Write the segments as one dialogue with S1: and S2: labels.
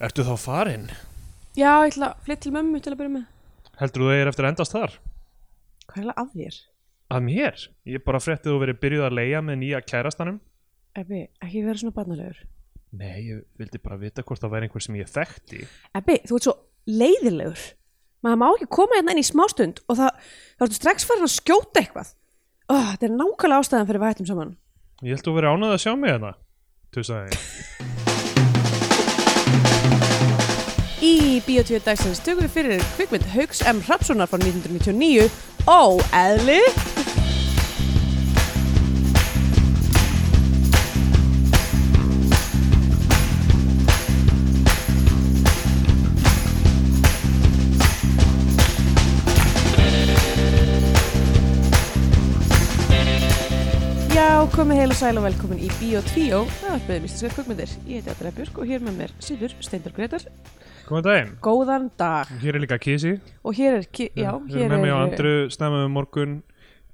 S1: Ertu þá farinn?
S2: Já, ég ætla að flytta til mömmu til að byrja með.
S1: Heldur þú þeir eftir að endast þar?
S2: Hvað er það að þér?
S1: Að mér? Ég bara frétti þú verið byrjuð að leia með nýja kærastanum
S2: Ebbi, ekki vera svona barnalegur.
S1: Nei, ég vildi bara vita hvort það væri einhver sem ég þekkti
S2: Ebbi, þú ert svo leiðilegur. Maður má ekki koma hérna inn í smástund og það, þá ertu strax farin að skjóta eitthvað. Oh, þetta er nákvæmlega ástæðan fyrir við hættum saman.
S1: Ég held þú verið ánægð að sjá mig hérna Tusaði ég.
S2: Í Bíotvíu dagsins tökum við fyrir kvikmynd Hauks M. Hrapssonar frá 1999 og eðli Já, komið heil og sæl og velkomin í Bíotvíu Það er beðið místiska kvikmyndir Ég heiti Adela Björk og hér með mér situr Steindar Gretar
S1: Góðan daginn
S2: Góðan dag
S1: Hér er líka Kisi
S2: Og hér er, ki- já,
S1: Við
S2: hér
S1: erum með mig á
S2: er
S1: andru snemma um morgun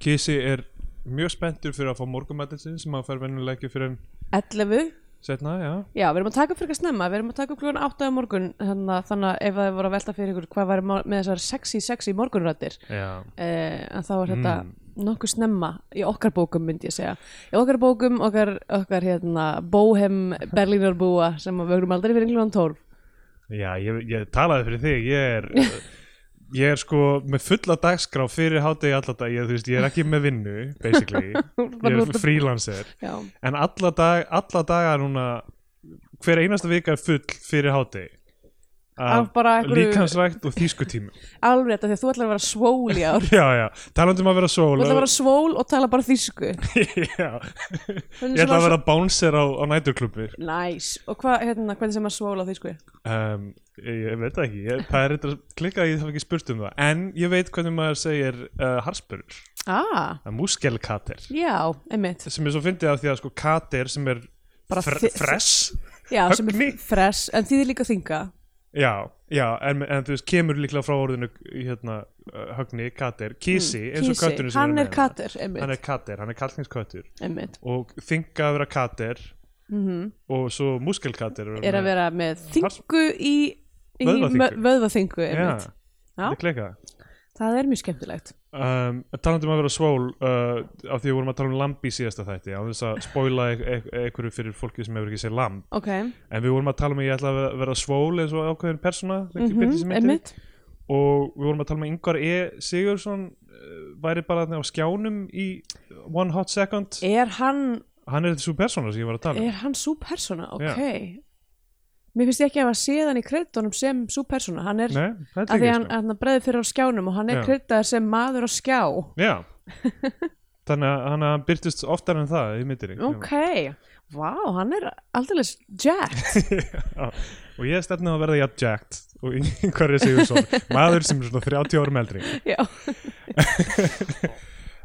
S1: Kisi er mjög spenntur fyrir að fá morgumættin sin sem að fer venjulega ekki fyrir en
S2: 11
S1: setna, já
S2: Já, við erum að taka upp fyrir eitthvað snemma, við erum að taka upp klugan 8 á morgun þannig að, þannig að ef það voru að velta fyrir ykkur hvað var með þessar sexy sexy morgunrættir
S1: Já,
S2: eh, en þá er þetta
S1: Hmm.
S2: nokkuð snemma í okkar bókum myndi ég segja í okkar bókum, okkar, okkar hérna, bóhem berlínarbúa sem að við erum aldrei fyrir klugan 12
S1: já ég, ég talaði fyrir þig Ég er Ég er sko með fulla dagskrá fyrir hádegi alla dag, ég, þú veist, ég er ekki með vinnu, basically, ég
S2: Bara
S1: er
S2: út að-
S1: freelancer,
S2: Já,
S1: en alla, dag, alla daga núna, hver einasta vika er full fyrir hádegi, Ah,
S2: Af bara einhverju-
S1: líkansrækt og þýskutímum.
S2: alveg þetta því að þú ætlar að vera svól í ár
S1: Já, já, talandi um að vera sól
S2: Þú ætlar að vera svól og tala bara þýsku
S1: Já, ég ætla að vera bánser á, á næturklubbi
S2: Næs, og hvað, hérna, hvernig sem að svól á þýsku?
S1: um, ég, ég veit það ekki, ég, það er eitthvað klikkað að ég hef ekki spurt um það En ég veit hvernig maður segir uh, harspurur,
S2: Ah,
S1: það er múskelkater
S2: já, einmitt
S1: Sem er svo fyndið af því að sko kater sem er
S2: Bara
S1: fre
S2: þi-
S1: fress
S2: Já, sem er
S1: Högni.
S2: fresh, en þýðir líka þinga
S1: Já, já, en, en þú veist, kemur líklega frá orðinu hérna, uh, högni, kater, kísi, eins og
S2: Kísi.
S1: kötturinn sem
S2: Hmm, Hann
S1: er
S2: er
S1: með
S2: kater,
S1: hérna. Hann
S2: einmitt,
S1: er kater, hann er kallningsköttur
S2: einmitt.
S1: Og þinga að vera kater og svo múskelkater
S2: Mhm. Er að vera með þingu í, í
S1: Vöðvaþyngu.
S2: mö- vöðvaþingu,
S1: Já,
S2: einmitt Já.
S1: þetta er klikkað
S2: Það er mjög skemmtilegt
S1: um, talandi um að vera svól uh, af því að við vorum að tala um lamb í síðasta þætti á þess að spoila e e einhverju fyrir fólki sem hefur ekki séð lamb
S2: Ok,
S1: en við vorum að tala um að ég ætla að ve- vera svól eins og ákveðin persóna mm
S2: mhm, einmitt
S1: og við vorum að tala um að Ingvar E. Sigurðsson uh, væri bara þarna á skjánum í One Hot Second
S2: Er hann,
S1: hann er þessu persóna sem ég var að tala um
S2: er hann súpersona? Ok Mér finnst ég ekki að hafa séð hann í kreditónum sem súpersona Hann er,
S1: Nei, það
S2: að
S1: er
S2: því
S1: ekki
S2: hann,
S1: sko.
S2: hann breði fyrir á skjánum og hann er
S1: Já.
S2: kreditaður sem maður á skjá
S1: sko. Já Þannig að þannig að hann byrtist oftar en það í myndinni
S2: Ok, vá, hann er aldrei jacked
S1: Já, og ég stefna að verða jafn jacked og yngvar ég segjum svo maður sem er svona 30 árum eldri
S2: Já,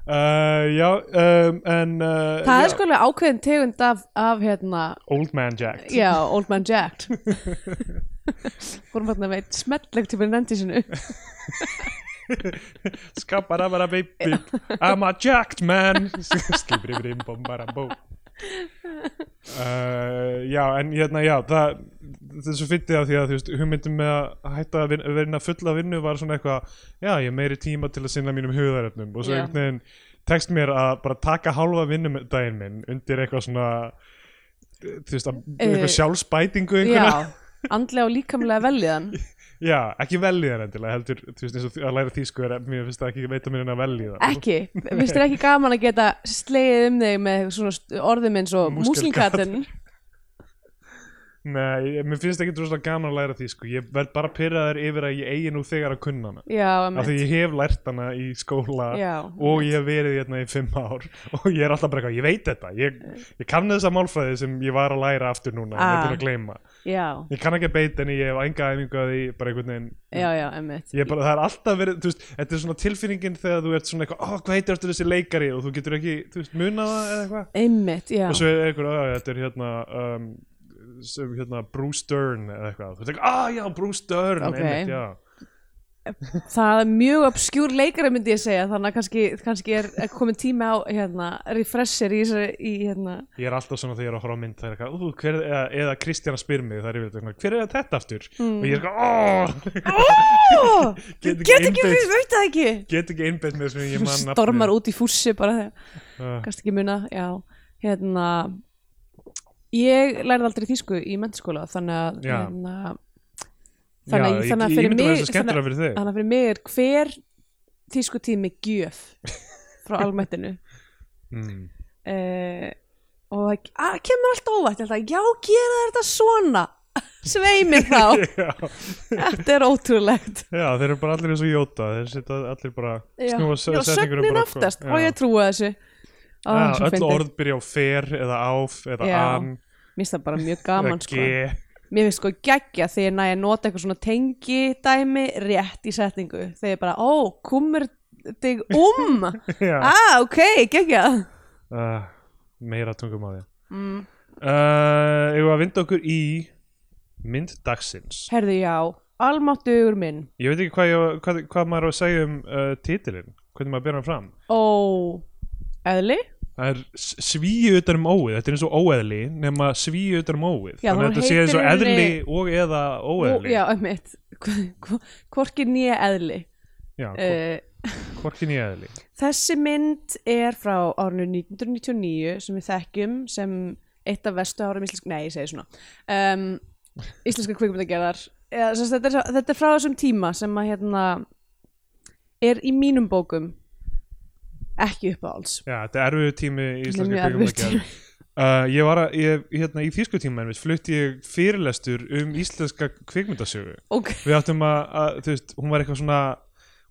S1: uh, já, um, en uh,
S2: það
S1: já,
S2: er sko alveg ákveðin tegund af, af hérna,
S1: old man jacked
S2: Já, Old Man Jack Fórum hérna með eitt smetleg til fyrir nendi sinu
S1: skabarabara beep beep I'm a jacked man skibribrim bombarambó Uh, já, en hérna, já, það það er svo fyndið af því að, þú veist, hugmyndum með að hætta að vin, verina fulla vinnu var svona eitthvað, já, ég hef meiri tíma til að sinna mínum hugðarefnum og svo
S2: Já.
S1: einhvern veginn tekst mér að bara taka hálfa vinnudaginn minn undir eitthvað svona þú veist, að-
S2: Eh,
S1: eitthvað sjálfsbætingu einhverja,
S2: Já, andlega og líkamlega veljiðan
S1: já. ekki veljiðar endilega heldur, þú veist, eins og að læra þýsku er, mér finnst það ekki veita mér en að veljiða
S2: Ekki, finnst þér ekki gaman að geta slegið um þig með svona st- orðum eins og
S1: Múskelkatin.
S2: múslingkatin
S1: Nei, ég- mér finnst ekki droslega gaman að læra því sko. Ég verð bara pyrraður yfir að ég eigi nú þegar að kunna hana
S2: Já,
S1: Af því
S2: emmitt
S1: ég hef lært hana í skóla
S2: Já,
S1: og ég hef verið hérna í fimm ár og ég er alltaf bara eitthvað, ég veit þetta ég, ég kann þessa málfræði sem ég var að læra aftur núna, ah. ég er
S2: Ah.
S1: búin að gleyma
S2: Já,
S1: Ég kann ekki að beita henni, ég hef enga æfingu að því bara einhvern veginn
S2: já, já, emmitt
S1: Ég er bara, það er alltaf verið, þú veist, þetta er svona tilfinningin þegar þú ert svona eitthvað, ó, hvað heitir eftir þessi leikari og þú getur ekki, þú veist, muna það eða eitthvað
S2: Einmitt, já
S1: og svo er einhver að þetta er hérna um, sem hérna Bruce Dern eða eitthvað þú veist ekki, að já Bruce Dern
S2: Ok.
S1: einmitt, já
S2: það er mjög obskjúr leikari myndi ég segja þannig að kannski, kannski er er kominn tími á hérna, refresher í, þessari- í hérna,
S1: Ég er alltaf svona þegar ég er að horfa á mynd það er eitthvað, "Ú, hver, eða, eða Kristjana spyr mig það er yfirleitt eitthvað, hver er þetta aftur?
S2: Hmm.
S1: Og ég er eitthvað, óóóó
S2: oh,
S1: Get
S2: get
S1: ekki
S2: ekki,
S1: einbeitt.
S2: við veit það ekki
S1: Get ekki einbeitt með þessum ég mann
S2: stormar út í fússi bara þegar
S1: uh,
S2: kannski ekki muna, já hérna ég lærði aldrei þýsku í mentaskóla þannig að
S1: Já.
S2: hérna,
S1: Þannig
S2: þannig,
S1: að
S2: að- þannig að fyrir
S1: Ég myndi að
S2: mig
S1: þessi skemmtilega
S2: þannig,
S1: fyrir þig
S2: þannig að fyrir mig er hver þýsku tími gjöf frá almættinu
S1: mm.
S2: uh, og það að, kemur allt óvænt ég held að já, gera þær þetta svona sveimir þá,
S1: Já,
S2: þetta er ótrúlegt
S1: já, þeir eru bara allir eins og jóta Þeir sitja allir bara
S2: já,
S1: snúa
S2: já
S1: setningur
S2: sögnin aftast og ég trúi þessu Ó,
S1: Já,
S2: svo
S1: öll
S2: fyndið.
S1: orð byrja á fer eða áf eða
S2: Já,
S1: an
S2: Mér finnst það bara mjög
S1: eða
S2: gaman sko.
S1: ge
S2: Mér finnst sko geggja þegar ég næ að nota eitthvað svona tengi dæmi rétt í setningu þegar ég bara, ó, kumur þig um
S1: Já,
S2: ah, ok, geggja
S1: uh, meira tungum á því
S2: mm.
S1: uh, Ég var að vinda okkur í mynd dagsins
S2: Herðu, já, almáttugur minn
S1: Ég veit ekki hvað, ég, hvað, hvað maður á að segja um uh, titilinn, hvernig maður byrja hann fram
S2: ó, eðli
S1: Það er svíu utan um óið, þetta er eins og óeðli nema svíu utan um óið
S2: Já,
S1: þannig
S2: hún
S1: að þetta sé eins og
S2: heitir í
S1: eðli
S2: rauninni-
S1: og eða
S2: Ó,
S1: óeðli
S2: já, einmitt Hvo- hvo- hvorki nýja eðli
S1: Já, hvor-
S2: uh,
S1: hvorki nýja eðli
S2: þessi mynd er frá árinu 1999 sem við þekkjum sem eitt af vestu árum íslensk nei, ég segi svona um, íslenska kvikmyndagerðar ja, þetta, er- þetta er frá þessum tíma sem að hérna er í mínum bókum ekki uppáhalds
S1: Já, þetta er erfiðu tími í
S2: Þetta er
S1: íslenska
S2: mjög erfiður
S1: kvikmyndagerð uh, Ég var að, ég, hérna, í þýsku tíma en við flutti ég fyrirlestur um íslenska kvikmyndasögu
S2: ok,
S1: Við áttum að, að, þú veist, hún var eitthvað svona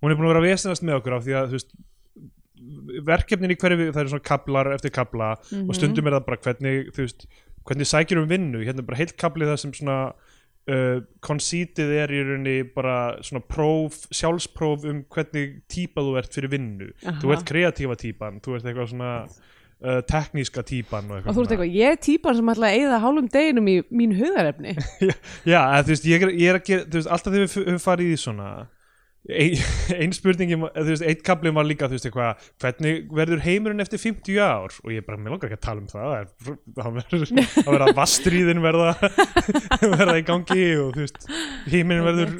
S1: hún er búin að vera að vesenast með okkur á því að, þú veist verkefnin í hverju, það eru svona kablar eftir kabla
S2: Mhm.
S1: og stundum er það bara hvernig þú veist, hvernig sækir um vinnu hérna er bara heilt kabli það sem svona uh, konsítið er í rauninni bara svona próf, sjálfspróf um hvernig típa þú ert fyrir vinnu
S2: Aha.
S1: þú ert kreatífa típan, þú ert eitthvað svona uh, tekníska típan og,
S2: og þú ert
S1: svona.
S2: eitthvað, ég er típan sem ætla að eigða hálfum deginum í mín hugarefni
S1: Já, já, að þú veist, ég er, ég er að gera, þú veist, alltaf þegar við f- höfum farið í svona ein, ein spurningi, þú veist, eitt kaplinn var líka, þú veist, eitthvað, hvernig verður heimurinn eftir 50 ár? Og ég bara, mér langar ekki að tala um það, það er- það verður, það verður að vastriðin verða, verða í gangi og, þú veist, heimurinn verður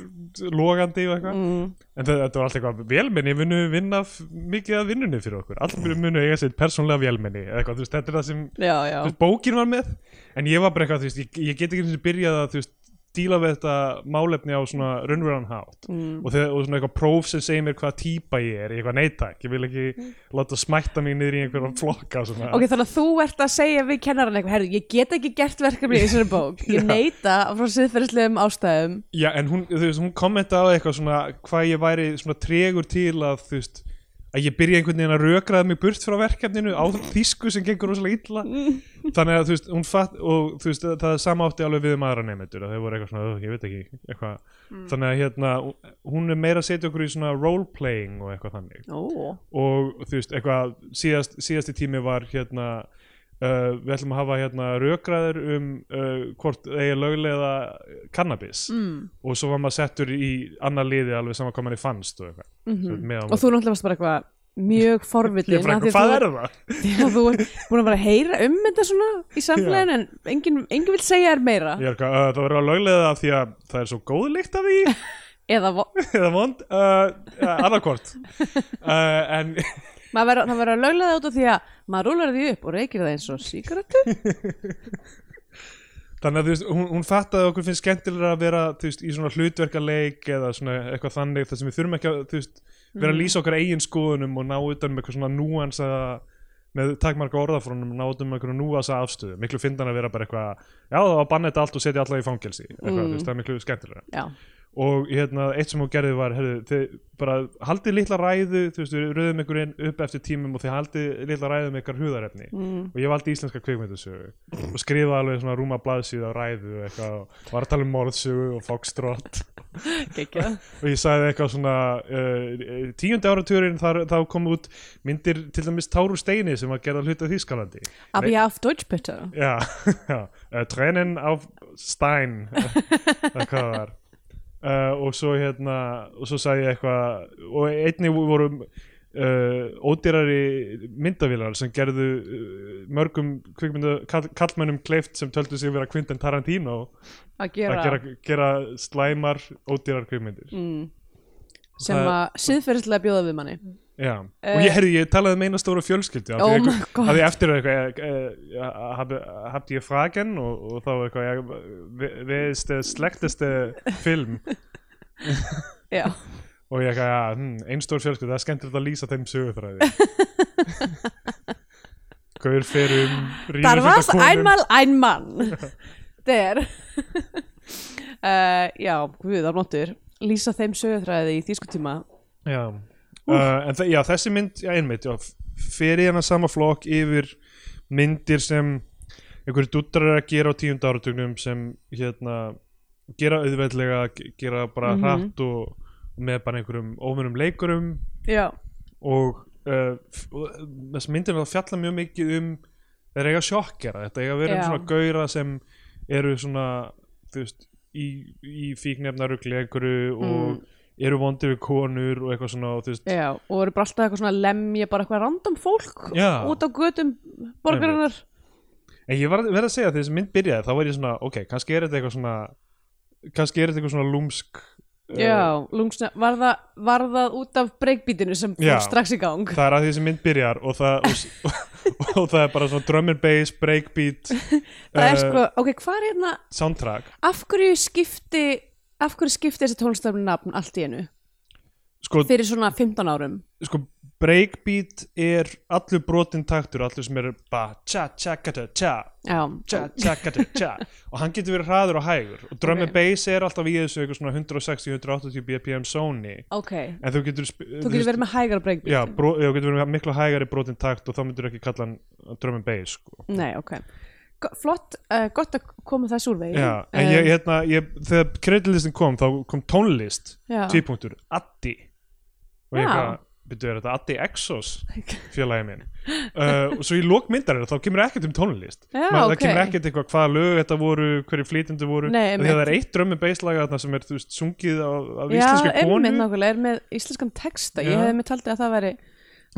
S1: logandi og eitthvað.
S2: mm.
S1: En það, þetta var alltaf eitthvað, vélmenni munu vinna f- mikið að vinnunni fyrir okkur, allir munu eiga sér persónlega vélmenni, eða eitthvað, þú veist, þetta er það sem
S2: já, já
S1: þú veist, bókin var með en ég var bara eitthvað, þú veist, ég, ég get ekki eins og byrjað að, þú veist, díla við þetta málefni á svona raunveran hátt
S2: mm.
S1: og, þegar, og svona eitthvað próf sem segir mér hvaða típa ég er, ég er eitthvað neittak ég vil ekki láta smætta mig niður í einhverjum flokka og svona
S2: Mm. Ok, þannig að þú ert að segja við kennarann eitthvað, herru, ég get ekki gert verkefni í þessari bók, ég
S1: Já.
S2: neita frá siðferðislegum ástæðum.
S1: Já, en hún, þú veist, hún kommentaði á eitthvað svona hvað ég væri svona tregur til að, þú veist, að ég byrja einhvern veginn að rökraða mig burt frá verkefninu á þýsku sem gengur rosalega illa þannig að, þú veist, hún fatt og, þú veist, það sama átti alveg við um aðra nefnendur að þau voru eitthvað svona, "Ugh, ég veit ekki, eitthvað þannig að, hérna, hún er meira að setja okkur í svona role-playing og eitthvað þannig
S2: Ó,
S1: og, þú veist, eitthvað síðast, síðasti tími var, hérna Uh, við ætlum að hafa hérna rökraður um uh, hvort eigi löglega cannabis
S2: mm.
S1: og svo var maður settur í annar liði alveg saman hvað manni fannst og eitthvað Svo með á
S2: Mhm. og
S1: móti.
S2: þú náttúrulega varst bara eitthvað
S1: Ég
S2: mjög
S1: er
S2: forvitin.
S1: bara
S2: af því
S1: eitthvað, hvað
S2: að
S1: er
S2: þú-
S1: það?
S2: því að Þú ert búin að vera að heyra um þetta svona í samfélaginu en enginn engin vil segja þér meira.
S1: Ég er eitthvað, uh, það verður að löglega það af því að það er svo góð lykt af því
S2: Eða vo-
S1: eða vond, uh, uh, annarkort uh, en
S2: maður verður- það verður að lögla það út af því að maður rúlar því upp og reykir það eins og sígarettu.
S1: þannig að þú veist, hún, hún fattaði að okkur finnst skemmtilega að vera þú veist, í svona hlutverkaleik eða svona eitthvað þannig þar sem við þurfum ekki að þú veist, vera að lýsa okkar eigin skoðunum og ná utan um eitthvað svona núans með takmarka orðafrónum og ná utan um eitthvað núasa afstöðu, miklu fyndan að vera bara eitthvað já það var að banna þetta allt og setja alla í fangelsi eitthvað,
S2: Mm.
S1: þú veist, það er miklu skemmtilega
S2: Já,
S1: og hérna, eitt sem hún gerði var herðu, þið bara haldið litla ræðu þú veist, við röðum ykkur inn upp eftir tímum og þið haldið litla ræðu með ykkar húðarefni
S2: mm.
S1: og ég valdi íslenska kvikmyndasögu og skrifaði alveg svona rúma blaðsíðu á ræðu og eitthvað, og var að tala um morðsögu og foxtrot
S2: geggjað.
S1: og ég sagði eitthvað svona uh, tíundi áratugurinn þar, þá kom út myndir til dæmis Táru Steini sem var gerða hluta af Þýskalandi
S2: Aber ja, auf Deutsch bitte.
S1: já, Eh, já, uh, trenin á Stein eitthvað það var Uh, og svo hérna og svo sagði ég eitthvað og einnig voru uh, ódýrari myndavílar sem gerðu uh, mörgum kvikmyndu kall, kallmennum kleift sem töldu sig vera Quentin Tarantino að
S2: að gera,
S1: gera, gera slæmar ódýrar kvikmyndir
S2: mm, sem
S1: Það-
S2: að síðferðislega bjóða við manni
S1: Já, og ég, herri, ég talaði um eina stóra fjölskyldu af
S2: Eh, Oh
S1: því
S2: my
S1: eitthvað-
S2: God.
S1: af því eftir eitthvað hafði ég fragen og, og þá eitthvað ég, ve- veðist eh, slekteste film
S2: já,
S1: og ég eitthvað, ja, hm, einn stór fjölskyldu það er skemmtilegt að lýsa þeim sögutræði Gaur fyrir um
S2: þar
S1: rýmum
S2: varst einmal ein mann der uh, já, guð á notur lýsa þeim sögutræði í þýskutíma
S1: Já, uh, en þe- já, þessi mynd, já, einmitt, já, f- fer í hennar sama flokk yfir myndir sem einhverju dútrar eru að gera á tíund áratugnum sem hérna gera auðveldlega, ge- gera bara
S2: Mhm.
S1: hratt og með bara einhverjum ómennum leikurum
S2: já,
S1: og uh, f- og þess myndir það fjalla mjög mikið um þeir eiga að sjokkera, þetta eiga að vera um
S2: Já.
S1: svona gauðra sem eru svona, þú veist, í, í fíknefnarugli einhverju og eru vondi við konur og eitthvað svona og þú veist,
S2: Mm. já, og eru bara alltaf eitthvað svona að lemja bara eitthvað random fólk
S1: Já.
S2: út á götum borgarinnar
S1: En ég var verið að segja að þegar þessi mynd byrjaði þá var ég svona, ok, kannski er þetta eitthvað svona kannski er þetta eitthvað svona lúmsk eh,
S2: já, lungsna, var, það, var það út af breakbeatinu sem
S1: Já. Eh,
S2: fór strax í gang
S1: það er að því þessi mynd byrjar og það, og, s- og, og það er bara svona drum and bass, breakbeat
S2: það er
S1: eh,
S2: sko, ok, hvað er hérna
S1: soundtrack
S2: af hverju skipti af hverju skipti þessi tónstafni nafn allt í einu
S1: sko,
S2: fyrir svona 15 árum
S1: sko, breakbeat er allur brotin taktur, allur sem er ba, tja, tja, tja, tja
S2: já,
S1: tja, tja, tja, tja og hann getur verið hraður og hægur og drum and
S2: Ok.
S1: bass er alltaf í þessu eitthvað svona 160-180 bpm zóni
S2: ok
S1: en þú getur, sp-
S2: þú getur verið með hægara breakbeat
S1: Já, bró, já, getur verið með miklu hægari brotin takt og þá myndur ekki kalla hann drum and bass sko.
S2: nei, ok Go- flott, uh, gott að koma þessu úr vegi Eh,
S1: Já, en ég, hérna, ég, þegar kreditlistin kom þá kom tónlist,
S2: Já.
S1: tvípunktur, Addi og ég
S2: Já.
S1: hvað, byrju, er þetta Addi Exos félagi minn uh, og svo í lokmyndar þá kemur ekkert um tónlist
S2: Já,
S1: það
S2: ok.
S1: kemur ekkert eitthvað hvaða lög þetta voru, hverju flýtindi voru
S2: Nei,
S1: Af því að það
S2: einmitt.
S1: er eitt drum and bass laga þarna sem er þú veist, sungið af, af
S2: já,
S1: íslenski
S2: einmitt
S1: konu
S2: nákvæmlega, er með íslenskan texta
S1: Já.
S2: ég hefði mér taldið að það væri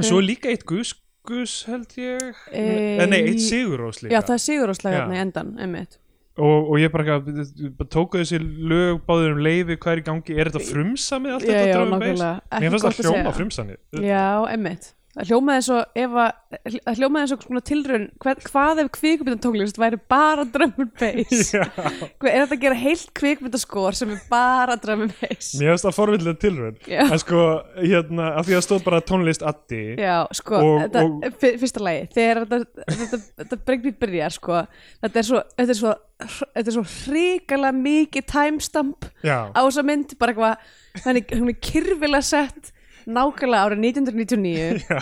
S1: og svo er líka eitt gus, gus held ég
S2: Eh,
S1: Eh, nei, eitt
S2: í-
S1: sigurós líka
S2: já, það er siguróslega
S1: Já.
S2: hérna í endan, einmitt
S1: og, og ég bara, eitthvað, ég bara tóku þessi lög báður um leifi, hvað er í gangi er þetta frumsamið allt
S2: Já,
S1: þetta
S2: já,
S1: drum and
S2: nákvæmlega.
S1: bass?
S2: Ekki
S1: mér finnst
S2: gott
S1: það
S2: að segja.
S1: hljóma frumsamið
S2: Já, emmitt Það hljómaði eins og ef að það hljómaði eins og svona tilraun hver, hvað ef kvikmyndatónglist væri bara drömmur bass
S1: Já.
S2: Hva- er þetta að gera heilt kvikmyndaskor sem er bara drömmur bass
S1: mér finnst það forvillilega tilraun
S2: Já.
S1: en sko, hérna, af því að stóð bara tónlist addi
S2: Já, sko,
S1: Og-
S2: þetta,
S1: og-
S2: fyr- fyrsta lagi þegar þetta, þetta, þetta bregnir byrjar sko, þetta er svo þetta er svo, þetta er svo hrikalega mikið timestamp
S1: Já.
S2: á þessa mynd bara eitthvað hann er- hún er kyrfilega sett nákvæmlega árið 1999
S1: Já.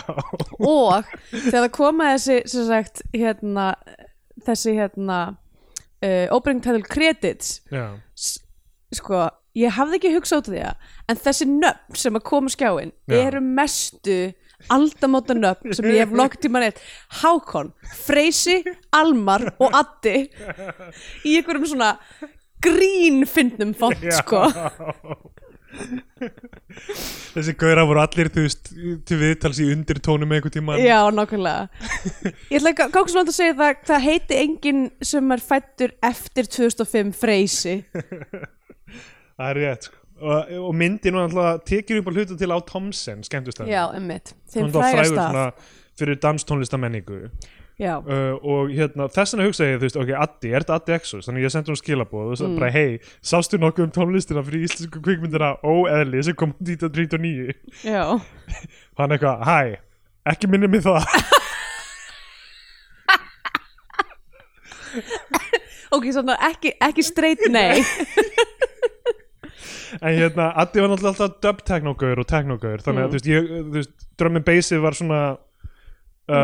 S2: og þegar það koma þessi sem sagt hérna þessi hérna uh, opening title credits
S1: Já.
S2: s- sko, ég hafði ekki hugsað út af því að en þessi nöfn sem að koma á skjáin
S1: Já.
S2: eru mestu aldamóta nöfn sem ég hef lokkt í mann eitt Hákon, Freysi, Almar og Addi í einhverjum svona grínfindnum font
S1: Já.
S2: sko
S1: þessi gauðra voru allir þú veist, til viðtals í undir tónum einhvern tímann
S2: Já, nákvæmlega Ég ætla ekki að gangi svo langt að segja það það heiti enginn sem er fættur eftir 2005 freysi
S1: það er rétt sko. og, og myndin var alltaf tekir upp á hluta til á Thompson skemmtust
S2: Já, emmitt, þeim
S1: hún var frægur
S2: frægast af
S1: svona fyrir danstónlistamenningu
S2: Já,
S1: uh, og hérna, þess vegna hugsaði ég þú veist, ok, Addi, er þetta Addi Exos þannig ég sendi hún skilabóð og
S2: Mm.
S1: sagði bara hei, sástu nokkuð um tónlistina fyrir íslensku kvikmyndina óeðli sem kom út í 1939
S2: já
S1: hann eitthvað, hæ, ekki minni mig það
S2: Ok, svona ekki, ekki straight nei
S1: en hérna, Addi var náttúrulega alltaf dub technogauður og technogauður
S2: Mm.
S1: þannig að þú veist, ég, þú veist, drömmin basið var svona uh,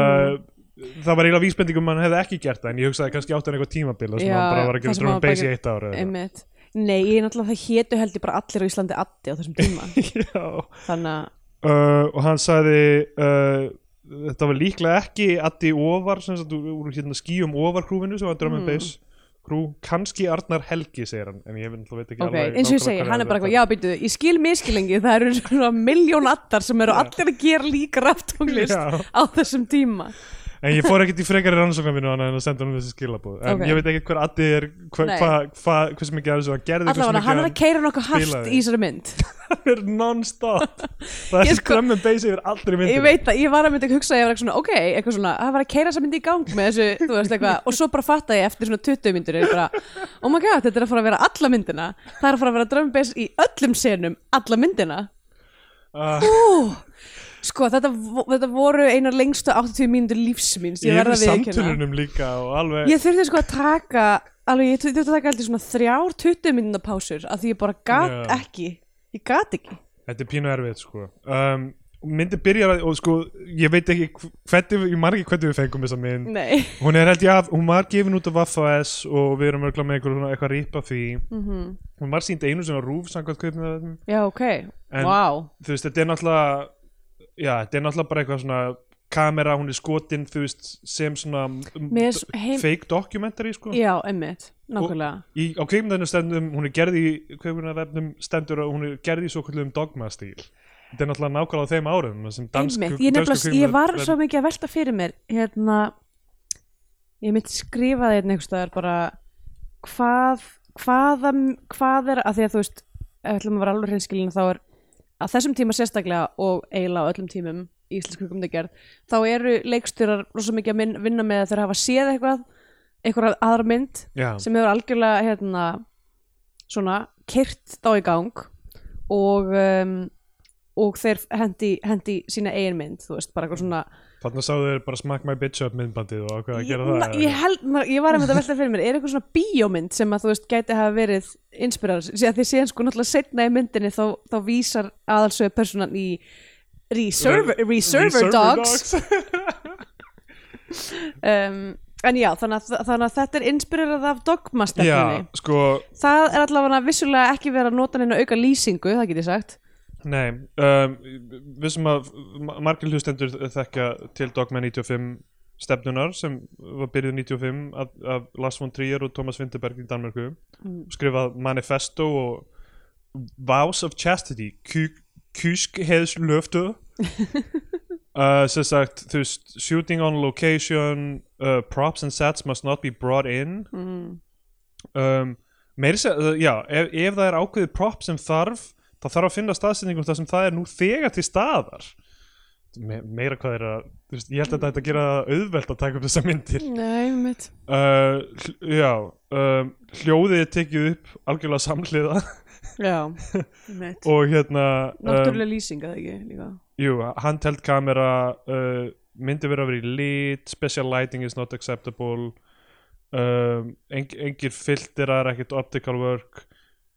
S2: Mm.
S1: það var eiginlega vísbending um að hann hefði ekki gert það en ég hugsaði kannski átti hann eitthvað tímabil þar sem
S2: Já,
S1: hann bara var að
S2: þar
S1: gera
S2: sem hann
S1: drömmin
S2: bara
S1: basið í eitt ár eða eitthvað.
S2: Emmitt Nei, ég er náttúrulega það hétu held ég bara allir á Íslandi Addi á þessum tíma
S1: já
S2: Þannig að,
S1: uh, og hann sagði uh,
S2: Mm.
S1: þetta var líklega ekki Addi Óvar sem sagt úr, úr hérna skýjum Óvarkrúfinu sem var Drum and Bass Krú, kannski Arnar Helgi segir hann, en ég veit náttúrulega ekki
S2: Ok,
S1: alveg
S2: eins og ég
S1: nákvæmlega
S2: segi,
S1: hvað
S2: hann er bara
S1: þetta.
S2: eitthvað, já býtu, ég skil miskilengi, það eru svona miljón attar sem eru allir að gera líka raftónglist
S1: Já.
S2: á þessum tíma.
S1: En ég fór ekkert í frekari rannsóknarvinu hann en að senda hann þessi skilabóð En
S2: Ok.
S1: ég veit ekkert hver Addi er, hva,
S2: Nei.
S1: hva, hva, hversu mikið af þessu hann gerði
S2: Allavega, hann er að keira nokkuð hart
S1: spilaði.
S2: í þessari mynd.
S1: hann er non-stop Það
S2: Ég
S1: er
S2: sko-
S1: skrömmin base yfir allri myndinni
S2: Ég veit það, ég var að mynda að hugsa, ég var eitthvað svona, ok, eitthvað svona, það var að keira þessa myndi í gang með þessu, þú veist eitthvað, og svo bara fatta ég eftir svona 20 myndir, ég bara, oh my god, þetta er að fara að vera alla myndina, það er að fara að vera drömmbes í öllum senum, alla myndina.
S1: Ah.
S2: Ú, sko, þetta, vo- þetta voru einar lengstu 80 mínútur lífsmins, ég
S1: Ég er
S2: verða
S1: í
S2: við ekki
S1: samtölunum líka og alveg
S2: Ég þurfti sko að taka, alveg, ég þurfti að taka aldrei svona þrjár 20 mínútur pásur, af því ég bara gat
S1: Já.
S2: ekki, ég gat ekki.
S1: Þetta er pínu erfið sko um, Myndi byrjar að, og sko Ég veit ekki hv- hvernig, við- ég margir hvernig við fengum þessa mynd
S2: Nei.
S1: Hún er held ég af, hún var gefin út af Vafa.s og við erum örgulega með eitthvað, svona- eitthvað rýpa því
S2: Mhm.
S1: Hún var sínd einu sem var rúf samkvæmt kaupnið
S2: Já, ok,
S1: En-
S2: wow.
S1: Þú veist, þetta er náttúrulega Já, þetta er náttúrulega bara eitthvað svona kamera, hún er skotin, þú veist, sem svona um,
S2: Mér er s- heim-
S1: fake documentary, sko
S2: Já, emmitt, nákvæmlega.
S1: í, á kveikmyndinu stendum, hún er gerð í kveikmyndavefnum stendur að hún er gerð í svo kvöldum dogmastíl þetta er náttúrulega nákvæmlega á þeim árum þar sem dansk,
S2: Einmitt, ég, nefnilega, ég var svo mikið að velta fyrir mér hérna ég mitt skrifaði hérna einhvers staðar bara hvað hvaða, hvað er að því að þú veist ef við ætlum að vera alveg hreinskilin þá er að þessum tíma sérstaklega og eiginlega á öllum tímum í íslensk kvikumdegerð þá eru leikstjórar rosa mikið að minn, vinna með að þeir hafa séð eitthvað eitthvað aðra mynd
S1: já,
S2: sem hefur algjörlega hérna, svona kyrt þá í gang og um, og þeir hendi, hendi sína eigin mynd þú veist, bara eitthvað svona
S1: þarna sáðu þeir bara smack my bitch up myndbandið og ákveða að
S2: ég,
S1: gera
S2: na-
S1: það
S2: ég, held, na- ég var að mynda að velta fyrir mér er eitthvað svona bíómynd sem að þú veist gæti hafa verið inspirar, því að því séðan sko náttúrulega setna í myndinni þá, þá vísar aðalsöðu personan í Reserver, reserver Dogs um, en já, þannig að, þannig að þetta er inspirerað af dogmastefnunni
S1: já, sko,
S2: Það er allavega vissulega ekki verið að nota neina auka lýsingu, það get ég sagt.
S1: nei um, við sem að ma- margir hlustendur þekka til Dogma 95 stefnunar sem var byrjuð 95 af, af Lars von Trier og Thomas Vinterberg í Danmarku skrifað Manifesto og Vows of Chastity Kú- Kúsk heiðs löftu uh, sem sagt þú veist, shooting on location uh, props and sets must not be brought in
S2: Mm.
S1: um, meiri sér, uh, já ef, ef það er ákveðið prop sem þarf þá þarf að finna staðsendingum þar sem það er nú þegar til staðar Me, meira hvað er að þú veist, ég held að þetta gera það auðvelt að taka upp þessa myndir
S2: Nei, mitt.
S1: uh, hl- já um, hljóðið er tekið upp algjörlega samhliða
S2: Já, mitt.
S1: og hérna um,
S2: Náttúrulega lýsinga það ekki líka.
S1: jú, handheld kamera uh, myndi verið að vera í lit special lighting is not acceptable um, eng, engir filterar ekkert optical work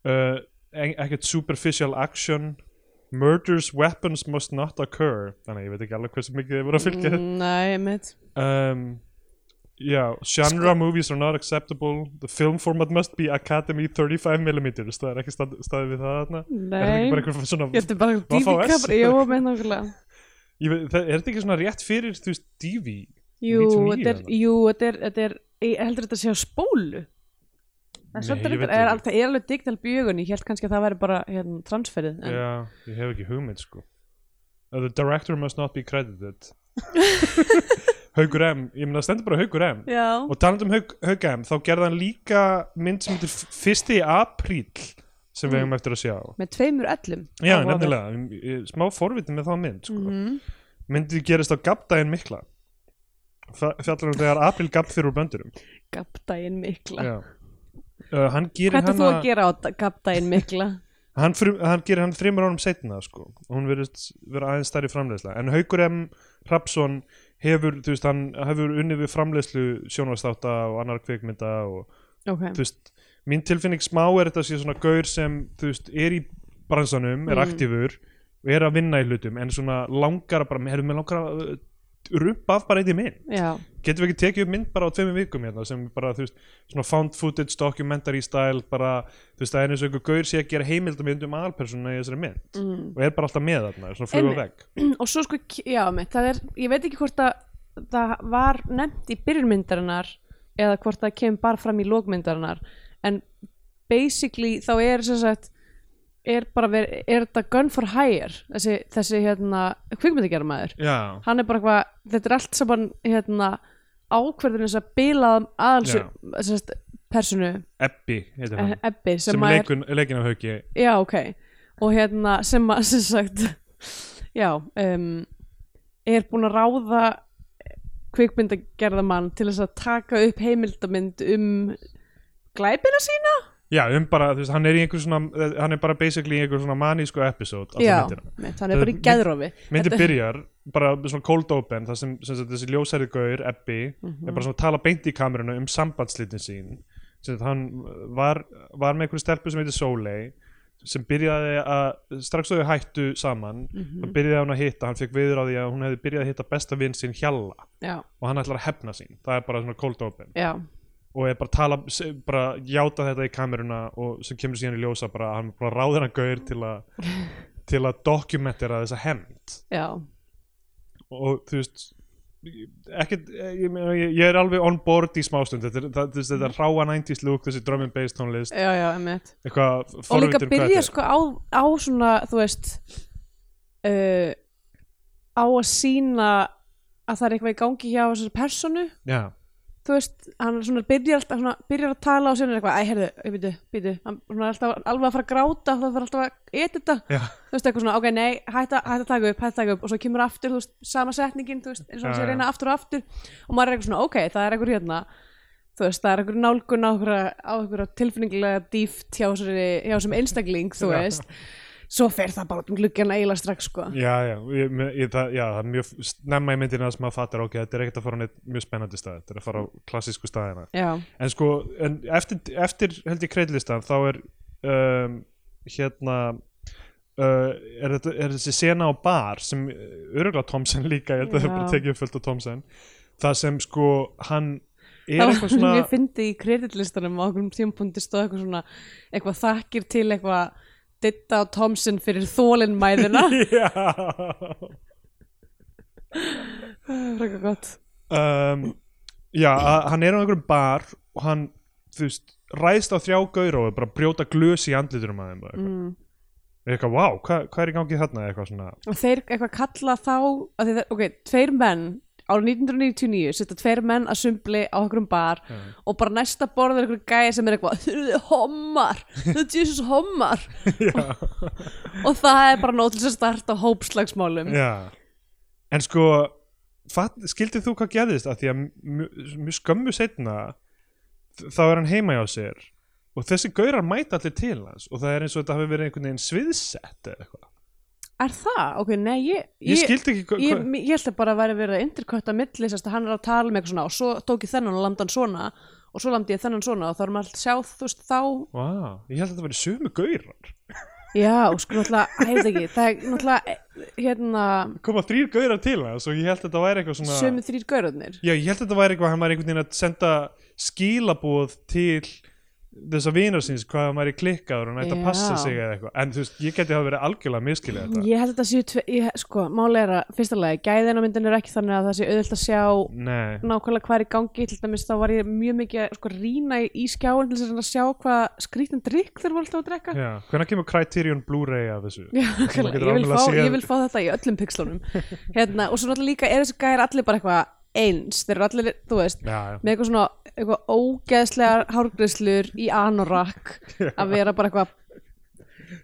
S1: uh, en, ekkert superficial action murders weapons must not occur þannig að ég veit ekki alveg hversu mikið þið voru að fylgja
S2: Mm, Nei, mitt.
S1: um, já, genre
S2: Sko-
S1: movies are not acceptable the film format must be Academy 35mm það er ekki stað, staðið við það þarna er þetta
S2: Mm, Nei.
S1: ekki bara eitthvað svona
S2: Ég ætti bara
S1: Var
S2: DV
S1: þá S?
S2: kapri, jú, með nákvæmlega.
S1: ég veit, það, er þetta ekki svona rétt fyrir þú veist DV
S2: Jú,
S1: 99
S2: þetta er,
S1: eða?
S2: jú, þetta er, þetta er, ég heldur þetta sé á spólu. En
S1: Nei,
S2: samt er
S1: ég veit
S2: þetta- er
S1: ekki.
S2: alveg- Það er alveg digtal bjögun, ég held kannski að það væri bara hérna, transferið. En,
S1: já, ég hef ekki hugmynd sko Uh, the director must not be credited Haugur M ég meina það stendur bara Haugur M
S2: já.
S1: og talandi um Haug, Haug M þá gerði hann líka mynd sem heitir f- fyrsti apríl sem
S2: Mm.
S1: við hefum eftir að sjá
S2: Með tveimur öllum.
S1: Já, nefnilega, Ég- ég- smá forvitin með þá mynd sko.
S2: Mhm.
S1: myndið gerist á gabdægin mikla Fa- fjallar um þegar April gabd fyrir úr böndurum
S2: Gapdægin mikla.
S1: Já. uh, hann gerir
S2: Hvað ættu þú
S1: hana
S2: að gera á gapdægin mikla?
S1: hann, frum, hann gerir hann þrimur árum setna sko. og hún verið vera aðeins stærri framleiðsla en Haukur M. Rapsson hefur, þú veist, hann hefur unnið við framleiðslu sjónvastáta og annar kvikmynda og
S2: Ok.
S1: þú veist, mín tilfinning smá er þetta sé svona gaur sem, þú veist, er í bransanum, er aktífur og er að vinna í hlutum, en svona langar að bara, herru, mér langar að uh, rumpa af bara eitt í mynd,
S2: Já,
S1: getum við ekki tekið upp mynd bara á tveimur vikum hérna, sem bara, þú veist svona found footage, documentary style bara, þú veist, það er eins og einhver gaur sé að gera heimildamynd um aðalpersona í þessari mynd mm. og er bara alltaf með þarna, svona flug á
S2: Einmitt.
S1: vegg
S2: og svo sko, já mitt, það er, ég veit ekki hvort að það var nefnt í byrjunmyndarinnar eða hvort það kemur bara fram í lókmyndarinnar en basically þá er sem sagt er bara verið, er þetta gun for hire þessi, þessi hérna kvikmyndagerumæður
S1: já,
S2: hann er bara eitthvað, þetta er allt saman hérna ákverðin þess að bilaðum aðals
S1: Já.
S2: sem sagt, personu,
S1: Ebbi heitir hann
S2: eh, ebbi sem,
S1: sem
S2: að er
S1: leikun, leikin af hauki
S2: já ok og hérna sem að sem sagt já um, er búin að ráða kvikmyndagerðamann til þess að taka upp heimildamynd um glæpina sína
S1: já, um bara, þú veist, hann er í einhver svona hann er bara basically í einhver svona manísku episode alltaf
S2: já,
S1: myndina.
S2: mitt, hann er bara í geðrofi
S1: myndin
S2: Þetta-
S1: byrjar, bara svona cold open þar sem, sem sagt, þessi ljósæri gaur, Ebbi
S2: Mhm.
S1: er bara svona að tala beint í kameruna um sambandslitin sín sem sagt, hann var, var með einhverju stelpu sem heitir Sóley sem byrjaði að strax þau hættu saman mm
S2: Mhm.
S1: -hmm. byrjaði hann að hitta, hann fekk viður á því að hún hefði byrjaði að hitta besta vinn sín Hjalla
S2: já,
S1: og hann ætlar að hefna sín, það er bara svona cold open
S2: já,
S1: og er bara að tala, se- bara játa þetta í kameruna og sem kemur síðan í ljósa bara að hann er bara ráðina gaur til að til að dokumentera þessa hemmt
S2: já
S1: og þú veist ekkert, ég, meina, ég, ég er alveg on board í smástund, þetta er, það, þú veist, þetta er ráa 90s look, þessi drum and bass tónlist
S2: já, já, emitt
S1: eitthvað
S2: og líka
S1: forvitin hvað
S2: byrja
S1: þetta er.
S2: sko á, á svona þú veist uh, á að sína að það er eitthvað í gangi hjá þessari personu
S1: já,
S2: þú veist, hann er svona byrjar alltaf svona, byrjar að tala og síðan er eitthvað, æ, heyrðu, ég byrju, byrju hann svona er alltaf alveg að fara að gráta það þarf alltaf að edita,
S1: já,
S2: þú veist, eitthvað svona ok, nei, hætta, hætta að taka upp, hætta að taka upp og svo kemur aftur, þú veist, sama setningin, þú veist eins og hann
S1: Já,
S2: sé að
S1: já.
S2: reyna aftur og aftur og maður er eitthvað svona, ok, það er eitthvað hérna þú veist, það er eitthvað nálgun á einhverja- á eitthvað tilfinningilega dýft hjá, þessari- hjá sem einstakling,
S1: Já.
S2: þú veist svo fer það bara út um gluggjana eiginlega strax, sko.
S1: já, já, ég, me- ég, það, já það er mjög snemma í myndina sem maður fattar ok, þetta er ekkert að fara á neitt mjög spennandi stað þetta er að fara á klassísku staðina
S2: Já,
S1: en sko en eftir, eftir held ég kreidlistan þá er um, hérna uh, er, þetta, er þessi sena á bar sem öruglega Thompson líka ég held að það er bara
S2: Já.
S1: tekið upp fullt á Thompson það sem sko hann er
S2: það
S1: eitthvað
S2: var
S1: svona
S2: mjög fyndið í kreditlistanum á okkurum tímapunkti stóð eitthvað svona eitthvað þakkir til eitthvað Ditta og Thompson fyrir þólinmæðina
S1: já
S2: frekar gott
S1: um, já, að, hann er á einhverjum bar og hann, þú veist, ræðst á þrjá gaur og er bara að brjóta glös í andliturum að þeim og eitthvað,
S2: Mm.
S1: Ég er eitthvað, wow, hvað, hvað er í gangi þarna eitthvað svona,
S2: og þeir eitthvað kalla þá af því það, ok, tveir menn ára 1999 setja tveir menn að sumbli á okkurum bar og bara næsta borð er eitthvað gæði sem er eitthvað þau eru hommar, þau eru Jesus hommar
S1: já
S2: og það er bara nót til þess að starta hópslagsmálum
S1: Já. En sko, fatt, skildið þú hvað gerðist? Af því að mjög mjö skömmu setna þá er hann heima hjá sér og þessi gaurar mæta allir til hans og það er eins og þetta hafi verið einhvern veginn sviðsett eða eitthvað.
S2: er það? ok, nei, ég,
S1: Ég, skildi ekki hvað...
S2: ég,
S1: hvað-
S2: ég held að bara að vera verið að interkvætta milli sérst að hann er að tala með eitthvað svona og svo tók ég þennan og landa hann svona og svo landi ég þennan svona og þá erum alltaf að sjá þú veist þá
S1: Vá, ég held að þetta verið sömu gaurar.
S2: já, sko náttúrulega, hæði ekki það er náttúrulega, eh, hérna
S1: Koma þrýr gaurar til hans og ég held að þetta væri eitthvað svona...
S2: sömu þrýr gaurarnir
S1: Já, ég held að þetta væri eitthvað hann var einhvern veginn að senda skilaboð til þessa vinar síns hvað hann væri klikkaður og hann ætti að
S2: Já.
S1: passa sig eða eitthvað. En þú veist, ég geti hafa verið algjörlega miskilið þetta.
S2: ég held að það séu, tve, ég, sko, máli er að fyrsta lagi, gæðin á myndin er ekki þannig að það sé auðvitað að sjá
S1: Nei.
S2: nákvæmlega hvað er í gangi til dæmis þá var ég mjög mikið að sko, rýna í, í skjáin til þess að reyna að sjá hvað skrítin drikk þeir voru alltaf að drekka
S1: Já, hvenær kemur Criterion Blu-ray af þessu?
S2: Já,
S1: Sem maður
S2: nákvæmlega.
S1: getur
S2: ég vil,
S1: alveg
S2: fá,
S1: séð.
S2: ég vil fá þetta í öllum pixlunum hérna, og svo náttúrulega líka er þessi gæðir allir bara eitthvað eins, þeir eru allir, þú veist
S1: Já, já.
S2: með eitthvað svona, eitthvað ógeðslegar hárgreislur í anorak að vera bara eitthvað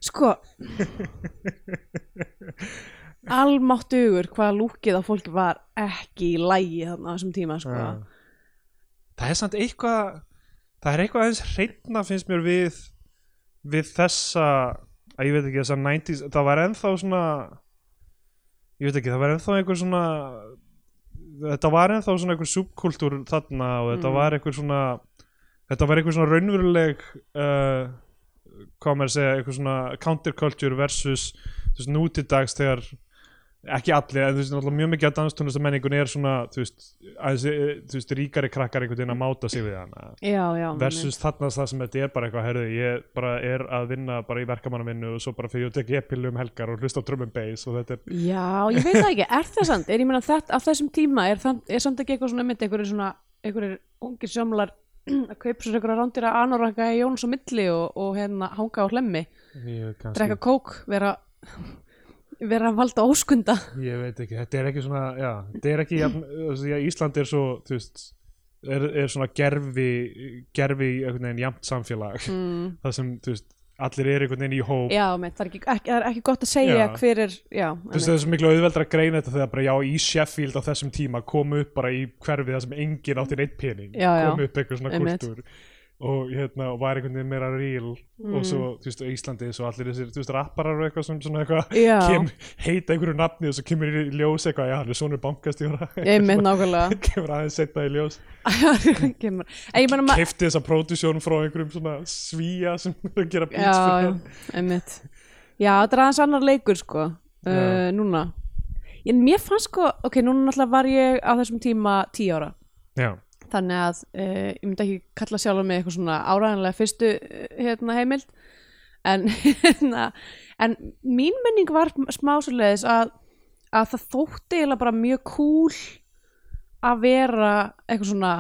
S2: sko almáttugur hvaða lúkið á fólki var ekki í lægi þarna á þessum tíma sko.
S1: Já. Það er samt eitthvað það er eitthvað aðeins hreitna finnst mér við við þessa að ég veit ekki þessa 90s það var ennþá svona ég veit ekki, það var ennþá einhver svona þetta var ennþá svona einhver subkultúr þarna og þetta var einhver svona þetta var einhver svona raunveruleg uh, hvað maður að segja einhver svona counterculture versus þú veist, nútidags þegar ekki allir, en þú veist, náttúrulega mjög mikið að danstónlista menningun er svona, þú veist, aðeins, eh, þú veist, ríkari krakkar einhvern veginn að máta sig við hana
S2: já, já
S1: versus þarna það sem þetta er bara eitthvað, herðu, ég bara er að vinna bara í verkamannavinnu og svo bara fyrir ég og tek ég pillu um helgar og hlusta á drum and bass og þetta er,
S2: Já, ég veit það ekki, er það samt? Er ég meina þetta, á þessum tíma er, það, er samt ekki eitthvað svona mitt einhverju svona einhverjir ungir sjómlar að kaupa sér einhverja rándýra anoraka í Jóns og Milli og, og hérna hanga á hlemmi,
S1: ég, kannski,
S2: drekka kók vera, vera að valda óskunda
S1: ég veit ekki, þetta er ekki svona já, þetta er ekki, jafn, því að Ísland er svo þú veist, er, er svona gerfi gerfi í einhvern veginn jamt samfélag
S2: mm.
S1: það sem, þú veist, allir eru einhvern veginn í hóp
S2: já, með, það, er ekki, ekki, það er ekki gott að segja
S1: Já.
S2: hver er já,
S1: Þú veist, það er svo miklu auðveldra að greina þetta þegar bara já, í Sheffield á þessum tíma komu upp bara í hverfið það sem enginn átti neitt pening
S2: Já, já.
S1: komu upp einhver svona
S2: Einmitt.
S1: kultúr og hérna, og var einhvern veginn meira real og
S2: Mm.
S1: svo, þú veist, á Íslandi svo allir þessir, þú veist, rapparar og eitthvað sem svona eitthvað
S2: Já.
S1: kem, heita einhverju nafni og svo kemur í ljós eitthvað, já, hann er svonur bankastjóra
S2: einmitt nákvæmlega
S1: kemur aðeins setna í ljós
S2: Kemur- en ég menna maður
S1: keifti þessa pródusjón frá einhverjum svona svíja sem er að sko. gera
S2: já,
S1: beats fyrir
S2: já,
S1: hann.
S2: einmitt já, þetta er aðeins annar leikur sko uh,
S1: Já.
S2: núna en mér fannst sko, ok, núna náttúrulega var ég á þessum tíma 10 ára
S1: já,
S2: þannig að uh, ég myndi ekki kalla sjálf mig eitthvað svona áræðanlega fyrstu uh, hérna, heimild en, hérna, en mín menning var smá svoleiðis að, að það þótti eiginlega bara mjög cool að vera eitthvað svona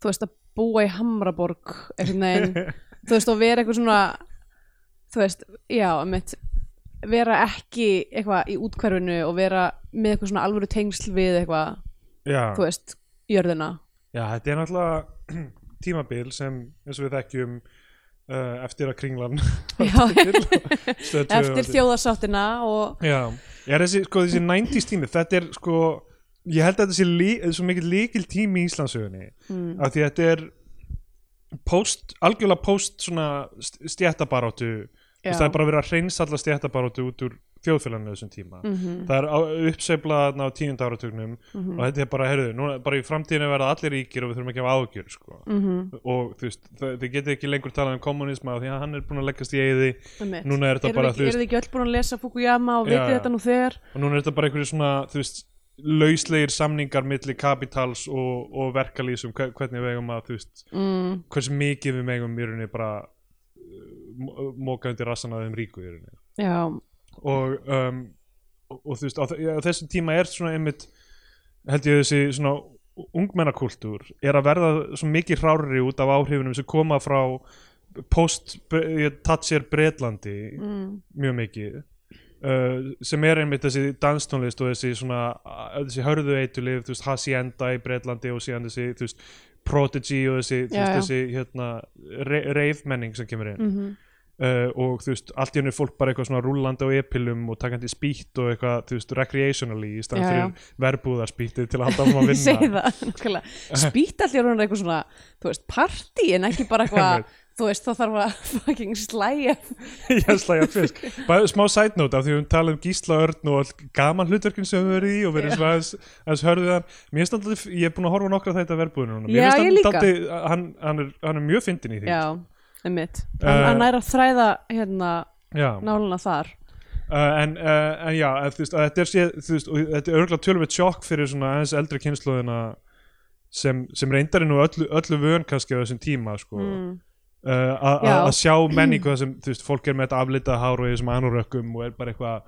S2: þú veist að búa í Hamraborg einhvern veginn þú veist og vera eitthvað svona þú veist, já, mitt vera ekki eitthvað í útkverfinu og vera með eitthvað svona alvöru tengsl við eitthvað,
S1: já.
S2: þú veist, jörðina
S1: Já, þetta er náttúrulega tímabil sem eins og við þekkjum uh, eftir að kringlan
S2: Já,
S1: stöð tvö
S2: eftir
S1: var-
S2: þjóðarsáttina og
S1: Já, er þessi, sko, þessi 90s tími þetta er sko, ég held að þetta sé lí, svo mikil líkil tími í Íslandsögunni
S2: mm,
S1: af því að þetta er post, algjörlega post svona st- stjættabaróttu Þú veist, það er bara verið að hreinsa alla stjættabaróttu út úr þjóðfélaginu á þessum tíma
S2: Mhm.
S1: það er á- uppsveiflað þarna á tíund áratugnum og þetta er bara, heyrðu, núna, bara í framtíðinu verða allir ríkir og við þurfum ekki að hafa ágjör sko
S2: Mhm,
S1: og þú veist, þa- þið getur ekki lengur talað um kommunisma af því að hann er búin að leggjast í eiði
S2: einmitt.
S1: Núna er þetta
S2: Eruð
S1: bara,
S2: ekki,
S1: þú veist-
S2: Eru þið ekki öll búin að lesa Fukuyama og
S1: Já,
S2: vitið
S1: já.
S2: þetta nú þegar?
S1: og núna er þetta bara einhverju svona, þú veist lauslegir samningar milli kapitals og, og verkalýsum, hvernig við eigum að þú veist,
S2: Mm,
S1: hversu mikið við megum í rauninni bara uh, móka undir rassan að þeim ríku í rauninni
S2: já,
S1: og, um, og, og þú veist, á, þe- á þessum tíma er svona einmitt held ég þessi svona ungmennakultúr er að verða svo mikið hrárri út af áhrifunum sem koma frá post, tatsir Bretlandi
S2: mm,
S1: mjög mikið Uh, sem er einmitt þessi danstónlist og þessi svona, uh, þessi hörðu eitulif þú veist, Hacienda í Bretlandi og síðan þessi, þú veist, Prodigy og þessi, þú veist,
S2: Já, já.
S1: þessi, hérna re reifmenning sem kemur inn
S2: mm
S1: uh, og þú veist, allt í henni fólk bara eitthvað svona rúllandi á epilum og takandi spýtt og eitthvað, þú veist, recreationally í
S2: Já,
S1: stand
S2: já.
S1: fyrir verbúðarspýttið til að halda áfram að
S2: ég segi
S1: vinna
S2: það nákvæmlega. Spýt allir hún eitthvað svona, þú veist, partí en ekki bara eitthvað, þú veist, þá þarf að fucking slæja
S1: ég slæja fisk bara smá side note af því við höfum talað um Gísla Örn og all gaman hlutverkin sem við höfum verið í og verið svona aðeins, aðeins hörðuðan mér finnst alltaf, ég er búin að horfa á nokkra þetta verbúðinu núna,
S2: Já,
S1: mér
S2: ég líka.
S1: alltaf, hann, hann, er, hann er mjög fyndin í því
S2: Já, einmitt
S1: Eh.
S2: Hann uh, er að þræða hérna
S1: Já.
S2: náluna þar
S1: Uh, en, uh, en já, en, þú veist, að þetta er sé, þú veist, og þetta er örgulega tölvöld sjokk fyrir svona aðeins eldri kynnslóðina sem, sem reyndarinn og öllu, öllu vön kannski á þessum tíma sko.
S2: mm,
S1: uh, að- að
S2: Já.
S1: að sjá menningu þar sem þú veist, fólk er með þetta aflitað hár og í þessum anurökkum og er bara eitthvað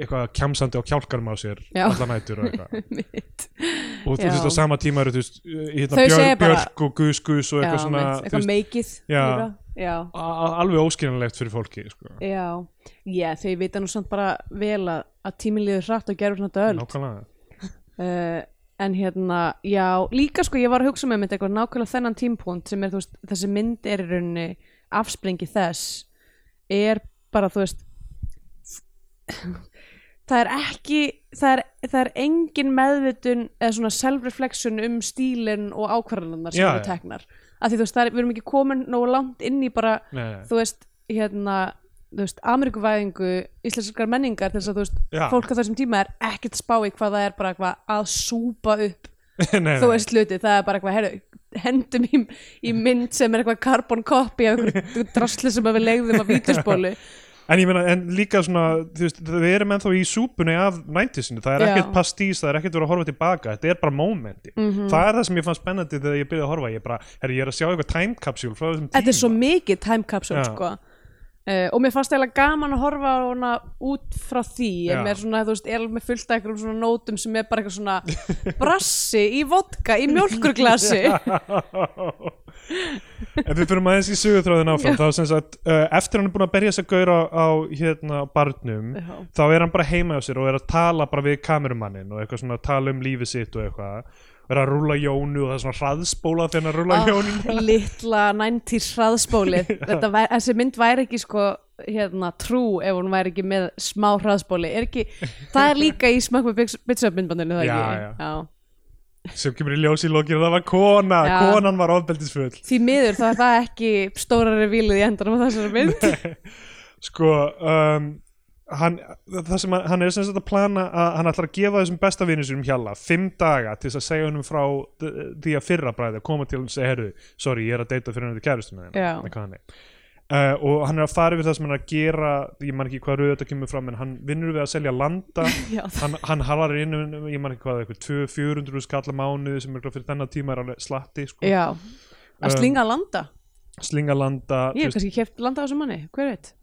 S1: eitthvað kjamsandi á kjálkarm á sér
S2: Já.
S1: allan hættur og eitthvað
S2: Einmitt.
S1: og þú veist
S2: Já.
S1: á sama tíma eru þú veist hérna,
S2: Þau
S1: björg,
S2: segja bara-
S1: björg og gus gus og
S2: Já,
S1: eitthvað svona
S2: einmitt.
S1: þú
S2: eitthvað
S1: veist,
S2: meikið
S1: Já.
S2: líka. Já,
S1: a- a- alveg óskiljanlegt fyrir fólki sko.
S2: Já, já þau vita nú samt bara vel að, að tíminn liður hratt og gerur þetta öll
S1: nákvæmlega
S2: uh, En hérna, já, líka sko ég var að hugsa með mitt eitthvað nákvæmlega þennan tímpúnt sem er, þú veist, þessi mynd er í rauninni afsprengi þess er bara, þú veist það er ekki það er, það er engin meðvitun eða svona self-reflection um stílinn og ákvarðanar sem
S1: Já,
S2: eru
S1: já.
S2: teknar af því þú veist, það er, við erum ekki komin nógu langt inn í bara
S1: Nei, nei.
S2: þú veist, hérna þú veist, Ameríkuvæðingu, íslenskar menningar til þess að þú veist,
S1: Já.
S2: fólk á þessum tíma er ekkert að spá í hvað það er bara eitthvað að súpa upp,
S1: Nei, nei.
S2: þú veist, hluti það er bara eitthvað, herru, hendum í, í mynd sem er eitthvað carbon copy af einhverju drasli sem við legðum af vítusbólu
S1: En ég meina, en líka svona, þú veist, við erum ennþá í súpunni af 90sinu, það er
S2: Já.
S1: ekkert pastís, það er ekkert verið að horfa tilbaka, þetta er bara momenti.
S2: Mhm.
S1: Það er það sem ég fann spennandi þegar ég byrjaði að horfa, ég bara, herri, ég er að sjá eitthvað time capsule frá þessum tíma.
S2: þetta er svo mikið time capsule,
S1: Já.
S2: sko Uh, og mér fannst eiginlega gaman að horfa á hana út frá því en
S1: Já.
S2: mér svona, þú veist, er alveg fullt af einhverjum svona nótum sem er bara eitthvað svona brassi í vodka í mjólkurglasi
S1: Ef við fyrir maður eins í sögutráðin áfram þá sem sagt, uh, eftir hann er búin að berja þess að gauðra á hérna barnum
S2: Já.
S1: þá er hann bara heima á sér og er að tala bara við kamerumannin og eitthvað svona að tala um lífið sitt og eitthvað og er að rúla jónu og það er svona hraðspóla þegar hann rúla
S2: Ah,
S1: jónu
S2: litla 90s hraðspóli Þetta væri, þessi mynd væri ekki sko hérna trú ef hún væri ekki með smá hraðspóli er ekki, það er líka í smakk með bitsup myndbandinu það
S1: Já,
S2: ekki
S1: já.
S2: Já.
S1: sem kemur í ljós í lokinu það var kona,
S2: Já.
S1: konan var ofbeldisfull
S2: því miður þá er það ekki stóra revílið í endanum á þessari mynd
S1: sko um, hann, það sem hann, hann er sem sagt að plana að hann ætlar að gefa þessum besta vinnu sínum hjalla fimm daga til þess að segja honum frá d- því að fyrra bræði að koma til og segja herru, sorry, ég er að deyta fyrir hann til kærustum með
S2: Já.
S1: hann er. Uh, og hann er að fara yfir það sem hann er að gera ég man ekki hvað rauð þetta kemur fram en hann vinnur við að selja landa
S2: Já, það-
S1: hann, hann halar inn um, ég man ekki hvað, eitthvað 200-400 skallar mánuð sem er fyrir þennan tíma er alveg slatti sko.
S2: Já, að
S1: Um,
S2: slinga að landa
S1: slinga landa þú
S2: Ég hef kannski keft landa á þessum manni, hver veit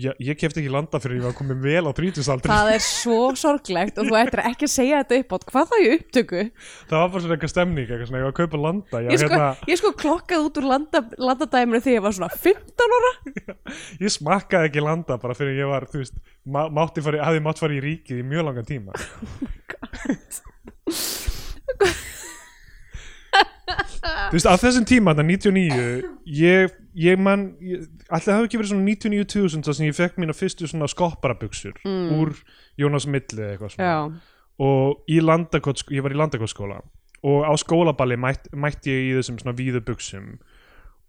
S1: ég, ég kefti ekki landa fyrir ég var komin vel á 30 aldri
S2: Það er svo sorglegt og þú ættir ekki að segja þetta upp átt Hvað það ég upptöku?
S1: það var bara svona eitthvað stemning eitthvað svona, ég var að kaupa landa ég,
S2: Ég
S1: ég,
S2: sko,
S1: hérna,
S2: ég sko klokkað út úr landa, landadæminu þegar ég var svona 15 ára
S1: ég smakkaði ekki landa bara fyrir ég var, þú veist má, mátti fari, hafði mátt fara í ríkið í mjög langan tíma
S2: Oh
S1: þú veist, af þessum tíma þetta 99, ég, ég man ég, allir hafi ekki verið svona 99.000 þar sem ég fekk mína fyrstu svona skopparabuxur
S2: Mm.
S1: úr Jónas Milli eða eitthvað svona
S2: Já,
S1: og í landakot, ég var í landakotsskóla og á skólaballi mætt, mætti ég í þessum svona víðu buksum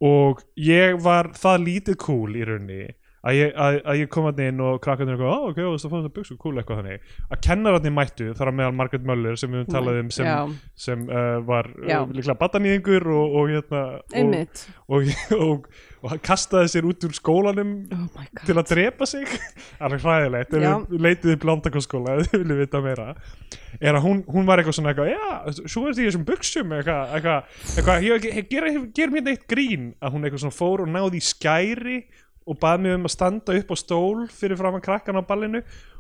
S1: og ég var það lítið cool í rauninni að ég, að, að ég kom hann inn og krakkarnir eitthvað, "Ó, ok, þú veist að fá þetta buksu, cool eitthvað þannig að kennararnir mættu, þar á meðal Margaret Möller sem við höfum talað um
S2: Mm, Já.
S1: sem, sem uh, var
S2: Já.
S1: uh, líklega batanýðingur og, og, hérna, og,
S2: einmitt
S1: og, og, og hann kastaði sér út úr skólanum
S2: Oh my god
S1: til að drepa sig alveg hræðilegt,
S2: Já.
S1: ef við leitið upp landakonskóla ef þið viljum vita meira er að hún, hún var eitthvað svona eitthvað já, svo er því þessum buksum eitthvað, eitthvað, eitthvað ég, ég, ég ger, ger mér neitt grín að hún eitthvað svona fór og náði í skæri og bað mér um að standa upp á stól fyrir fram að krakkan á ballinu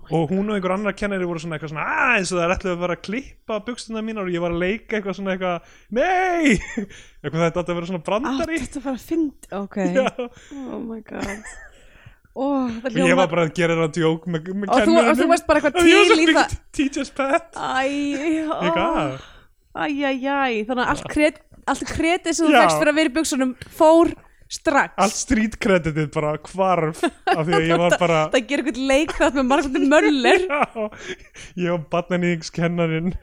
S2: Oh
S1: og hún og einhver annar kennari voru svona eitthvað svona "Ah, eins og það er ætlaði að vera að klippa buksuna mínar og ég var að leika eitthvað svona eitthvað nei, eitthvað þetta átti að vera svona
S2: Átt
S1: brandari
S2: þetta var að fynd, ok
S1: Já.
S2: Oh my god Ó,
S1: og ég
S2: það
S1: var
S2: hljómar
S1: bara að gera það djók með, með
S2: Og þú- og þú varst bara eitthvað til í það. Ah.
S1: teacher's pet
S2: Æ, ó,
S1: Eitthvað.
S2: æ, æ, æ Þannig að allt, kret, allt kretið sem þú
S1: Já.
S2: fegst fyrir að vera í buksunum fór strax
S1: allt street creditið bara hvarf af því að ég var bara
S2: Það gerir eitthvað leik þátt með margfaldur möller
S1: já, ég var barnaníðingskennarinn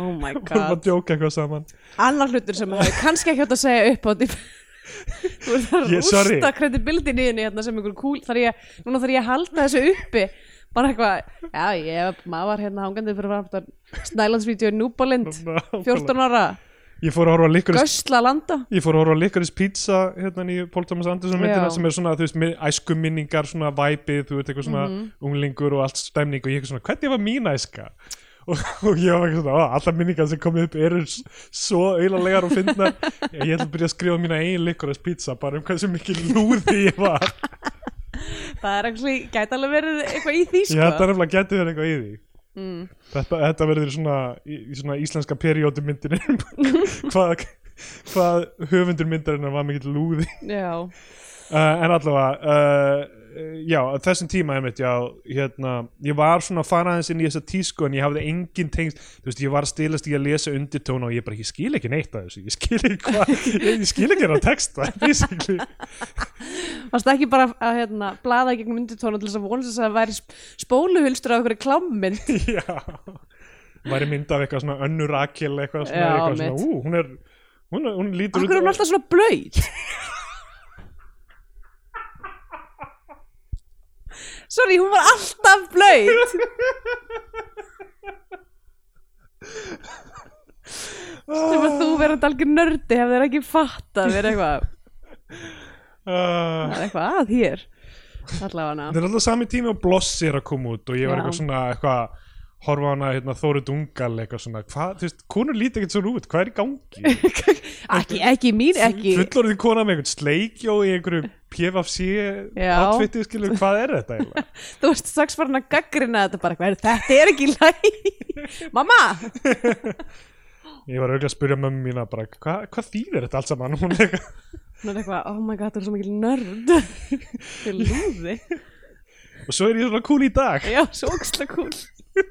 S2: Oh my
S1: og var að
S2: god
S1: djóka eitthvað saman
S2: Annar hlutur sem hefur kannski ekki átt að segja upp á því Þú er það að
S1: Ég- sorry.
S2: rústa credibility niðurni hérna sem einhver kúl þar ég, Núna þarf ég að halda þessu uppi Bara eitthvað, já ég, maður var hérna hangandi fyrir framtan Snælandsvídeó í Núbalind 14 ára,
S1: ég fór að horfa á Licorice
S2: gösla landa
S1: Ég fór að horfa á Licorice Pizza hérna í Paul Thomas Anderson myndina
S2: Já.
S1: sem er svona, þú veist, minn- æskuminningar svona væpið, þú veist, eitthvað svona
S2: Mhm.
S1: unglingur og allt stemning og ég eitthvað svona, hvernig var mín æska? Og, og ég var eitthvað svona, "Ó, allar minningar sem komið upp eru s- svo eiginlegar og fyndnar ég ég ætla að byrja að skrifa mína eigin Licorice Pizza bara um hversu mikil lúði ég var
S2: Það er actually, gæti alveg verið eitthvað í því
S1: Ég þetta
S2: sko Mm.
S1: er nefnilega getið þér eitthvað í því Þetta, þetta verður svona, í, í svona íslenska periódu myndinu hvað, hvað höfundur myndarinnar var mikill lúði
S2: Já,
S1: uh, en allavega uh, já, á þessum tíma einmitt, já, hérna, ég var svona að fara aðeins inn í þessa tísku en ég hafði engin tengst, þú veist, ég var að stilast í að lesa undirtóna og ég bara, ég skil ekki neitt af þessu ég skil ekki hvað, ég, ég skil ekki hérna texta basically,
S2: varst ekki bara að hérna, blaða í gegnum undirtónu til þess að vonast þess að það væri sp- spóluhulstur á einhverju klámynd
S1: já væri mynd af eitthvað svona önnu rakil eitthvað svona,
S2: Já,
S1: eitthvað
S2: mitt.
S1: svona, ú, hún er hún, er- hún lítur
S2: Akkur er
S1: á-
S2: hún alltaf svona blöyt Sorry, hún var alltaf blöyt Sem að þú verðand algjör nördi hefði þér ekki fattað verið eitthvað
S1: Ah.
S2: Það er eitthvað að hér Allavega hana
S1: þetta er alltaf sami tími og Bloss er að koma út og ég var
S2: Já.
S1: eitthvað svona eitthvað horfa á hana hérna, Þóru Dungal eitthvað svona hvað, þú veist, konur líti ekkert svo út, hvað er í gangi
S2: ekki, ekki mín, ekki
S1: fullorðin kona með einhvern sleikjó í einhverju PFC
S2: Já.
S1: outfitið skilur, hvað er þetta eiginlega?
S2: þú veist strax farin að gaggrina þetta bara hvað er þetta er ekki í lagi mamma
S1: Ég var auðvitað að spyrja mömmu mína bara, hva, hvað þýðir þetta allt saman? Hún er eitthvað,
S2: hún er eitthvað oh my god þú er svo mikil nörd þú er lúði
S1: og svo er ég svona cool í dag.
S2: já svo ógstlega cool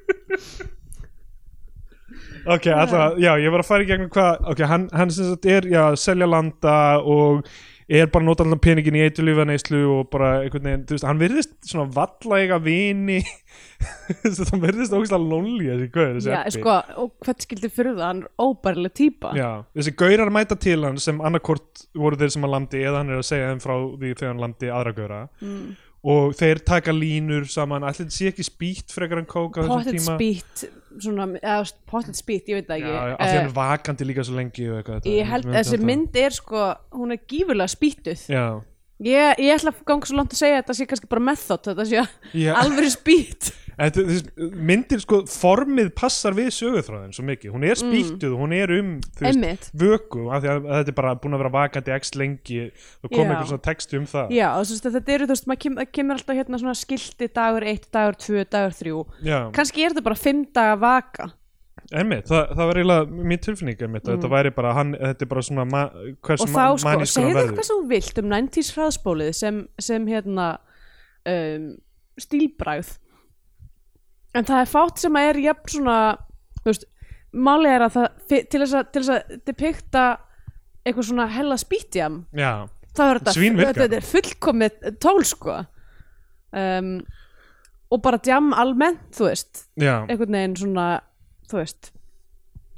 S1: Ok, alltaf, já, ég var að fara í gegnum hvað, ok, hann, hann sem sagt er, já, að selja landa og er bara að nota allan peningin í eitulífaneyslu og bara einhvern veginn, þú veist, hann virðist svona valla eiga vini, þú veist, hann virðist ógæslega lonely þessi gauður, þessi
S2: já
S1: Ebbi.
S2: sko og hvað skildi fyrir það hann er óbærileg típa
S1: Já, þessi gaurar mæta til hann sem annarkort voru þeir sem hann landi eða hann er að segja þeim frá því þegar hann landi aðra gaura mm. og þeir taka línur saman, allir þetta sé ekki spýtt frekar en kók á þessum
S2: pottet
S1: tíma
S2: spýtt svona eða pottet spýtt ég veit það
S1: Já,
S2: ekki
S1: af því
S2: Eh,
S1: hann er vakandi líka svo lengi og eitthvað þetta-
S2: ég held
S1: myndi
S2: þessi
S1: halda.
S2: mynd er sko hún er gífurlega spýttuð
S1: Já,
S2: Ég, ég ætla að ganga svo langt að segja að þetta sé kannski bara method, þetta sé
S1: Já.
S2: alvöru spýt.
S1: Þetta, þess, myndir sko, formið passar við sögurþráðin svo mikið, hún er spýttuð hún er um, þú
S2: Mm. Einmitt.
S1: vöku af því að, að þetta er bara búin að vera vakandi x lengi og kom
S2: Já.
S1: einhver svona texti um það
S2: Já, og þú veist að þetta eru, þú veist, maður kem, það kemur alltaf hérna svona skilti dagur 1, dagur 2, dagur 3.
S1: Já.
S2: Kannski er þetta bara 5 daga vaka.
S1: Einmitt, það, það var eiginlega mín tilfinning einmitt, að þetta væri bara, hann, þetta er bara svona ma,
S2: Mm. Og
S1: hversu
S2: þá,
S1: ma-
S2: sko,
S1: manískur hann
S2: segðu
S1: verður
S2: eitthvað sem þú vilt um 90s hraðspólið sem, sem hérna, um, stílbræð. En það er fátt sem að er jafn svona, þú veist, málið er að það, til þess að, til þess að depikta eitthvað svona hella spítjam,
S1: Já,
S2: þá er þetta,
S1: Svínvirkar.
S2: þetta er fullkomið tól sko um, og bara djam almennt þú veist,
S1: já,
S2: einhvern veginn svona þú veist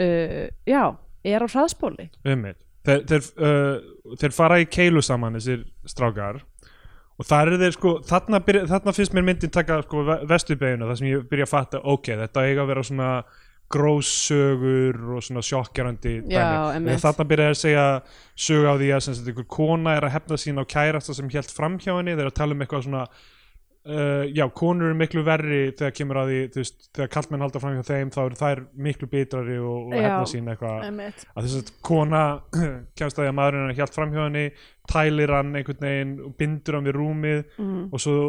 S2: uh, já, er á hraðspóli
S1: einmitt þeir, þeir, uh, þeir fara í keilu saman þessir strákar og þar er þeir sko, þarna, byrja, þarna finnst mér myndin taka sko vestubeginu þar sem ég byrja að fatta, ok, þetta eiga að vera svona gróssögur og svona sjokkjarandi
S2: Já,
S1: dæmi.
S2: einmitt.
S1: En þarna byrja þeir að segja sög á því að sem sagt einhver kona er að hefna sín á kærasta sem hélt fram hjá henni þeir eru að tala um eitthvað svona uh, já, konur eru miklu verri þegar kemur að því, þú veist, þegar kallmenn halda fram hjá þeim þá eru þær miklu bitrari og, og
S2: Já,
S1: hefna sín eitthvað
S2: Einmitt.
S1: að þess að kona kemst að því að maðurinn er hjælt framhjá henni tælir hann einhvern veginn og bindur hann við rúmið
S2: Mhm.
S1: og svo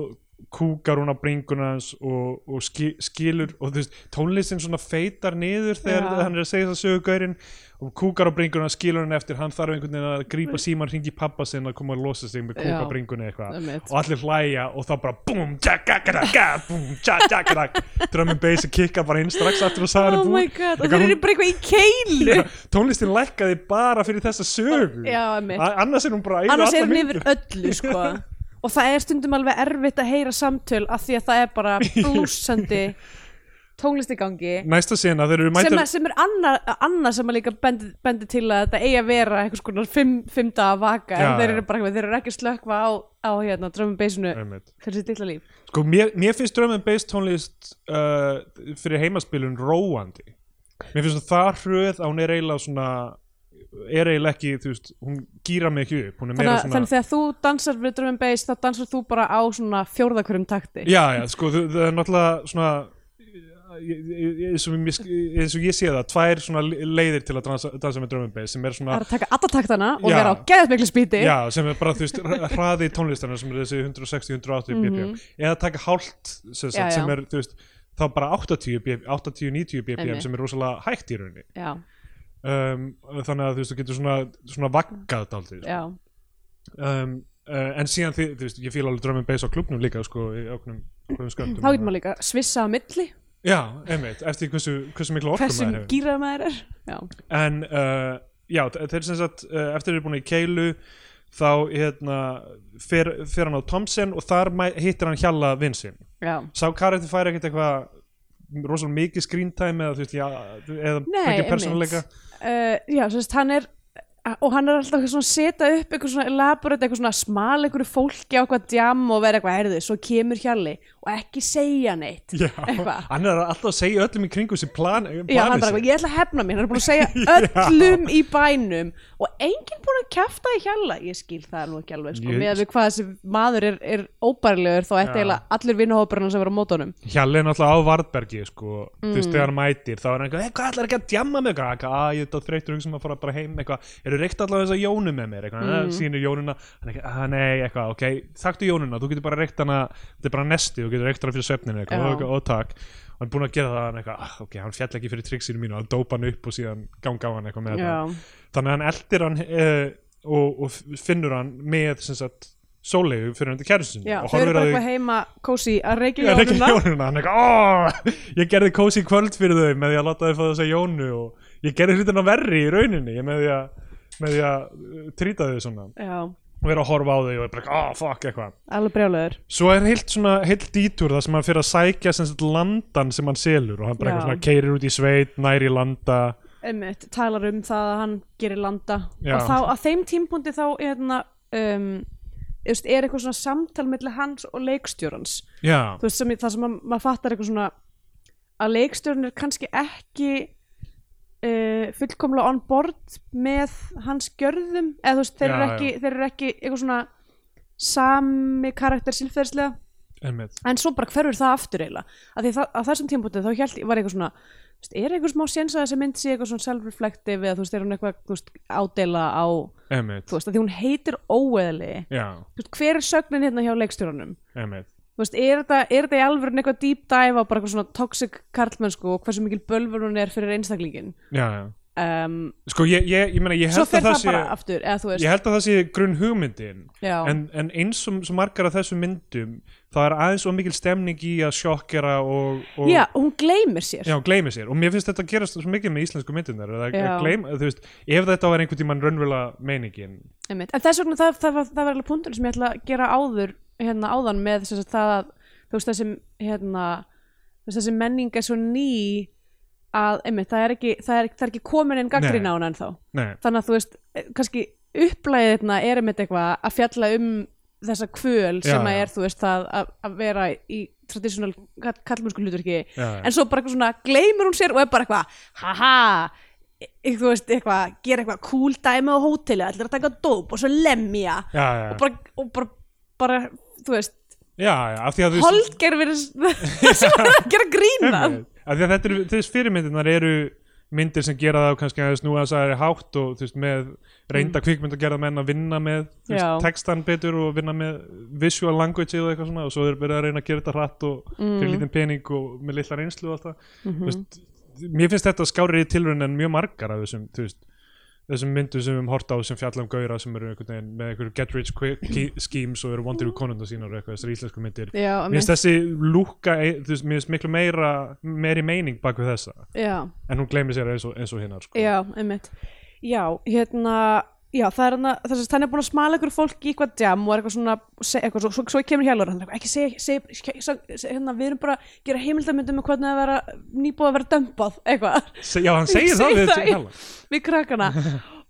S1: kúkar hún á bringuna hans og, og ski, skilur og þú veist, tónlistin svona feitar niður þegar
S2: Já.
S1: hann er að segja það sögugaurinn og kúkar á bringuna, skilur hann eftir hann þarf einhvern veginn að grípa síman, hringi pappa sinn að koma að losa sig með kúka
S2: Mm. Já.
S1: á bringunni eitthvað
S2: Einmitt.
S1: og allir hlæja og þá bara búm, tjakakaraka, búm, tjakakaraka drömmin bass að kikka bara inn strax eftir að sagði
S2: oh
S1: hann
S2: my
S1: er
S2: god, og
S1: Eitthvað
S2: þeir
S1: hún-
S2: eru bara eitthvað í keilu
S1: tónlistin lækkaði bara fyrir þessa sögu
S2: Já, einmitt.
S1: A- annars er hún bara að eyða
S2: annars er
S1: alla
S2: hann
S1: myndina.
S2: yfir öllu sko og það er stundum alveg erfitt að heyra samtöl af því að það er bara blúsandi tónlist í gangi
S1: næsta sena þeir eru
S2: sem,
S1: mættar
S2: að, sem er annað anna sem að líka bendi, bendi til að þetta eigi að vera einhvers konar fimm, fimm daga vaka en
S1: Já,
S2: þeir
S1: já.
S2: eru, bara, þeir eru ekki að slökva á, á hérna, drömmum beisinu
S1: Einmitt.
S2: fyrir sitt illa líf
S1: sko, mér, mér finnst drömmin bass tónlist uh, fyrir heimaspilun róandi mér finnst það hröð að hún er eiginlega svona er eiginlega ekki, þú veist, hún gýra mig ekki upp hún er meira
S2: þannig,
S1: svona
S2: þannig þegar þú dansar við drömmum beis þá dansar þú bara á svona fjórðakverjum takti
S1: já, já, sko, þú- það er náttúrulega svona ég- ég- ég- eins og, mér sk- eins og ég sé það tvær svona leiðir til að dansa, dansa með drömmin bass sem er svona
S2: það er að taka alla taktana og
S1: Já.
S2: vera á geðast miklu spýti
S1: Já, sem er bara, þú veist, hra- hraði tónlistarna sem er þessi 160-180 bpm eða taka hálft sem,
S2: Mhm. Já,
S1: sagt,
S2: já.
S1: sem er, þú veist, þá bara 80 BPM 80-90 bpm
S2: Einmitt.
S1: sem er rosalega hægt í rauninni
S2: já,
S1: um, þannig að þú veist, þú getur svona, svona vaggað daldið
S2: já.
S1: um, uh, en síðan, þið, þú veist, ég fíla alveg drömmin bass á klubnum líka, sko, í oknum
S2: þá getur maður líka svissa á milli
S1: Já, einmitt, eftir hversu, hversu miklu orkum
S2: hversu
S1: maður hefur
S2: gýrað maður er já,
S1: en uh, já, þe- þeir sem sagt uh, eftir þeir eru búin í keilu þá hérna fer, fer hann á Thompson og þar mæ- hittir hann Hjalla vinsinn.
S2: já.
S1: Sá karakter fær ekkert eitthvað rosalega mikið screen time eða þú veist, já, eða
S2: Nei,
S1: mikið
S2: einmitt.
S1: persónuleika
S2: uh, já, þú veist, hann er og hann er alltaf eitthvað svona að setja upp eitthvað svona elaborate, eitthvað svona smal einhverju fólki á eitthvað djam og vera eitthvað herðu, svo kemur hjalli og ekki segja neitt
S1: Já,
S2: eitthvað
S1: hann er alltaf að segja öllum í kringu sér plan, planið
S2: Já, hann bara,
S1: sitt.
S2: eitthvað, ég ætla að hefna mér, hann er búin að segja öllum í bænum og enginn búin að kjafta í hjalla, ég skil það nú ekki alveg sko,
S1: Ég-
S2: með að við hvað þessi maður er, er óbærilegur þá
S1: Já.
S2: ætti eiginlega allir vinahóparinn sem vera á mótunum
S1: Hjalli er náttúrulega á Vardbergi sko,
S2: Mm.
S1: "Ah, þú veist, þegar hann mætir þá er hann eitthvað, "Hey, hvað ætlar ekki að djamma með eitthvað, eitthvað, að ég er þetta þreytur hugsa um að fara bara heim eitthvað, er eru reykt allavega þess að Jónu með mér eitthvað, mm. sínir Jónuna hann ekki, að nei, eitthvað, ok, taktu Jónuna þú getur bara reykt hana, þetta er bara nesti þú getur reykt hana fyrir svefninu eitthvað,
S2: Já.
S1: og, og, og takk og hann er búin að gera það, hann eitthvað, ah, ok, hann fjall ekki fyrir triksinu mínu, hann dópa hann upp og síðan ganga á hann eitthvað með
S2: Já.
S1: þetta þannig að hann eldir hann uh, og, og finnur hann með sem sagt, sólegu fyrir hann til kæristin
S2: Já,
S1: og
S2: þau eru
S1: horfir
S2: bara
S1: að
S2: eitthvað heima kósi að reykja
S1: Já, Rikki
S2: ljónuna
S1: Jónuna, hann er eitthvað "Ó, ég gerði kósi kvöld fyrir þau með því að láta þau fá þessa Jónu og ég gerði hlutina verri í rauninni ég með því að, með því að uh, trýta þau svona
S2: Já,
S1: og vera að horfa á þau og er bara, ah, fuck, eitthvað
S2: alveg brjálaður
S1: svo er heilt svona, heilt dítúr það sem hann fyrir að sækja sem sagt landan sem hann selur og hann bara
S2: Já.
S1: eitthvað svona keirir út í sveit, næri landa
S2: einmitt, talar um það að hann gerir landa
S1: Já.
S2: og þá á þeim tímpúndi þá er, hérna, um, þú veist, er eitthvað svona samtal millir hans og leikstjórans
S1: já,
S2: þú veist sem það sem að, maður fattar eitthvað svona að leikstjórn er kannski ekki uh, fullkomlega on board með hans gjörðum eða þú veist þeir, eru
S1: Já,
S2: ekki, þeir eru ekki eitthvað svona sami karakter sílferðslega
S1: einmitt
S2: en svo bara hverfur það aftur eiginlega að, það, að þessum tímpútið þá hjælt, var eitthvað svona þú veist, er eitthvað smá séns að þessi mynd sé eitthvað svona self-reflective eða þú veist, er hún eitthvað þú veist, ádela á,
S1: einmitt,
S2: þú veist, að því hún heitir óeðli,
S1: já,
S2: þú veist, hver er sögnin hérna hjá leikstjórunum,
S1: einmitt
S2: þú veist, er þetta, er þetta í alvöru eitthvað deep dive á bara eitthvað svona toxic karlmennsku og hversu mikil bölfur hún er fyrir einstaklingin
S1: já, já.
S2: um,
S1: sko, ég, ég, ég meina, ég
S2: svo
S1: held
S2: fer
S1: að
S2: það,
S1: það sé
S2: bara aftur, eða þú veist
S1: ég held að það sé grunn hugmyndin
S2: já,
S1: en, en eins og svo margar af þessum myndum það er aðeins og mikil stemning í að sjokkera og, og
S2: já, hún gleymir sér
S1: já, gleymi sér og mér finnst þetta að gerast svo mikið með íslensku myndunar að,
S2: Já.
S1: að gleyma, þú veist, ef þetta var einhvern tímann raunverulega meiningin
S2: Einmitt. En þess vegna það, það, var, það var alveg punktur sem ég ætla að gera áður hérna áðan með þess að það að þú veist þessi hérna þú veist, þessi menning er svo ný að einmitt, það er ekki, það er, það er ekki komin einn gaggrín
S1: Nei.
S2: á hana ennþá
S1: nei,
S2: þannig að þú veist, eh, kannski upplæðið hérna er einmitt eitthvað að fjalla um þessa kvöl
S1: Já,
S2: sem að
S1: já.
S2: er þú veist það að, að vera í tradísjónal kallmúrsku hlutverki
S1: já, já.
S2: en svo bara eitthvað svona gleymur hún sér og er bara eitthvað haha e- e- þú veist eitthvað, gera eitthvað cool dæmi á hóteli, allir að taka dóp og svo lemja
S1: já, já,
S2: og bara, og bara, bara þú veist,
S1: já, já, af því að þú veist
S2: holdger verið sem er að gera grína
S1: einmitt. af því að þetta eru, þess fyrirmyndunar eru myndir sem gera það kannski aðeins nú að það er hátt og þú veist með reynda kvikmynd að gera menn að vinna með þú
S2: Mm. Já.
S1: veist, textan betur og vinna með visual language og eitthvað svona og svo er verið að reyna að gera þetta hratt og fyrir
S2: Mm.
S1: lítinn pening og með litla reynslu og allt það
S2: Mhm.
S1: þú veist, mér finnst þetta skárið tilraun en mjög margar af þessum þú veist þessum myndum sem við höfum hort á sem fjalla um gauðra sem eru einhvern veginn með einhverju get rich quick ki- schemes og eru vondir úr konundar sínar og eitthvað þessar íslensku myndir
S2: já,
S1: Mér finnst þessi lúka, þú veist, mér finnst miklu meira, meiri meining bak við þessa
S2: já,
S1: en hún gleymir sér eins og, eins og hinnar sko.
S2: já, einmitt já, hérna Já, það er hann að, þess að hann er búin að smala ykkur fólk í eitthvað djam og er eitthvað svona, se- eitthvað, svo, svo, svo kemur Hjálfur, hann er eitthvað, ekki segja, segja, segja, segja, hérna, við erum bara að gera heimildamöndum með hvernig að vera, nýbúið að vera dömpað, eitthvað.
S1: Se, já, hann segir það
S2: Segir
S1: við
S2: það í-
S1: hella.
S2: við krakkana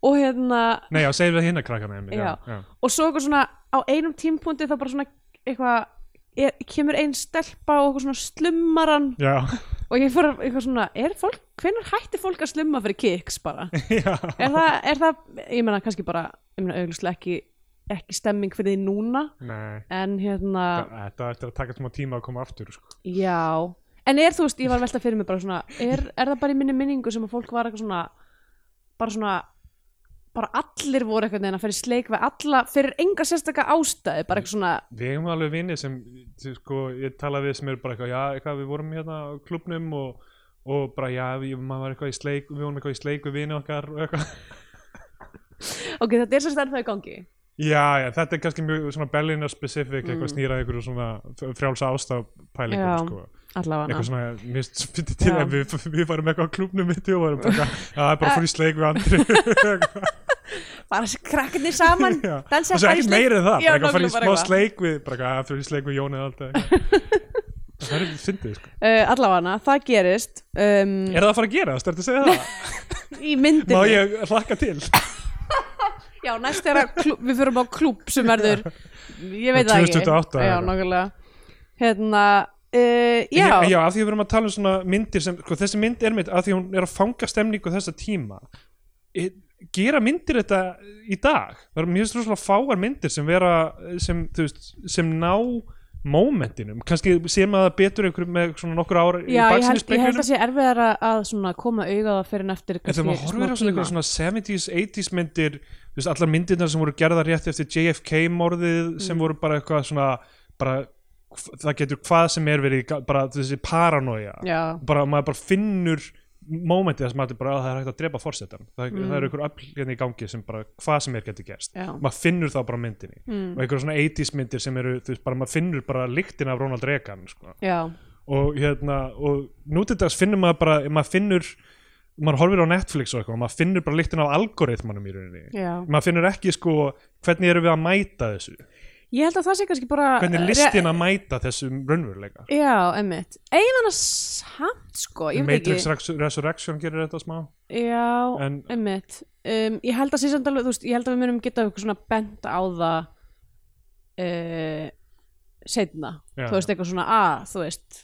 S2: og hérna
S1: Nei, já, segir við hinnar krakkana einmitt,
S2: já.
S1: já,
S2: og svo eitthvað svona á einum tímpúndi þá bara svona eitthvað er, kemur ein stelpa og eitthvað svona slummaran
S1: já. Já.
S2: og ég fór að- eitthvað svona er fólk, hvenær hætti fólk að slumma fyrir kiks bara
S1: já,
S2: er það, er það, ég meina kannski bara ég meina auðvitað ekki, ekki stemming fyrir því núna
S1: nei
S2: en hérna,
S1: Þetta eftir að taka smá tíma að koma aftur sko.
S2: já en er þú veist, ég var að velta fyrir mig bara svona er, er það bara í minni minningu sem að fólk var eitthvað svona bara svona bara allir voru eitthvað neina fyrir sleik við alla, fyrir enga sérstaka ástæði bara eitthvað svona,
S1: Við hefum alveg vinni sem sem, sko, ég tala við sem eru bara eitthvað, já, eitthvað við vorum hérna á klubnum og, og bara, já, við, maður var eitthvað í sleik við vorum eitthvað í sleik við vini okkar og eitthvað
S2: ok, þetta er sérstaka ennþá í gangi
S1: Já, já, þetta er kannski mjög svona Berliner specific, eitthvað snýrað einhverju svona frjálsa
S2: Mm. Já.
S1: ástafpælingum, sko.
S2: allavega
S1: eitthvað svona, mér finnst svo fyndið til
S2: Já. Eh,
S1: að við, við varum eitthvað á klúbnum mitt og varum bara, eitthvað, "Já, það er bara fór í sleik við andri
S2: bara krakkarnir saman,
S1: Já.
S2: dansa
S1: og svo
S2: bara í
S1: ekki
S2: sleik.
S1: meira en það,
S2: Já,
S1: bara eitthvað fór í
S2: nákvæmlega
S1: smá
S2: bara eitthvað.
S1: sleik við bara eitthvað, fór í sleik við Jónið alltaf það er fyndið, sko
S2: uh, allavega, það gerist um,
S1: er það að fara að gera, það að segja það
S2: í myndinni
S1: má ég hlakka til
S2: Já, næst er að klú, við förum á klúb sem verður, ég veit það ekki
S1: 2028
S2: Já,
S1: eða eitthvað.
S2: nákvæmlega Hérna, uh, já,
S1: En já, af því að við erum að tala um svona myndir sem, sko, þessi mynd er mynd, af því hún er að fanga stemningu þessa tíma e, gera myndir þetta í dag það er mjög svolítið fáar myndir sem vera sem, þú veist, sem ná momentinum, kannski sér maður það betur einhverjum með svona nokkur ára í
S2: Já, ég held, ég held
S1: baksinnispekjunum
S2: að sé erfiðar að svona koma auga á það fyrir en eftir
S1: En þegar maður horfir á svona einhverja svona 70s, 80s myndir þú veist, allar myndirnar sem voru gerðar rétt eftir JFK morðið
S2: Mm.
S1: sem voru bara eitthvað svona bara, það getur hvað sem er verið í ga- bara þessi paranoia
S2: Já,
S1: bara, maður bara finnur momentið þar sem maður er bara að það er hægt að drepa forsetan það, það er einhver öll hérna í gangi sem bara hvað sem er getur gerst
S2: Mm. Já.
S1: maður finnur það bara á myndinni mm. og einhverja svona 80s myndir sem eru þú veist, bara maður finnur bara lyktin af Ronald Reagan sko
S2: já,
S1: og hérna og nú til dags finnur maður bara maður finnur, maður horfir á Netflix og eitthvað, maður finnur bara lyktin af algoritmanum í rauninni,
S2: já
S1: maður finnur ekki sko hvernig erum við að mæta þessu
S2: Ég held að það sé kannski bara
S1: hvernig er listin að mæta þessum raunveruleika
S2: Já, emmitt Einan að samt sko, ég veit
S1: Matrix
S2: ekki
S1: Rex- Resurrection gerir þetta smá
S2: Já,
S1: en
S2: Einmitt. Um, ég held að sé samt alveg, þú veist, ég held að við munum geta eitthvað svona bent á það uh, setna,
S1: Já,
S2: þú veist, eitthvað svona að, þú veist,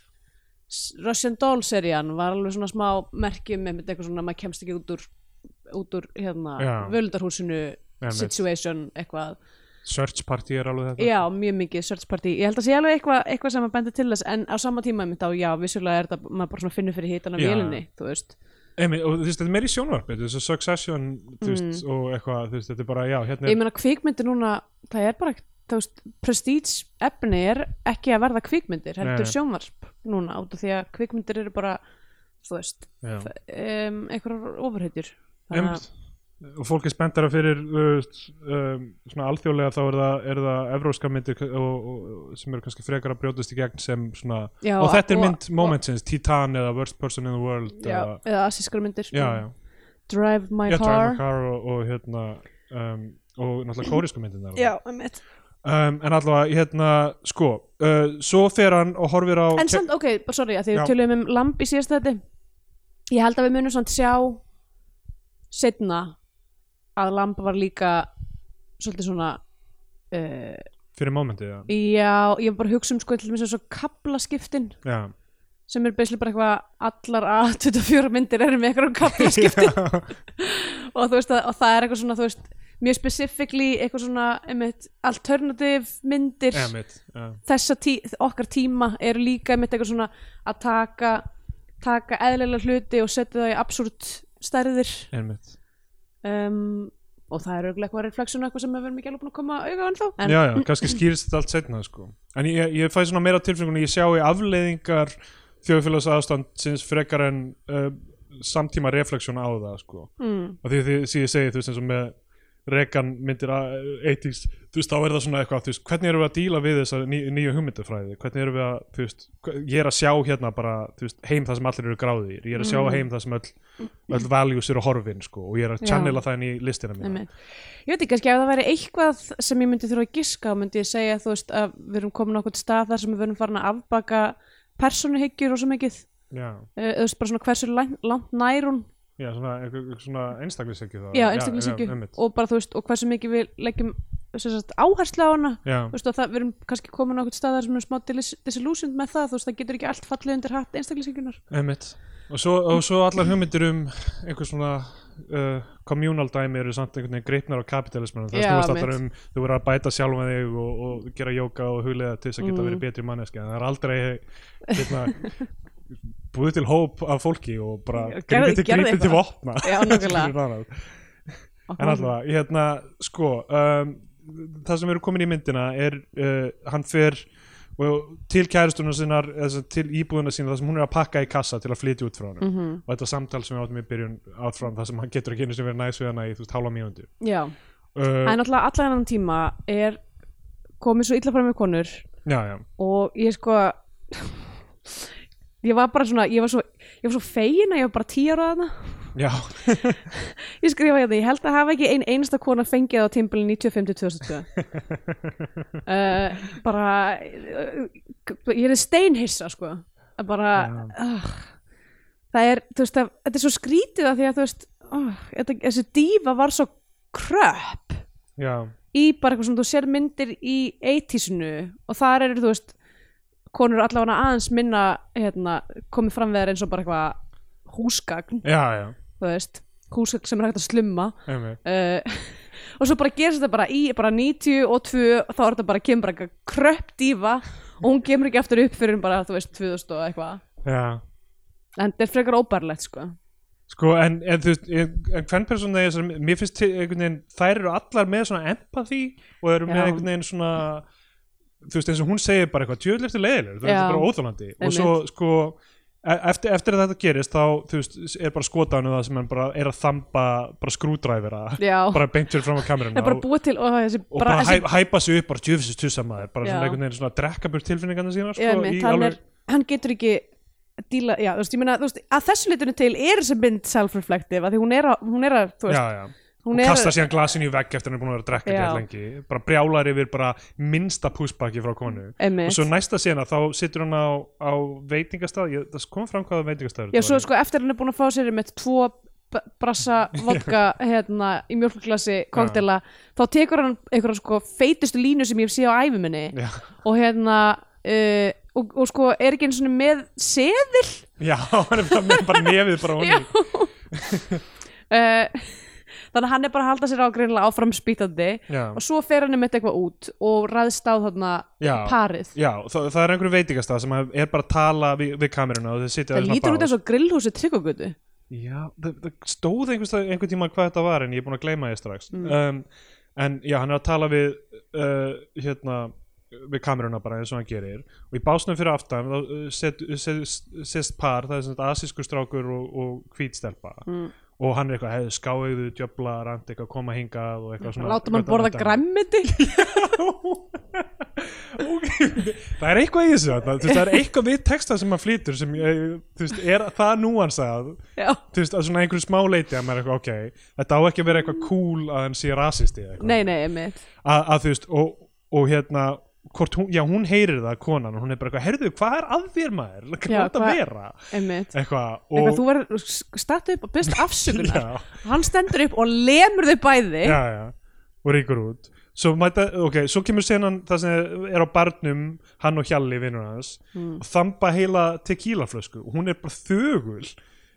S2: s- Russian Doll serían var alveg svona smá merkjum með eitthvað svona, maður kemst ekki út úr út úr hérna
S1: Já.
S2: völdarhúsinu
S1: Einmitt.
S2: situation eitthvað
S1: Search Party er alveg þetta
S2: já, mjög mikið search party ég held að sé alveg eitthvað eitthva sem að benda til þess en á sama tíma einmitt á, já, vissulega er þetta maður bara svona finnur fyrir hitan af
S1: Já.
S2: vélinni, þú veist
S1: Einmitt, og þú veist, þetta er meira í sjónvarpi þú veist, og Succession þú veist,
S2: Mm.
S1: og eitthvað, þú veist, þetta er bara, já, hérna
S2: ég
S1: er,
S2: meina kvikmyndir núna það er bara, þú veist, prestige efni er ekki að verða kvikmyndir heldur
S1: Nei.
S2: sjónvarp núna út af því að kvikmyndir eru bara, þú veist
S1: já,
S2: um, einhverjar ofurheitur
S1: einmitt og fólk er spenntara fyrir þú veist, um, svona alþjóðlega þá er það, er það evróska myndir og, og, og, sem eru kannski frekar að brjótast í gegn sem svona,
S2: já,
S1: og þetta er
S2: og-
S1: mynd momentsins, Titan eða Worst Person in the World
S2: já,
S1: eða,
S2: eða assískar myndir
S1: já, já,
S2: Drive My
S1: já, Drive
S2: Car
S1: My Car og, og hérna um, og náttúrulega kórisku myndirnar
S2: já, einmitt
S1: um, en allavega, hérna, sko uh, svo fer hann og horfir á
S2: en samt, ok, bara sorry, að því
S1: Já.
S2: við tölum um lamp í síðast þetta ég held að við munum samt sjá setna að lamp var líka svolítið svona uh,
S1: fyrir momentið, já,
S2: Já, ég var bara að hugsa um sko til þess að svo kaplaskiptin
S1: já.
S2: sem er beislega bara eitthvað allar að 24 myndir eru með eitthvað um kaplaskiptin og þú veist að og það er eitthvað svona, þú veist, mjög specifíkli eitthvað svona, einmitt, alternative myndir
S1: eða mitt, já
S2: þessa tí okkar tíma eru líka einmitt eitthvað svona að taka taka eðlilega hluti og setja það í absúrt stærðir
S1: Einmitt.
S2: um, og það er auðvitað eitthvað refleksjón eitthvað sem við verðum ekki alveg búin að koma auga á ennþá en
S1: Já, já, kannski skýrist þetta allt setna sko. En ég, ég fæ svona meira tilfengun Ég sjái afleiðingar þjóðfélags aðstandsins frekar en uh, samtíma refleksjón á það sko.
S2: mm,
S1: og því, því, því ég segi þú veist eins og með Reagan myndir að 80s þú veist þá er það svona eitthvað þú veist hvernig erum við að díla við þessa ný, nýju hugmyndafræði hvernig erum við að þú veist hva- ég er að sjá hérna bara þú veist heim það sem allir eru gráðir ég er að sjá heim það sem öll, öll values eru horfin sko og ég er að
S2: Mm. Já.
S1: channela það inn í listina mína
S2: Einmitt. Ég veit ekki, kannski ef það væri eitthvað sem ég myndi þurfa að giska á, myndi ég segja þú veist að við erum komin á okkur stað þar sem við erum farin að afbaka persónuhyggjur og svo mikið Eh,
S1: Já.
S2: þú veist bara svona hversu langt, langt nær hún
S1: Já, svona, einhver- einhver svona einstaklingshyggju þá.
S2: já, einstaklingshyggju
S1: Já, einmitt.
S2: og bara þú veist og hversu mikið við leggjum sem sagt, áherslu á hana
S1: já,
S2: þú veist og það við erum kannski komin á okkur stað þar sem við erum smá dis- disillusioned með það þú veist það getur ekki allt fallið undir hatt einstaklingshyggjunar
S1: einmitt. Og svo, og svo allar hugmyndir um einhver svona uh, communal dæmi eru samt einhvern veginn greipnar á kapitalismanum. Það
S2: Já,
S1: snúast allar um
S2: einmitt.
S1: þú verður að bæta sjálfan þig og, og gera jóka og huglega til þess að
S2: Mm.
S1: geta verið betri manneski. En það er aldrei hérna, búið til hóp af fólki og bara
S2: Já, gerðu-
S1: grípið til,
S2: gerðu
S1: grípið til
S2: eitthvað.
S1: vopna.
S2: Já, nákvæmlega.
S1: Skilur það annað. En allavega, hérna, sko um, það sem eru komin í myndina er, uh, hann fer og, til kæristunum sinnar eða sem- til íbúðuna sína þar sem hún er að pakka í kassa til að flytja út frá hann
S2: Mhm.
S1: og þetta samtal sem við áttum í byrjun áfram þar sem hann getur ekki einu sem verið næs við hana í þú veist hálfa mínúndu
S2: já,
S1: uh,
S2: en alltaf allan annan tíma er komið svo illa fram með konur
S1: Já, já,
S2: og ég sko ég var bara svona ég var svo, ég var svo fegin að ég var bara tíu ára þarna
S1: já
S2: ég skrifa hérna, ég held að hafa ekki ein einasta kona fengið á tímbilin 95-2002 uh, bara uh, ég er steinhissa sko að bara uh, það er, þú veist, að, þetta er svo skrítið að því að þú veist, uh, þetta, þessi dífa var svo kröpp
S1: Já,
S2: í bara eitthvað sem þú sér myndir í 80-sinu og þar eru þú veist konur allavega aðeins minna hérna, komið fram við þær eins og bara eitthvað húsgagn,
S1: já, já,
S2: þú veist húsgagn sem er hægt að slumma
S1: einmitt
S2: uh, og svo bara gerist þetta bara í bara 90 og 2 og þá er þetta bara kemur bara eitthvað kröpp dífa og hún kemur ekki aftur upp fyrir en bara, þú veist, 2000 og eitthvað
S1: Já.
S2: en þetta er frekar óbærlegt, sko
S1: Sko, en, en þú veist, en- en hvern persónu þessar, mér finnst til- einhvern veginn, þær eru allar með svona empathy og eru með
S2: Já.
S1: einhvern veginn svona, þú veist, eins og hún segir bara eitthvað, tjöðlega eftir leiðilegur, það er
S2: Já.
S1: bara óþólandi og
S2: Einmitt.
S1: svo, sko, e- eftir, eftir að þetta gerist, þá, þú veist, er bara skotánu það sem hann bara er að þamba bara skrúdræfira,
S2: Já.
S1: bara beintur fram á
S2: það
S1: kamerunni
S2: er bara
S1: og,
S2: búið til, og þessi
S1: og bara,
S2: þessi-
S1: hæ, hæpa sig upp bara tjöfisins tussamaður, bara
S2: Já.
S1: svona einhvern veginn svona að drekka burt tilfinningarna sína, sko,
S2: Já, einmitt,
S1: í
S2: hann,
S1: alveg,
S2: er, hann getur ekki díla, já, þú veist, ég meina, þú veist, að þessu litunum til er þessi mynd self-reflective, að því hún er að, hún er að,
S1: já,
S2: þú veist,
S1: já.
S2: hún
S1: og
S2: er
S1: kastar
S2: að,
S1: síðan glasinu í vegg eftir hann er búin að vera að drekka
S2: Já.
S1: gett lengi bara brjálar yfir bara minnsta púspakki frá konu
S2: Einmitt.
S1: og svo næsta sena þá situr hann á, á veitingastað Ég, það kom fram hvaða veitingastað
S2: já, svo sko, eftir hann er búin að fá sér með tvo b- brassa vodka, hérna, í mjölkuglasi koktela, þá tekur hann einhverja sko feitustu línu sem ég sé á æfuminni
S1: já,
S2: og hérna, uh, og, og sko, er ekki einu svona með seðil,
S1: já, hann er bara með bara nefið bara
S2: já,
S1: honum
S2: uh, þannig að hann er bara að halda sér á greinlega áfram spýtandi
S1: Já.
S2: og svo fer hann um eitthvað út og ræðst á þarna
S1: Já.
S2: parið
S1: já, það, það er einhverju veitingastað sem hann er bara að tala við, við kameruna og þau sitja
S2: það
S1: við svona
S2: lítur út
S1: bás.
S2: eins og grillhúsi tryggugötu
S1: Já, það, það stóð einhvers staðar- einhvern tíma hvað þetta var en ég er búin að gleyma því strax
S2: Mm.
S1: um, en já, hann er að tala við uh, hérna við kameruna bara eins og hann gerir og í básnum fyrir aftan þá uh, set, set, sest par, það er sem þetta asísku strákur og, og hvítstelpa mm. og hann er eitthvað, hefðu skáuðu, djöfla rand eitthvað koma hingað og eitthvað um svona
S2: láta mann borða græmmiti
S1: græm það er eitthvað í þessu þarna, þú veist, það er eitthvað við texta sem hann flýtur sem, eh, þú veist, er það núansað
S2: Já.
S1: þú veist, að svona einhverju smá leiti að maður er eitthvað, ok, þetta á ekki að vera eitthvað cool að hann sé rasisti eða eitthvað
S2: nei, nei, einmitt
S1: að, að þú veist, og, og hérna hvort hún, já hún heyrir það konan og hún er bara eitthvað, heyrðu, hvað er að þér maður hvað er
S2: Já,
S1: þetta
S2: hvað-
S1: að vera
S2: einmitt
S1: eitthvað, og
S2: Eitthvað, þú verður stætt upp og byrst afsökunar
S1: Já.
S2: hann stendur upp og lemur þau bæði
S1: já, já, og ríkur út svo, mæta, ok, svo kemur senan það sem er á barnum, hann og Hjalli vinnur hans,
S2: Hmm.
S1: og þamba heila tequilaflösku, og hún er bara þögul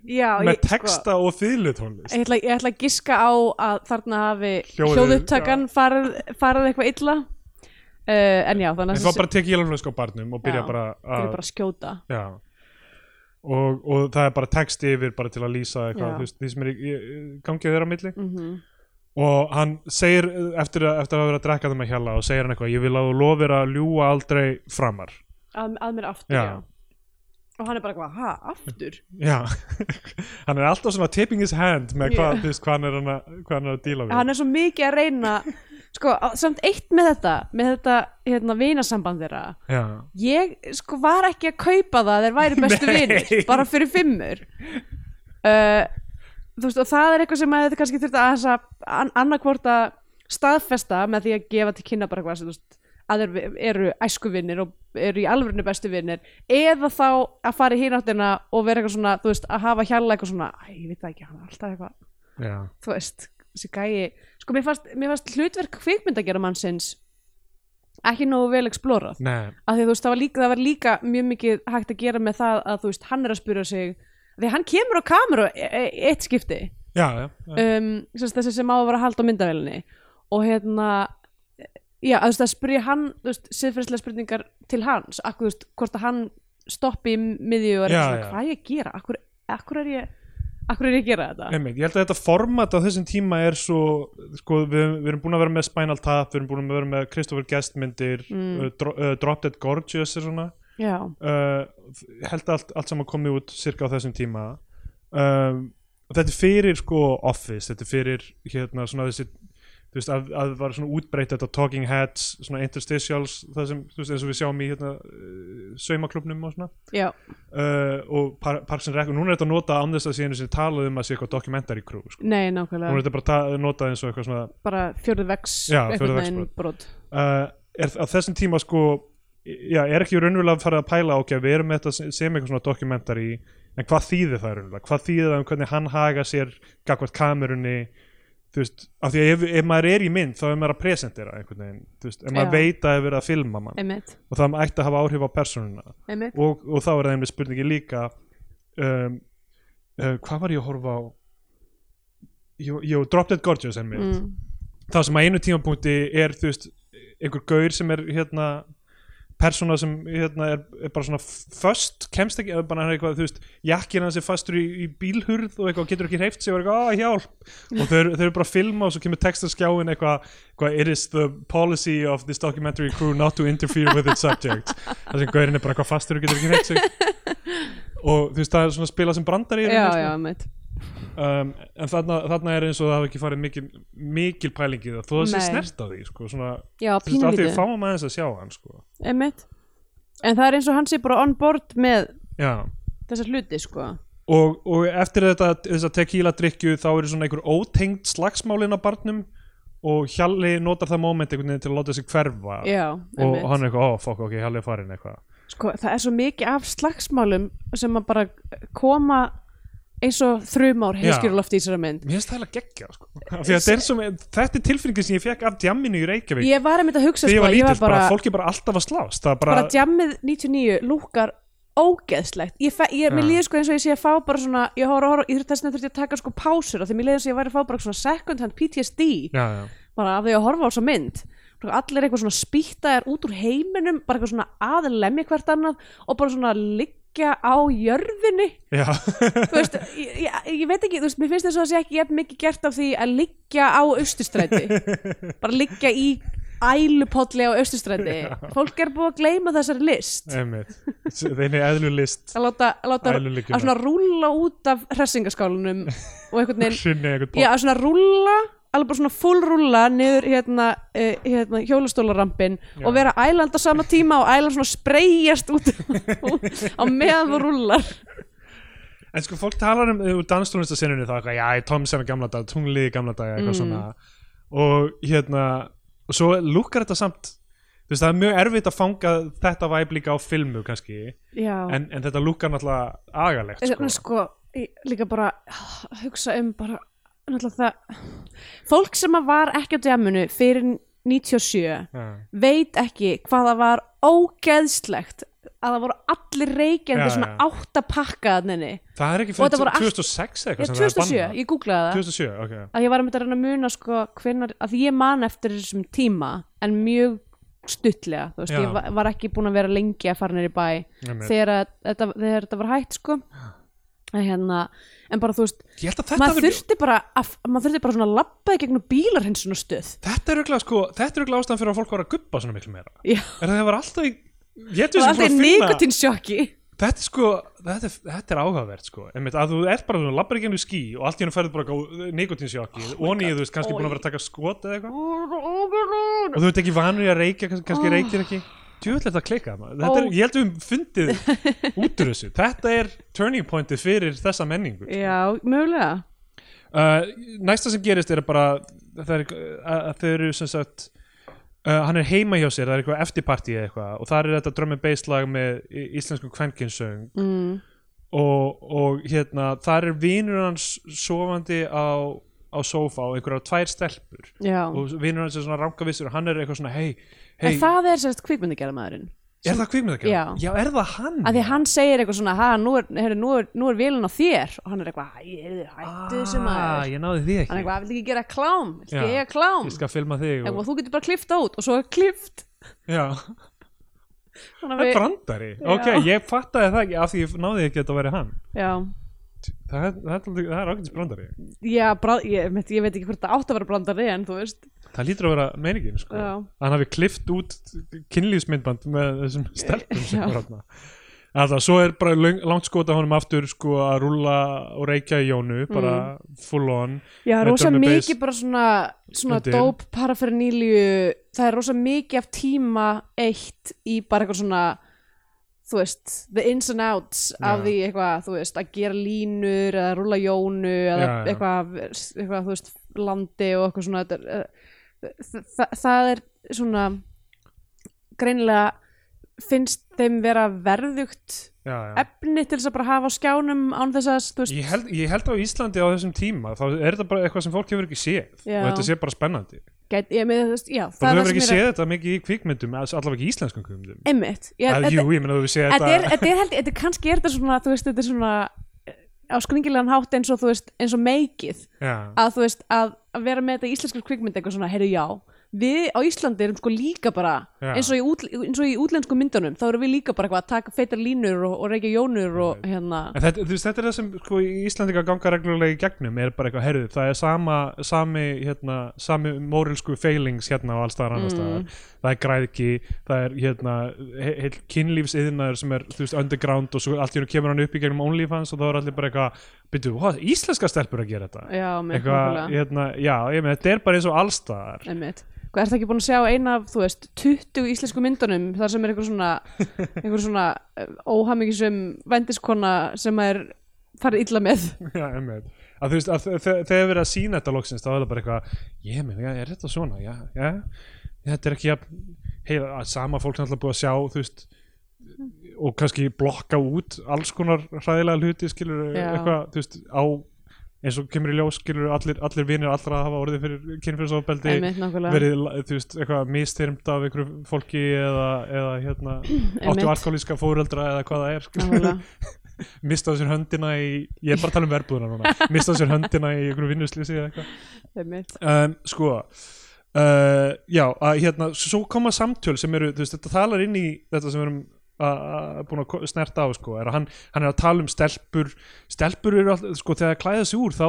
S2: Já,
S1: með
S2: ég- sko,
S1: texta og fyrirlutónlist
S2: Ég ætla, ég ætla að giska á að þarna hafi
S1: Hljóðið,
S2: hljóðupptakan farið, farið eitthvað illa uh, en já, þannig
S1: en
S2: að
S1: það var bara tequilaflösku á barnum og byrja
S2: Já,
S1: bara
S2: byrja
S1: að
S2: bara að skjóta
S1: Já og, og það er bara text yfir bara til að lýsa
S2: Já.
S1: eitthvað, þú veist, því sem er í, í, í gangi þeirra á milli
S2: mm -hmm.
S1: og hann segir eh, eftir að, eftir að hafa verið að drekka þeim að hjalla og segir hann eitthvað, ég vil að þú lofir að ljúga aldrei framar
S2: að, að mér aftur,
S1: Já.
S2: já. og hann er bara hvað, ha, aftur
S1: Já, hann er alltaf svona tipping his hand með hvað,
S2: Já.
S1: þú veist, hvað hann er hann að, hvað hann er að díla við
S2: hann er svo mikið að reyna sko, á- samt eitt með þetta með þetta, hérna, vinasamband þeirra
S1: Já,
S2: ég, sko, var ekki að kaupa það að þeir væri bestu
S1: Nei.
S2: vinir bara fyrir fimmur uh, þú veist, og það er eitthvað sem að þetta kannski þurfti aðeins að an annarkvort að staðfesta með því að gefa til kynna bara hvað, þú veist að þeir eru æskuvinnir og eru í alvörinu bestu vinnir eða þá að fara í hináttina og vera eitthvað svona, þú veist, að hafa hjalla eitthvað svona, æ, ég veit það ekki, hann er alltaf eitthvað
S1: já,
S2: þú veist, þessi gæi sko, mér fannst, mér fannst hlutverk kvikmyndagjara mannsins ekki nógu vel explorað,
S1: nei,
S2: af því að þú veist, það var, líka, það var líka mjög mikið hægt að gera með það að þú veist, hann er að spyrja sig því að hann kemur á kameru e- e- eitt skipti
S1: já, já, já.
S2: um, sem sagt, þessi sem á að vera að halda á myndavélinni og hérna já, að þú veist, að spyrja hann þú veist, siðferðslega spurningar til hans akkur, þú veist, hvort að hann stoppi í miðju og er
S1: Já,
S2: eitthvað
S1: já.
S2: svona, hvað er ég að gera akkur, akkur er ég akkur er ég að gera þetta
S1: Einmitt, ég held að þetta format á þessum tíma er svo, sko, við, við erum búin að vera með Spinal Tap, við erum búin að vera með Christopher Guest myndir,
S2: Mm.
S1: uh, Dro uh, Drop Dead Gorgeous er svona,
S2: já,
S1: uh, held að allt, allt saman komið út cirka á þessum tíma um, og þetta er fyrir sko Office, þetta er fyrir hérna svona þessi þú veist að, að var svona útbreytt þetta Talking Heads, svona Interstitials það sem, þú veist eins og við sjáum í hérna uh, saumaklubnum og svona
S2: já,
S1: uh, og par, Parks and Rec og núna er þetta nota án þess að síðan sem talað um að sé eitthvað documentary crew sko.
S2: nei,
S1: núna
S2: nákvæmlega
S1: er þetta bara ta- notað eins og eitthvað svona
S2: bara fjörðu vex
S1: Já,
S2: einhvern
S1: fjórðu vex
S2: veginn
S1: brot.
S2: brot
S1: uh, er á þessum tíma sko já, er ekki raunverulega farið að pæla ok, við erum með þetta sem, sem eitthvað svona dokumentari en hvað þýðir það raunverulega hvað þýðir það um hvernig hann haga sér gagvart kamerunni þú veist, af því að ef, ef maður er í mynd þá er maður að presentera einhvern veginn, þú veist, ef maður
S2: Já.
S1: veit að er verið að filma mann
S2: einmitt,
S1: og það ætti að hafa áhrif á personuna
S2: einmitt
S1: og, og þá er það einmitt spurningi líka um, uh, hvað var ég að horfa á jú, jú Drop Dead Gorgeous einmitt
S2: mm.
S1: það sem að einu tímapunkti er þú veist einhver gaur sem er hérna persóna sem hérna, er, er bara svona föst, kemst ekki, eða bara hann er eitthvað, þú veist, jakkin hans er fastur í, í bílhurð og eitthvað, getur ekki hreift sig og er eitthvað, að hjálp og þau eru þau eru bara að filma og svo kemur textaskjáin eitthvað, eitthvað, it is the policy of this documentary crew not to interfere with its subject þar sem gaurinn er bara eitthvað fastur og getur ekki hreift sig og þú veist, það er svona spila sem brandar í
S2: já, já, mitt
S1: um, en þarna, þarna er eins og það hafi ekki farið mikil, mikil pælingi það þó það sé
S2: Nei.
S1: snert á því sko, svona, þú
S2: já,
S1: veist, af því
S2: pínlítu,
S1: við fáum aðeins að sjá hann sko.
S2: einmitt en það er eins og hann sé bara on board með
S1: já
S2: þessa hluti, sko
S1: og, og eftir þetta, þessa tequila drikju þá eru svona einhver ótengd slagsmálin á barnum og Hjalli notar það moment einhvern veginn til að láta sig hverfa
S2: já,
S1: og
S2: einmitt
S1: hann er eitthvað, ó, fokk, ok, Hjalli er farin eitthvað
S2: sko, það er svo mikið af slagsmálum sem að bara koma eins og þrjumár heiskjurloft í þessara mynd
S1: mér finnst það heila geggja sko. Af því að þetta, er svo, þetta er tilfinningin sem ég fekk af djamminu í Reykjavík
S2: ég var einmitt að hugsa
S1: þegar ég
S2: sko,
S1: var lítill,
S2: ég var
S1: bara,
S2: bara,
S1: fólk er bara alltaf að slást það er bara,
S2: bara djammið 99 lúkar ógeðslegt ég, fe- ég, mér
S1: Já.
S2: líður sko eins og ég sé að fá bara svona ég, horf, horf, ég þurfti þess að þurfti að taka sko pásur og því mér líður eins og ég væri að fá bara svona second hand PTSD
S1: já, já.
S2: bara af því að horfa á þessa mynd Bara allir eitthvað svona spýttaðar út úr heiminum bara eitthvað svona aðlemmi hvert annað og bara svona liggja á jörðinni
S1: Já.
S2: þú veist, ég, ég, ég veit ekki, þú veist, mér finnst þess að það sé ekki jafn mikið gert af því að liggja á austurstræti bara liggja í ælupolli á austurstræti fólk er búið að gleyma þessari list
S1: Einmitt. Þeirni eðlu list
S2: að láta, að láta
S1: Ælulyggjuna.
S2: að svona rúlla út af hressingaskálunum og einhvern veginn,
S1: Hrunni eitthvað
S2: já, að svona rúlla alveg bara svona full rúlla niður hérna, uh, hérna hjólastólarampin og vera ælanda sama tíma og ælan svona spreyjast út á meðan þú rúllar
S1: En sko fólk talar um uh, danstónlistasinnunni þá eitthvað, já, Tomsen er gamla dag, tunglið er gamla dag
S2: Mm.
S1: eitthvað svona og hérna, og svo lukkar þetta samt þú veist, það er mjög erfitt að fanga þetta væp líka á filmu kannski
S2: já
S1: en, en þetta lukkar náttúrulega agalegt
S2: sko.
S1: sko.
S2: sko, ég líka bara að hugsa um bara náttúrulega það fólk sem að var ekki á dæmunu fyrir 97
S1: Já,
S2: veit ekki hvað það var ógeðslegt að það voru allir reykjandi
S1: Já,
S2: svona
S1: já.
S2: átta pakka þannig,
S1: Það er ekki
S2: Og þetta
S1: fyrir
S2: voru allt-
S1: 2006 eða
S2: ég
S1: eitthvað sem það er
S2: 2007
S1: bannað
S2: ég googlaði það,
S1: 2007, ok
S2: að ég var að mynda að reyna að muna sko hvenar, að ég man eftir þessum tíma en mjög stuttlega, þú veist,
S1: Já.
S2: ég var, var ekki búin að vera lengi að fara nýri bæ
S1: Einmitt.
S2: þegar, að, þetta, þegar þetta var hætt sko en hérna, en bara þú veist
S1: Ég held að þetta
S2: maður
S1: verður-
S2: þurfti bara að, maður þurfti bara svona að labbaði gegnum bílar hins svona stöð
S1: Þetta er örugglega, sko, þetta er auðvitað ástæðan fyrir að fólk var að gubba svona miklu meira
S2: Já.
S1: Er það var alltaf í Ég
S2: það
S1: hefði
S2: var
S1: sem búin
S2: alltaf
S1: að finna
S2: nikotinsjokki
S1: Þetta er sko, þetta er, þetta er áhugavert sko Einmitt, að þú ert bara, þú lappar ekki hennu ský og allt í hennu ferður bara nikotinsjokki oh og nýðu, þú veist, kannski búin að vera að taka skot eða eitthvað og þú ert ekki vanur í að reykja kannski, kannski
S2: Oh.
S1: reykir ekki djúvill er þetta klikað maður. Þetta er,
S2: Ó.
S1: ég held að við höfum fundið út úr þessu þetta er turning pointið fyrir þessa menningu
S2: já, mögulega
S1: uh, næsta sem gerist er bara það er, uh, að, að þau eru sem sagt Uh, hann er heima hjá sér, það er eitthvað eftirpartí eða eitthvað og þar er þetta drömmi beislag með í- íslenskum kvenkinsöng
S2: mm.
S1: og, og hérna þar er vinur hans sofandi á, á sófa og einhverjar tvær stelpur
S2: já,
S1: og vinur hans er svona rangavissur og hann er eitthvað svona hei, hei,
S2: en það er sérst kvikmyndagjara maðurinn
S1: er það kvikmyndakjara?
S2: Já.
S1: er það hann?
S2: að því hann segir eitthvað svona ha, nú er, heru, nú er, nú er vélun á þér og hann er eitthvað, hæ, heyrðu, hættu þessu
S1: ah,
S2: maður
S1: ég náði því
S2: hann er
S1: ekki
S2: eitthvað, vil ekki gera klám vil
S1: Já.
S2: ekki eiga klám
S1: ég skal filma þig
S2: eitthvað,
S1: og...
S2: þú getur bara klift út og svo er klift
S1: Já,
S2: Þannig
S1: það
S2: að
S1: er
S2: við-
S1: brandari ok, ég fattaði það ekki af því ég náði ekki að þetta væri hann
S2: já,
S1: það, er- það, það, það er ákveðis brandari
S2: já bra, ég, ég, ég veit ekki hvort það átt að vera blandari en þú veist
S1: það lítur að vera meiningin sko.
S2: Já.
S1: að hann hafi klift út kynlífsmyndband með þessum stelpum sem
S2: Já.
S1: voru þarna Alltaf, svo er bara löng, langt skota honum aftur sko að rúlla og reykja í jónu bara
S2: Mm.
S1: full on
S2: Já,
S1: Með
S2: rosa
S1: Johnny
S2: mikið
S1: Bass
S2: bara svona, svona
S1: undir.
S2: dóp parafernýlju, það er rosa mikið af tíma eitt í bara eitthvað svona, þú veist, the ins and outs
S1: Já.
S2: af því eitthvað, þú veist, að gera línur eða rúla jónu eða
S1: Já, já.
S2: Eitthvað, eitthvað, þú veist, landi og eitthvað svona, þetta er, eh, þa- þa- það er svona, greinilega finnst þeim vera verðugt
S1: já, já.
S2: efni til þess að bara hafa á skjánum án þess að, þú veist,
S1: Ég, held, ég held á Íslandi á þessum tíma þá er þetta bara eitthvað sem fólk hefur ekki séð
S2: Já.
S1: og þetta sé bara spennandi
S2: gæt, ég með, þú veist, já,
S1: og þú
S2: það er
S1: hefur
S2: það
S1: ekki
S2: sem er
S1: séð þetta mikið í kvikmyndum allavega ekki í íslenskum kvikmyndum
S2: Einmitt, ég,
S1: að,
S2: þetta-
S1: jú, ég meina þú hefur séð
S2: þetta er,
S1: þetta
S2: þetta er held, þetta er kannski er þetta svona, þú veist, þetta er svona eh, á skringilegan hátt eins og þú veist, eins og meikið
S1: já,
S2: að þú veist, að, að vera með þetta íslenskar kvikmynd eitthvað svona, heyrðu já við á Íslandi erum sko líka bara
S1: Já.
S2: eins og, í útl, eins og í útlensku myndunum þá erum við líka bara eitthvað að taka feitar línur og, og reykja jónur og hérna
S1: En þetta, þú veist, þetta er það sem sko, Íslandingar ganga reglulega í gegnum er bara eitthvað herðu, það er sama sami, hérna, sami moralsku failings hérna á allstaðar annars staðar það er græðki, það er hérna, he- heil kynlífsiðnaður sem er þú veist, underground og svo allt í hérna kemur hann upp í gegnum OnlyFans og þá er allir bara eitthvað byrju, hvað, íslenska stelpur að gera þetta
S2: já, með
S1: eitthvað, hérna, já, ég með þetta er bara eins og allstaðar
S2: Einmitt. Hvað ert ekki búin að sjá eina af, þú veist, 20 íslensku myndunum þar sem er einhver svona, einhver svona óhamingisum vendiskona sem er farið illa með.
S1: Já, einmitt. að þú veist, að þe- þe- þegar verið að sína þetta loksins þá er það bara eitthvað, ég meina, já, er þetta svona já, já, þetta er ekki að heila, að sama fólk er náttúrulega búið að sjá þú veist og kannski blokka út alls konar hræðilega hluti, skilur,
S2: Já.
S1: eitthvað þú veist, á, eins og kemur í ljós skilur, allir, allir vinir allra hafa orðið fyrir kynfyrirsofbeldi,
S2: Einmitt, nákvæmlega.
S1: verið la- þú veist, eitthvað mistyrmt af einhverju fólki eða, eða hérna,
S2: Einmitt.
S1: áttu alkoholíska fóreldra eða hvað það er, skilur
S2: Nákvæmlega.
S1: mistað sér höndina í ég er bara að tala um verbúðuna núna mistað sér höndina í einhverju vinnuslýsi eða eitthvað
S2: Einmitt.
S1: um, sko uh, já, að hérna svo koma samtöl sem eru, þú veist, þetta talar inn í þetta sem við erum að- að- búin að ko- snerta á sko, er að hann, hann er að tala um stelpur stelpur eru alltaf, sko, þegar það klæða sig úr þá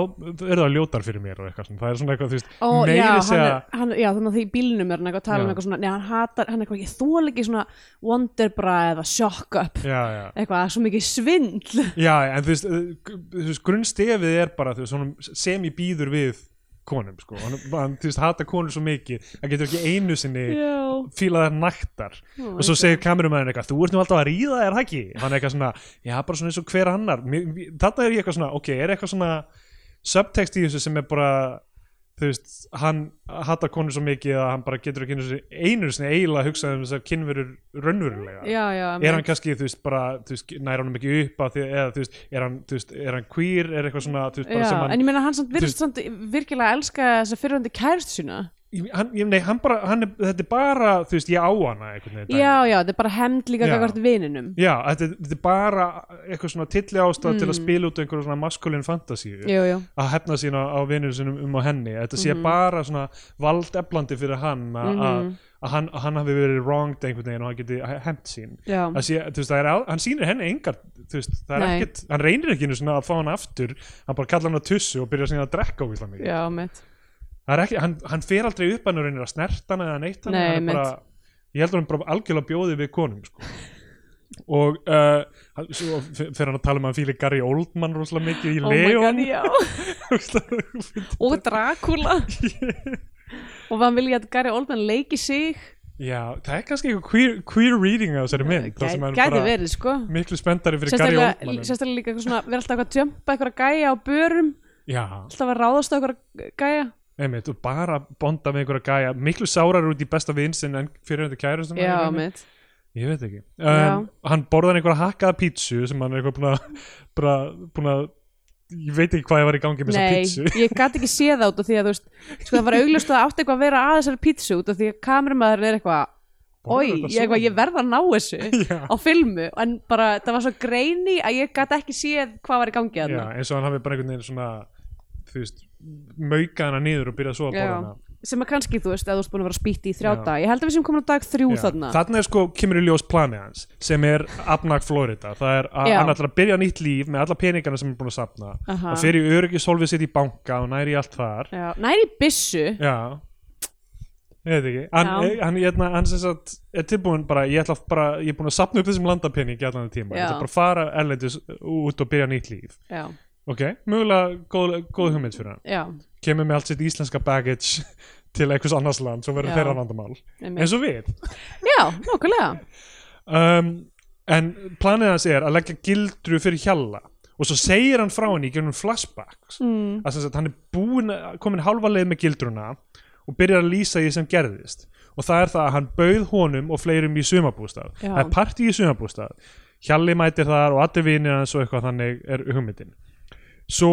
S1: eru það ljótar fyrir mér og eitthvað svona, það er svona eitthvað, þú veist,
S2: Ó,
S1: meiri
S2: já, hann
S1: segja
S2: er, hann, já, þannig að því í bílnum er hann eitthvað að tala um
S1: Já.
S2: eitthvað svona, neða, hann hatar, hann er eitthvað ekki þól ekki svona wonderbra eða shock up,
S1: já, já.
S2: eitthvað, svo mikið svindl.
S1: já, en þú veist, uh, g- þú veist grunnstefið er bara, þú veist, honum sem ég býður við konum, sko hann, hann, þú veist, hata konur svo mikið hann getur ekki einu sinni
S2: Já.
S1: fíla þær naktar
S2: Oh my
S1: og svo segir kamerumæðin eitthvað þú ert nú alltaf að ríða þér hækki hann er eitthvað svona, já bara svona eins og hver annar Mér- mér- þarna er ég eitthvað svona, ok, er eitthvað svona subtext í þessu sem er bara þú veist, hann hattar konur svo mikið að hann bara getur ekki einu sinni- einu sinni eiginlega að hugsa um þess að kynverur raunverulega
S2: Já, já,
S1: er hann kannski, þú veist, bara þú veist, nær honum ekki upp af því, eða þú veist, er hann, þú veist, er hann queer, er eitthvað svona þú veist, bara
S2: já,
S1: sem hann,
S2: en ég meina hann samt virðist samt virkilega elska þess að fyrirhandi kæristu sína
S1: ég, hann, ég, nei, hann bara hann er, þetta er bara, þú veist, ég á hana einhvern veginn dæmi.
S2: Já, já, þetta er bara hemd líka
S1: Já.
S2: gagvart vininum
S1: Já, þetta, er- þetta er bara eitthvað svona tilli ástæð til að
S2: Mm.
S1: spila út einhverjum svona maskulin fantasíu
S2: Jú, jú,
S1: að hefna sína á vinur sinum um á henni þetta sé
S2: Mhm.
S1: bara svona valdeflandi fyrir hann að mm hann, að hann hafi verið wronged einhvern veginn og hann geti hefnt sín
S2: já,
S1: Það sé, þú veist, það er, á- hann sýnir henni engar þú veist, það er
S2: Nei.
S1: ekkert, hann reynir ekki einu svona að fá hann aftur, hann bara kallar hann að tussu og byrja síðan að drekka óvíslega mikið
S2: já, mitt
S1: Það er ekki, hann, hann fer aldrei upp hann og reynir að snerta hann eða neitt hann
S2: Nei,
S1: hann er bara, ég held að hann bara algjörlega bjóði við konum sko. og uh, hann- svo f- fer hann að tala um að hann fíli Gary Oldman rosalega mikið í
S2: Oh my God,
S1: Leon
S2: já.
S1: God,
S2: Og Dracula Og hann vilja að Gary Oldman leiki sig
S1: já, það er kannski eitthvað queer, queer reading á þessari mynd þar
S2: Gæ-
S1: sem hann
S2: Gæti
S1: bara
S2: verið, sko
S1: miklu spenntari fyrir Gary
S2: Sérstaklega,
S1: Oldman en-
S2: sérstaklega líka eitthvað svona, vera alltaf eitthvað að jumpa eitthvað gæja á börum
S1: já,
S2: Alltaf að ráðast á eitthvað gæja
S1: einmitt, og bara bonda með einhverja gæja miklu sárar út í besta vinsinn en fyrir þetta kærustuna í
S2: Já,
S1: rauninni.
S2: mitt
S1: Ég veit ekki
S2: Já.
S1: um, Hann borðar einhverja hakkaða pítsu sem hann er eitthvað búin að, bara, búin að ég veit ekki hvað ég var í gangi með
S2: Nei,
S1: þessa pítsu
S2: ég gæti ekki séð það út af því að þú veist Sko það var augljóst að það átti eitthvað að vera að þessari pítsu út af því að kameramaðurinn er eitthvað Oi,
S1: Borðar þetta
S2: ég, eitthvað,
S1: svona?
S2: ég verð að ná þessu
S1: Já.
S2: á filmu en bara það var svo greini að ég gæti ekki séð hvað var í gangi að
S1: Já, eins og hann hafi bara einhvern veginn svona þú veist, maukað hana niður og byrjað svo að borða hana
S2: sem að kannski þú veist að þú ert búin að vera spýtti í þrjá
S1: Já.
S2: dag ég held að við sem komin á dag þrjú
S1: Já.
S2: þarna
S1: Þarna er sko, kemur í ljós planið hans sem er Abnag Florida það er að
S2: Já.
S1: hann ætlar að byrja nýtt líf með alla peningana sem hann er búin að sapna
S2: Aha.
S1: og fer í öryggisólfið sitt í banka og næri í allt þar
S2: Já, næri byssu
S1: Já Ég veit ekki Hann,
S2: Já.
S1: hann, hérna, hann sem sagt er tilbúin bara, ég ætla bara, ég er búin að sapna upp þessum landapenning í allan þennan tíma,
S2: Já.
S1: ég ætla bara að fara erlendis út og byrja nýtt líf
S2: já,
S1: Ok, mögulega góð, góð hugmynd fyrir hann
S2: já,
S1: Kemur með allt sitt íslenska baggage til einhvers annars land, svo verður
S2: Já.
S1: þeirra vandamál
S2: einmitt.
S1: eins og við
S2: já, nokkulega
S1: um, En planið hans er að leggja gildru fyrir hjalla og svo segir hann frá henni í gennum flashbacks
S2: mm,
S1: að sem sagt, hann er búin að komin hálfa leið með gildruna og byrjar að lýsa því sem gerðist og það er það að hann bauð honum og fleirum í sumabústað
S2: Já.
S1: það er partí í sumabústað Hjalli mætir þar og allir vinir hans og eitthvað þannig er hugmyndin svo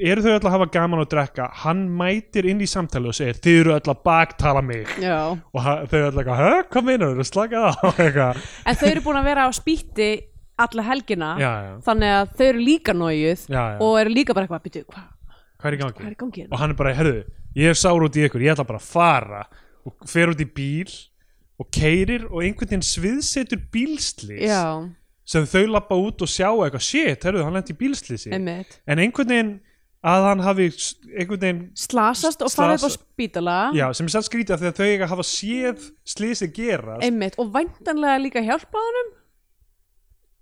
S1: eru þau öll að hafa gaman að drekka hann mætir inn í samtali og segir þið eru öll að baktala mig
S2: já
S1: og ha- þau eru öll eitthvað, "Hæ? hvað meinar þau, slakað á eitthvað,
S2: en þau eru búin að vera á spýtti alla helgina
S1: já, já,
S2: þannig að þau eru líka nóið
S1: já, já.
S2: og eru líka bara eitthvað, byrju, hvað
S1: hvað er í
S2: hvað
S1: gangi?
S2: er í gangi
S1: og
S2: hérna?
S1: hann er bara, herðu, ég er sár út í ykkur ég ætla bara að fara og fer út í bíl og keirir og einhvern veginn sviðsetur bílslis
S2: já,
S1: sem þau lappa út og sjá eitthvað shit, herðu, hann lendi í bílslisi
S2: einmitt
S1: en einhvern veginn að hann hafi s- einhvern veginn
S2: slasast og fara upp á
S1: Slasa-
S2: spítala
S1: Já, sem er satt skrítið af því að þau eiga að hafa séð slísið gerast
S2: einmitt og væntanlega líka hjálpa honum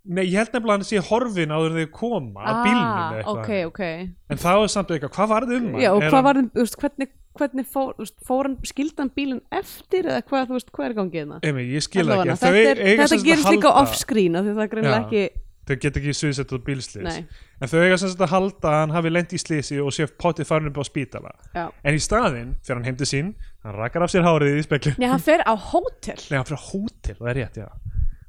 S1: Nei, ég held nefnilega að hann sé horfin áður en þau koma að bílnum eða eitthvað
S2: Ah, ok, ok
S1: En þá er samt eitthvað, hvað var þau um hann?
S2: já, og
S1: Er
S2: hvað
S1: hann-
S2: var þeim, þú veist, hvernig hvernig fór, þú veist, fór hann skildan bílinn eftir eða hvað, þú veist, hvað er í gangi hérna
S1: Emi, ég skil það
S2: Allavega,
S1: ekki
S2: þetta, er,
S1: Þau eiga
S2: þetta
S1: sem sagt að
S2: gerist líka
S1: halda-
S2: offscreen af því það er greinilega
S1: Já.
S2: ekki
S1: Þau get ekki sviðsett út bílslis
S2: Nei.
S1: En þau eiga sem sagt að halda að hann hafi lent í slísi og sé pottið farin upp á spítala
S2: já.
S1: En í staðinn, fyrir hann heim til sín hann rakar af sér hárið í speklu
S2: Nei, hann fer á hótel
S1: Nei, hann fyrir hótel, það er rétt, já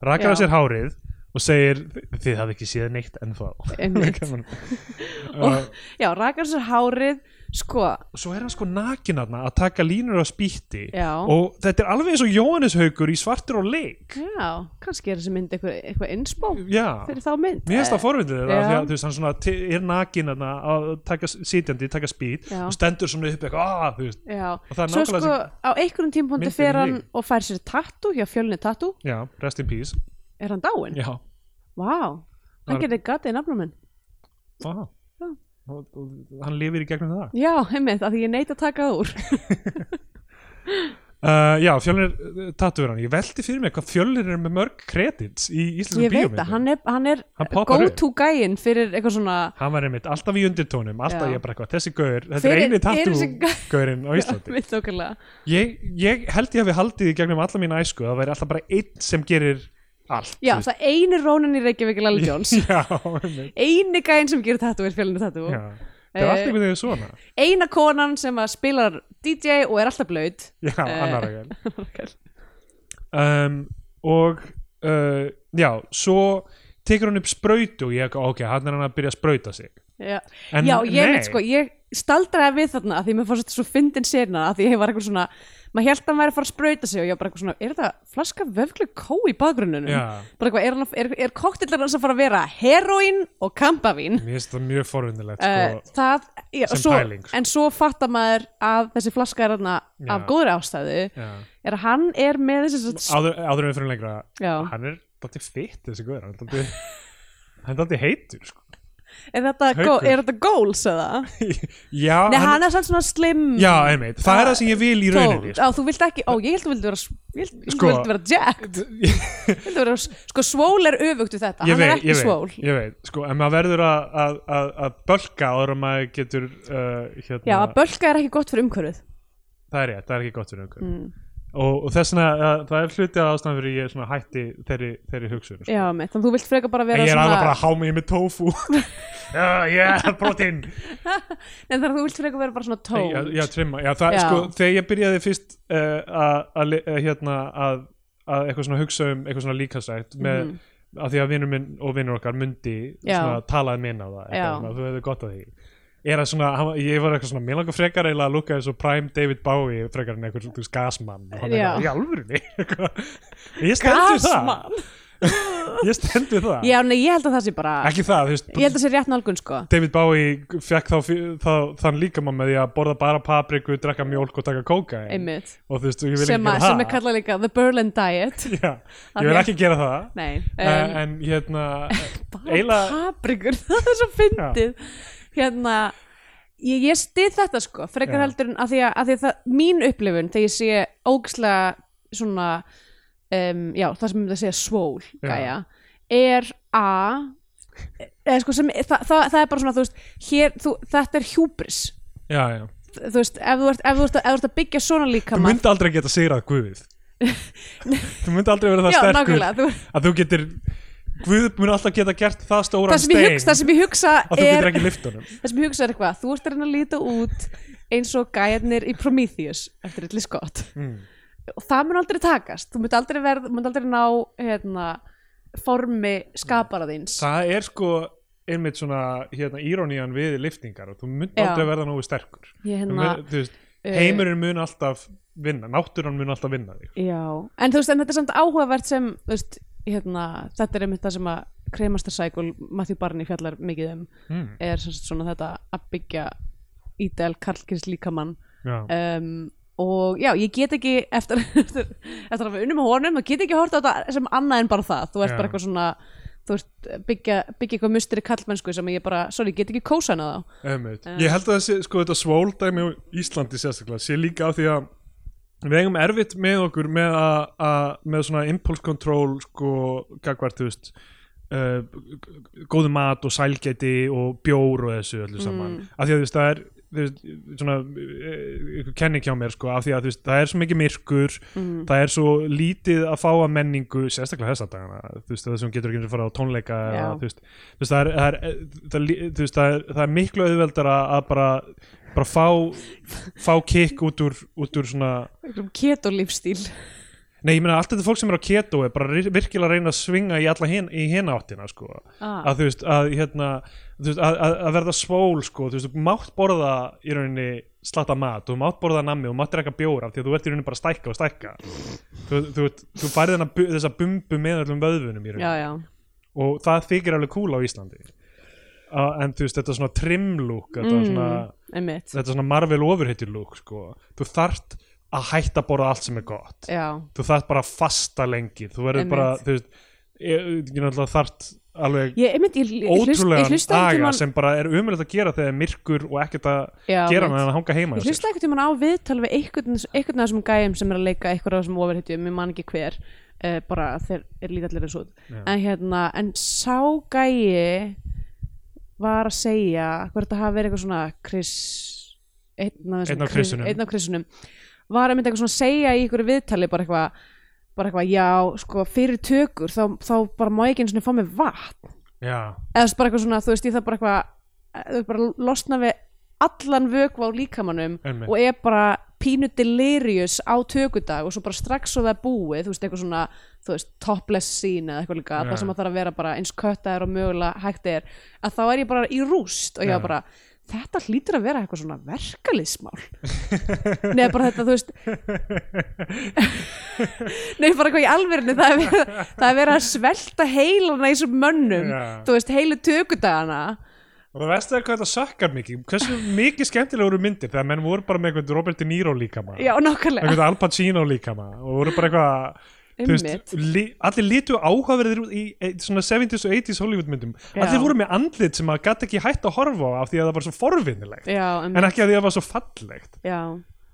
S1: Rakar af
S2: Já.
S1: sér hárið og segir Þið hafi ekki séð neitt ennþá
S2: Einmitt.
S1: Gaman. Uh,
S2: og, já, rakar sér hárið sko,
S1: og svo er hann sko nakin aðna að taka línur á spýtti
S2: Já.
S1: og þetta er alveg eins og Jóhannes haukur í svartur og leik
S2: já, kannski er þessi mynd eitthvað, eitthvað innspó
S1: já,
S2: fyrir þá mynd
S1: mér finnst það forvindið
S2: Já.
S1: þeirra því að þú veist hann svona te- er nakin aðna að taka sitjandi, taka spýt
S2: Já.
S1: og stendur svona upp eitthvað "Ah", þú veist,
S2: Eh, Já,
S1: Og það er
S2: svo
S1: nákvæmlega
S2: sko á einhverjum tímpóndi
S1: myndin
S2: fer
S1: í
S2: hann
S1: mig.
S2: og fær sér tattoo hjá fjölni tattoo,
S1: já, rest in peace
S2: er hann dáinn?
S1: já,
S2: Vá,
S1: Það-
S2: hann getur gatið í nafnum minn
S1: ah.
S2: Já.
S1: Og, og hann lifir í gegnum það
S2: Já, heimitt, að því ég neit að taka það úr
S1: uh, já, fjölnir tattuður hann ég veldi fyrir mig hvað fjölnir er með mörg kredits í íslensku
S2: Ég veit
S1: bíómyndum
S2: það, hann er, hann er
S1: Hann poppar upp.
S2: go-to gæinn fyrir eitthvað svona
S1: Hann var einmitt alltaf í undirtónum, alltaf
S2: Já.
S1: ég bara eitthvað, þessi gaur, þetta
S2: Hver
S1: er
S2: er-
S1: eini
S2: er þessi
S1: tattoo-gaurinn á Íslandi.
S2: Mitt okkarlega
S1: Ég, ég held ég hafi haldið í gegnum alla mína æsku að það væri alltaf bara einn sem gerir allt
S2: Já,
S1: þú veist.
S2: það eini rónin í Reykjavík er Lalli Jones
S1: Já, einmitt,
S2: Eini gæinn sem gerir tattoo er fjölni tattoo
S1: já. Það er allt
S2: Eh,
S1: einhvern veginn svona
S2: Eina konan sem að spilar DJ og er alltaf blöð
S1: Já,
S2: eh,
S1: annar ekki um, Og uh, já, svo tekur hann upp sprautu og ég, ok, hann er hann að byrja að sprauta sig
S2: Já,
S1: En
S2: Já ég,
S1: nei.
S2: veit, sko, ég staldraði við þarna af því mér fannst þetta svo fyndin sérna af því ég var eitthvað svona maður held að hann væri að fara að sprauta sig og ég var bara eitthvað svona er þetta flaska vöflu kó í bakgrunnunum
S1: Já.
S2: bara eitthvað, er, hann að- er, er koktillar hans að fara að vera heroín og kampavín
S1: Mér finnst það mjög forvindilegt
S2: uh,
S1: sko.
S2: það, já,
S1: sem
S2: svo,
S1: pæling, sko.
S2: en svo fattar maður að þessi flaska er þarna
S1: Já.
S2: af góðri ástæðu
S1: Já.
S2: er að hann er með þessi svo,
S1: áður, áður en við fyrir lengra
S2: Já.
S1: hann er dætti fitt þessi guður hann er dálítið- hann er dætti heitur sko.
S2: er þetta, gó,
S1: Haukur.
S2: er þetta goals eða?
S1: já,
S2: Nei, hann er sann svona slim
S1: já, einmitt, það er það sem ég vil í rauninni
S2: Á, þú vilt ekki, ó, ég held að þú vildi vera ég held að
S1: Sko.
S2: þú vildi vera Jack
S1: sko.
S2: Ég held að vera, sko, svól er öfugt við þetta
S1: ég
S2: hann er
S1: veit,
S2: ekki
S1: ég
S2: svól
S1: veit, ég veit sko, en maður verður að, að, að, að bölka áður en maður getur uh, hérna,
S2: Já, að bölka er ekki gott fyrir umhverfið
S1: það er rétt, það er ekki gott fyrir einhver
S2: Mm.
S1: og, og þess vegna, að, það er hluti að ástæðan fyrir ég svona hætti þeirri, þeirri hugsun sko.
S2: Já, mitt, þannig að þú vilt freka bara
S1: en
S2: vera
S1: ég er alveg bara
S2: svona
S1: að há mig með tofu já, já, protein
S2: En þannig að þú vilt freka vera bara svona
S1: já,
S2: tón
S1: já, trimma, já, það,
S2: Já.
S1: Sko, þegar ég byrjaði fyrst uh, að, að li- eh, hérna, að, að eitthvað svona hugsa um eitthvað svona líkastrækt með mm að því að vinnur minn og vinnur okkar mundi
S2: Mhm. Já.
S1: svona, talaði minn á það
S2: Já.
S1: eitthvað, svona, þú hefur gott af því er að svona, hann, var- ég var eitthvað svona mér langar frekar eiginlega að lúka eins og Prime David Bowie frekar en eitthvað, þú veist, gasmann og hann er
S2: Já.
S1: það, í alvörunni eitthvað. ég stend við það,
S2: Gasmann
S1: ég stend við það
S2: Já, nei, ég held að það sé bara
S1: ekki það, þú veist,
S2: Ég held að það sé rétt nálgun, sko
S1: David Bowie fekk þá, þá þann líkamann með því að borða bara papriku, drekka mjólk og taka kóka
S2: Einmitt
S1: og þú veist, ég vil
S2: sem,
S1: ekki
S2: að-
S1: gera
S2: sem er
S1: það
S2: kallað líka The Berlin Diet
S1: Já, ég vil ekki gera það
S2: Nei,
S1: en,
S2: um,
S1: en hérna
S2: bara
S1: eiginlega
S2: paprikur það er svo fyndið hérna ég, ég stið þetta sko frekar
S1: Já.
S2: heldur en að því að, að, því að það, mín upplifun þegar ég sé ógislega svona um, já, það sem ég myndi að segja svól
S1: Já.
S2: gæja, er að eða sko sem, það, það, það er bara svona þú veist, hér, þú, þetta er hjúbris
S1: já, já.
S2: þú veist, ef þú ert, ef þú ert, að, ef þú ert að byggja svona
S1: þú
S2: líkamann
S1: myndi aldrei geta sigrað Guð þú myndi aldrei vera það
S2: Já,
S1: sterkur
S2: nákvæmlega, þú-
S1: að þú getur Guð mun alltaf geta gert það stóran
S2: það sem ég
S1: stein
S2: hugsa, það sem ég hugsa
S1: að þú
S2: er
S1: getur ekki lift honum
S2: það sem ég hugsa er eitthvað, þú ert að reyna að líta út eins og gæjarnir í Prometheus eftir Ridley Scott
S1: Mm.
S2: og það mun aldrei takast, þú mun aldrei verð mun aldrei ná hérna, formi skapara þíns
S1: það er sko einmitt svona hérna, írónían við liftingar og þú myndi
S2: Já.
S1: aldrei verða nógu sterkur
S2: Ég
S1: Þú
S2: hérna,
S1: mun- þú veist,
S2: eh,
S1: heimurinn mun alltaf vinna, náttúran mun alltaf vinna þig
S2: já, en þú veist, en þetta er samt áhugavert sem, þú veist, hérna þetta er einmitt það sem að Kremasta Cycle Matthew Barney fjallar mikið um,
S1: Mm.
S2: er sem sagt svona þetta að byggja ídel karlkins líkamann
S1: já,
S2: um, og já, ég get ekki eftir, eftir, eftir að við unnum með honum þá get ég ekki hort á þetta sem annað en bara það þú ert
S1: Já.
S2: bara eitthvað svona þú ert eh, byggja, byggja eitthvað musteri kallmennsku sem ég bara, sorry, ég get ekki kósa hana þá
S1: einmitt. Ég held að þessi, sko, þetta svóldæmi á Íslandi sérstaklega sé líka á því að við eigum erfitt með okkur með, að, að, með svona impulse control sko, gagvart, þú veist uh, góðu mat og sælgæti og bjór og þessu öllu saman af því að þú veist, það er þú veist, svona, eh, ykkur kenning hjá mér sko, af því að þú veist, það er svo mikið myrkur það er svo lítið að fá að menningu sérstaklega þessa dagana þú veist, þessum getur ekki einu sinni að fara á tónleika eða,
S2: Já.
S1: þú veist, þú veist, það er, það er, það er, lí- þú veist, það er, það er miklu auðveldar að bara, bara fá fá kikk út úr, út úr svona
S2: einhverjum ketolífstíl
S1: Nei, ég meina allt þetta fólk sem er á keto er bara ri- virkilega að reyna að svinga í alla hin, í hina áttina sko.
S2: Ah.
S1: að þú veist, að, hérna, þú veist að, að, að verða svól sko, þú veist, þú mátt borða í rauninni slatta mat, þú mátt borða nammi, þú mátt reka bjóra því að þú ert í rauninni bara að stækka og stækka þú, þú, þú, þú færði þennan bu- þessa bumbu með öllum vöðvunum í
S2: já,
S1: rauninni
S2: já,
S1: og það þykir alveg kúla á Íslandi uh, en þú veist, þetta svona trimlúk þetta
S2: Mm.
S1: svona
S2: einmitt
S1: þetta svona Marvel ofurhittir lúk sko. þú þart að hætta að borða allt sem er gott
S2: já,
S1: þú þarft bara að fasta lengi þú verður
S2: Einmitt.
S1: bara, þú veist ég, ég náttúrulega þarft alveg
S2: ég, einmitt, ég, ég, hlust, ég
S1: ótrúlegan
S2: hlusta
S1: aga
S2: einhvern tímann
S1: sem bara er umjulegt að gera þegar er myrkur og ekkert að
S2: Já,
S1: gera
S2: einmitt.
S1: með að hanga heima
S2: Ég
S1: hjá sér.
S2: hlusta einhvern tímann á viðtal við einhvern, einhvern af þessum gæjum sem er að leika einhver af þessum ofurhetjum, ég man ekki hver uh, bara þeir er lítallir eins og út.
S1: Já.
S2: en hérna, en sá gæi var að segja hvort þetta hafi verið eitthvað svona kris einn af, þessum
S1: Einn af
S2: kris-
S1: krissunum.
S2: einn af krissunum var einmitt eitthvað svona að segja í einhverju viðtali bara eitthvað bara eitthvað, já, sko, fyrir tökur þá, þá bara má ég ekki einu svona fá mig vatn
S1: Já,
S2: eða þú veist, bara eitthvað svona, þú veist, ég það bara eitthvað eh, þú veist, bara losna við allan vöku á líkamannum
S1: Einmitt.
S2: og er bara pínu delirious á tökudag og svo bara strax svo það er búið þú veist, eitthvað svona, þú veist, topless scene eða eitthvað
S1: Já.
S2: líka, það sem að það er að vera bara eins köttaðir og mögulega hægt er að þá er ég bara í rúst og ég var
S1: Já.
S2: bara þetta hlýtur að vera eitthvað svona verkalismál Nei, bara þetta, þú veist Nei, bara eitthvað í alverinu það er verið, það er verið að svelta heilana í þessum mönnum
S1: Já.
S2: þú veist, heilu tökudagana
S1: og það veist það hvað þetta sökkar mikið hversu mikið skemmtilega voru myndir þegar menn voru bara með einhvern Robert De Niro líkama
S2: Já, nákvæmlega
S1: einhvern Al Pacino líkama og voru bara eitthvað þú
S2: Einmitt.
S1: veist, li, allir litu áhugaverðir út í e, svona 70s og 80s Hollywood myndum
S2: Já.
S1: allir voru með andlit sem að gæti ekki hætt að horfa á af því að það var svo forvinnilegt
S2: Já,
S1: en
S2: um,
S1: ekki að því að það var svo fallegt
S2: já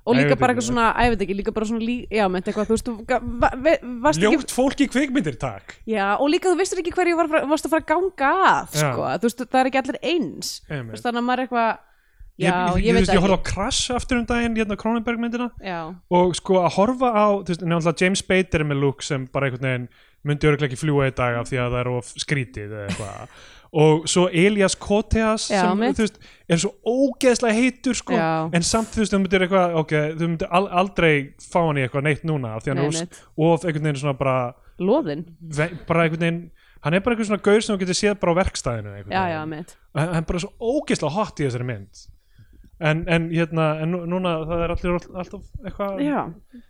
S2: Og
S1: Nei, ég
S2: líka
S1: veit
S2: bara
S1: ekki.
S2: eitthvað svona, að ég veit ekki, líka bara svona, lí, já, með eitthvað, þú veist, þú ga- va- ve- varst ekki,
S1: ljótt fólk í kvikmyndir takk
S2: já, og líka þú veistur ekki hverju var, varst að fara að ganga að,
S1: Já.
S2: sko, þú veist, það er ekki allir eins,
S1: Einmitt.
S2: þú veist, þannig að maður er eitthvað, já,
S1: ég,
S2: ég,
S1: ég, ég,
S2: veit
S1: ég
S2: ekki,
S1: horfði á Crash aftur um daginn hérna Cronenberg myndina
S2: já,
S1: og sko að horfa á þú veist, nefnilega James Spader er með look sem bara einhvern veginn myndi örglega ekki fljúa í dag af því að það er of skrítið eða eitthvað og svo Elias Koteas
S2: Já,
S1: sem
S2: mitt.
S1: þú veist, er svo ógeðslega heitur sko,
S2: Já.
S1: en samt þú veist þú myndir eitthvað, ok, þú myndir al aldrei fá hann í eitthvað neitt núna af því að
S2: Nei,
S1: hann er
S2: mitt.
S1: of- of einhvern veginn svona bara,
S2: loðin,
S1: ve- bara einhvern veginn hann er bara einhvern svona gaur sem þú getur séð bara á verkstæðinu einhvern
S2: já,
S1: veginn.
S2: já, mitt,
S1: hann hann er bara svo ógeðslega hot í þessari mynd en, en hérna en nú- núna það er allir all- alltaf eitthvað
S2: já,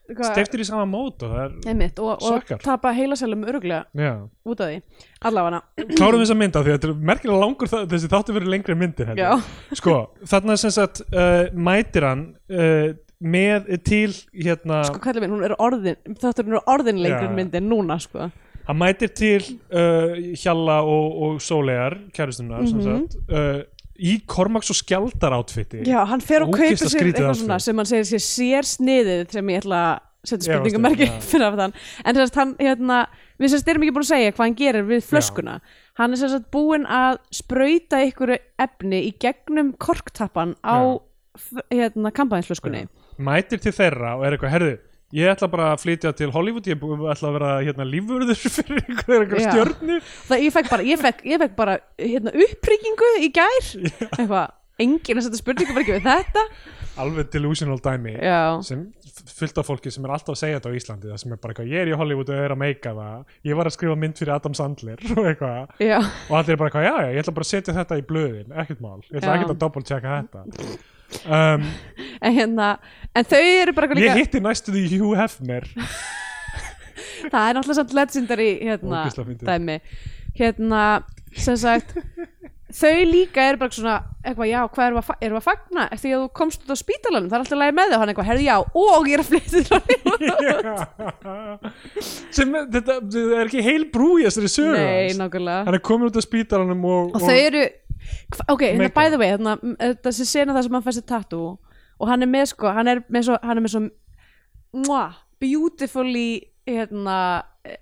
S2: eitthvað-
S1: steiftir í sama mót og það er
S2: einmitt, og, og
S1: Sökkar.
S2: tapa heilasælum öruglega
S1: já.
S2: út af því, allavega,
S1: klárum þessa mynd af því að þetta er merkilega langur það, þessi þáttu verið lengri en myndin held ég.
S2: já,
S1: sko, þarna sem sagt uh, mætir hann uh, með til hérna
S2: sko, kallið minn, hún er orðin, þetta er orðin lengri
S1: Já.
S2: en myndin núna, sko,
S1: hann mætir til uh, Hjalla og, og Sólegar kæristunar
S2: Mhm.
S1: sem sagt uh, í Kormaks og Skjaldar átfitti
S2: Já, hann fer og kaupir
S1: Ógeðslega
S2: sér
S1: skrýtið
S2: eitthvað
S1: aðferð.
S2: svona sem hann segir sér sér sniðið sem ég ætla að setja
S1: Efast um,
S2: spurningamarki
S1: já.
S2: fyrir af þann en þess að hann, hérna, við sérst erum ekki búin að segja hvað hann gerir við flöskuna hann er sérst að búin að sprauta einhverju efni í gegnum korktappan á, f- hérna, kampaðinsflöskunni
S1: mætir til þeirra og er eitthvað, herðu ég ætla bara að flytja til Hollywood ég bú- ætla að vera hérna lífurður fyrir einhverja einhver
S2: Já.
S1: stjörnu
S2: það ég fekk bara, ég fekk, ég fekk bara hérna, uppryggingu í gær eitthvað, enginn að setja spurningamarki við þetta
S1: alveg delusional dæmi
S2: Já.
S1: sem f- fullt af fólki sem er alltaf að segja þetta á Íslandi það sem er bara eitthvað, ég er í Hollywood og er að meika það ég var að skrifa mynd fyrir Adam Sandler og eitthvað
S2: Já,
S1: og allir er bara eitthvað, já, já, ég ætla bara að setja þetta í blöðin ekkert mál, ég ætla
S2: Já.
S1: ekkert að double checka þetta um,
S2: en hérna en þau eru bara eitthvað líka
S1: ég hitti næstu því Hugh Hefner
S2: það er náttúrulega samt legendary hérna,
S1: Ógeðslega fyndið.
S2: dæmi hérna, sem sagt þau líka eru bara svona eitthvað, já, hvað erum við að, fa- erum við að fagna því að þú komst út á spítalanum, það er alltaf lægi með þau og hann eitthvað, herðu já, og ég er að flytja þér á
S1: sem þetta, þetta er ekki heil brú í þessari sögu sko.
S2: Nei,
S1: hans.
S2: nákvæmlega
S1: hann er komin út af spítaranum og,
S2: og þau eru, hva- ok, hérna
S1: Make-up.
S2: by the way hérna, m- þessi sena það sem hann fær sér tattoo og hann er með sko, hann er með svo hann er með svo mwah, beautifully hérna,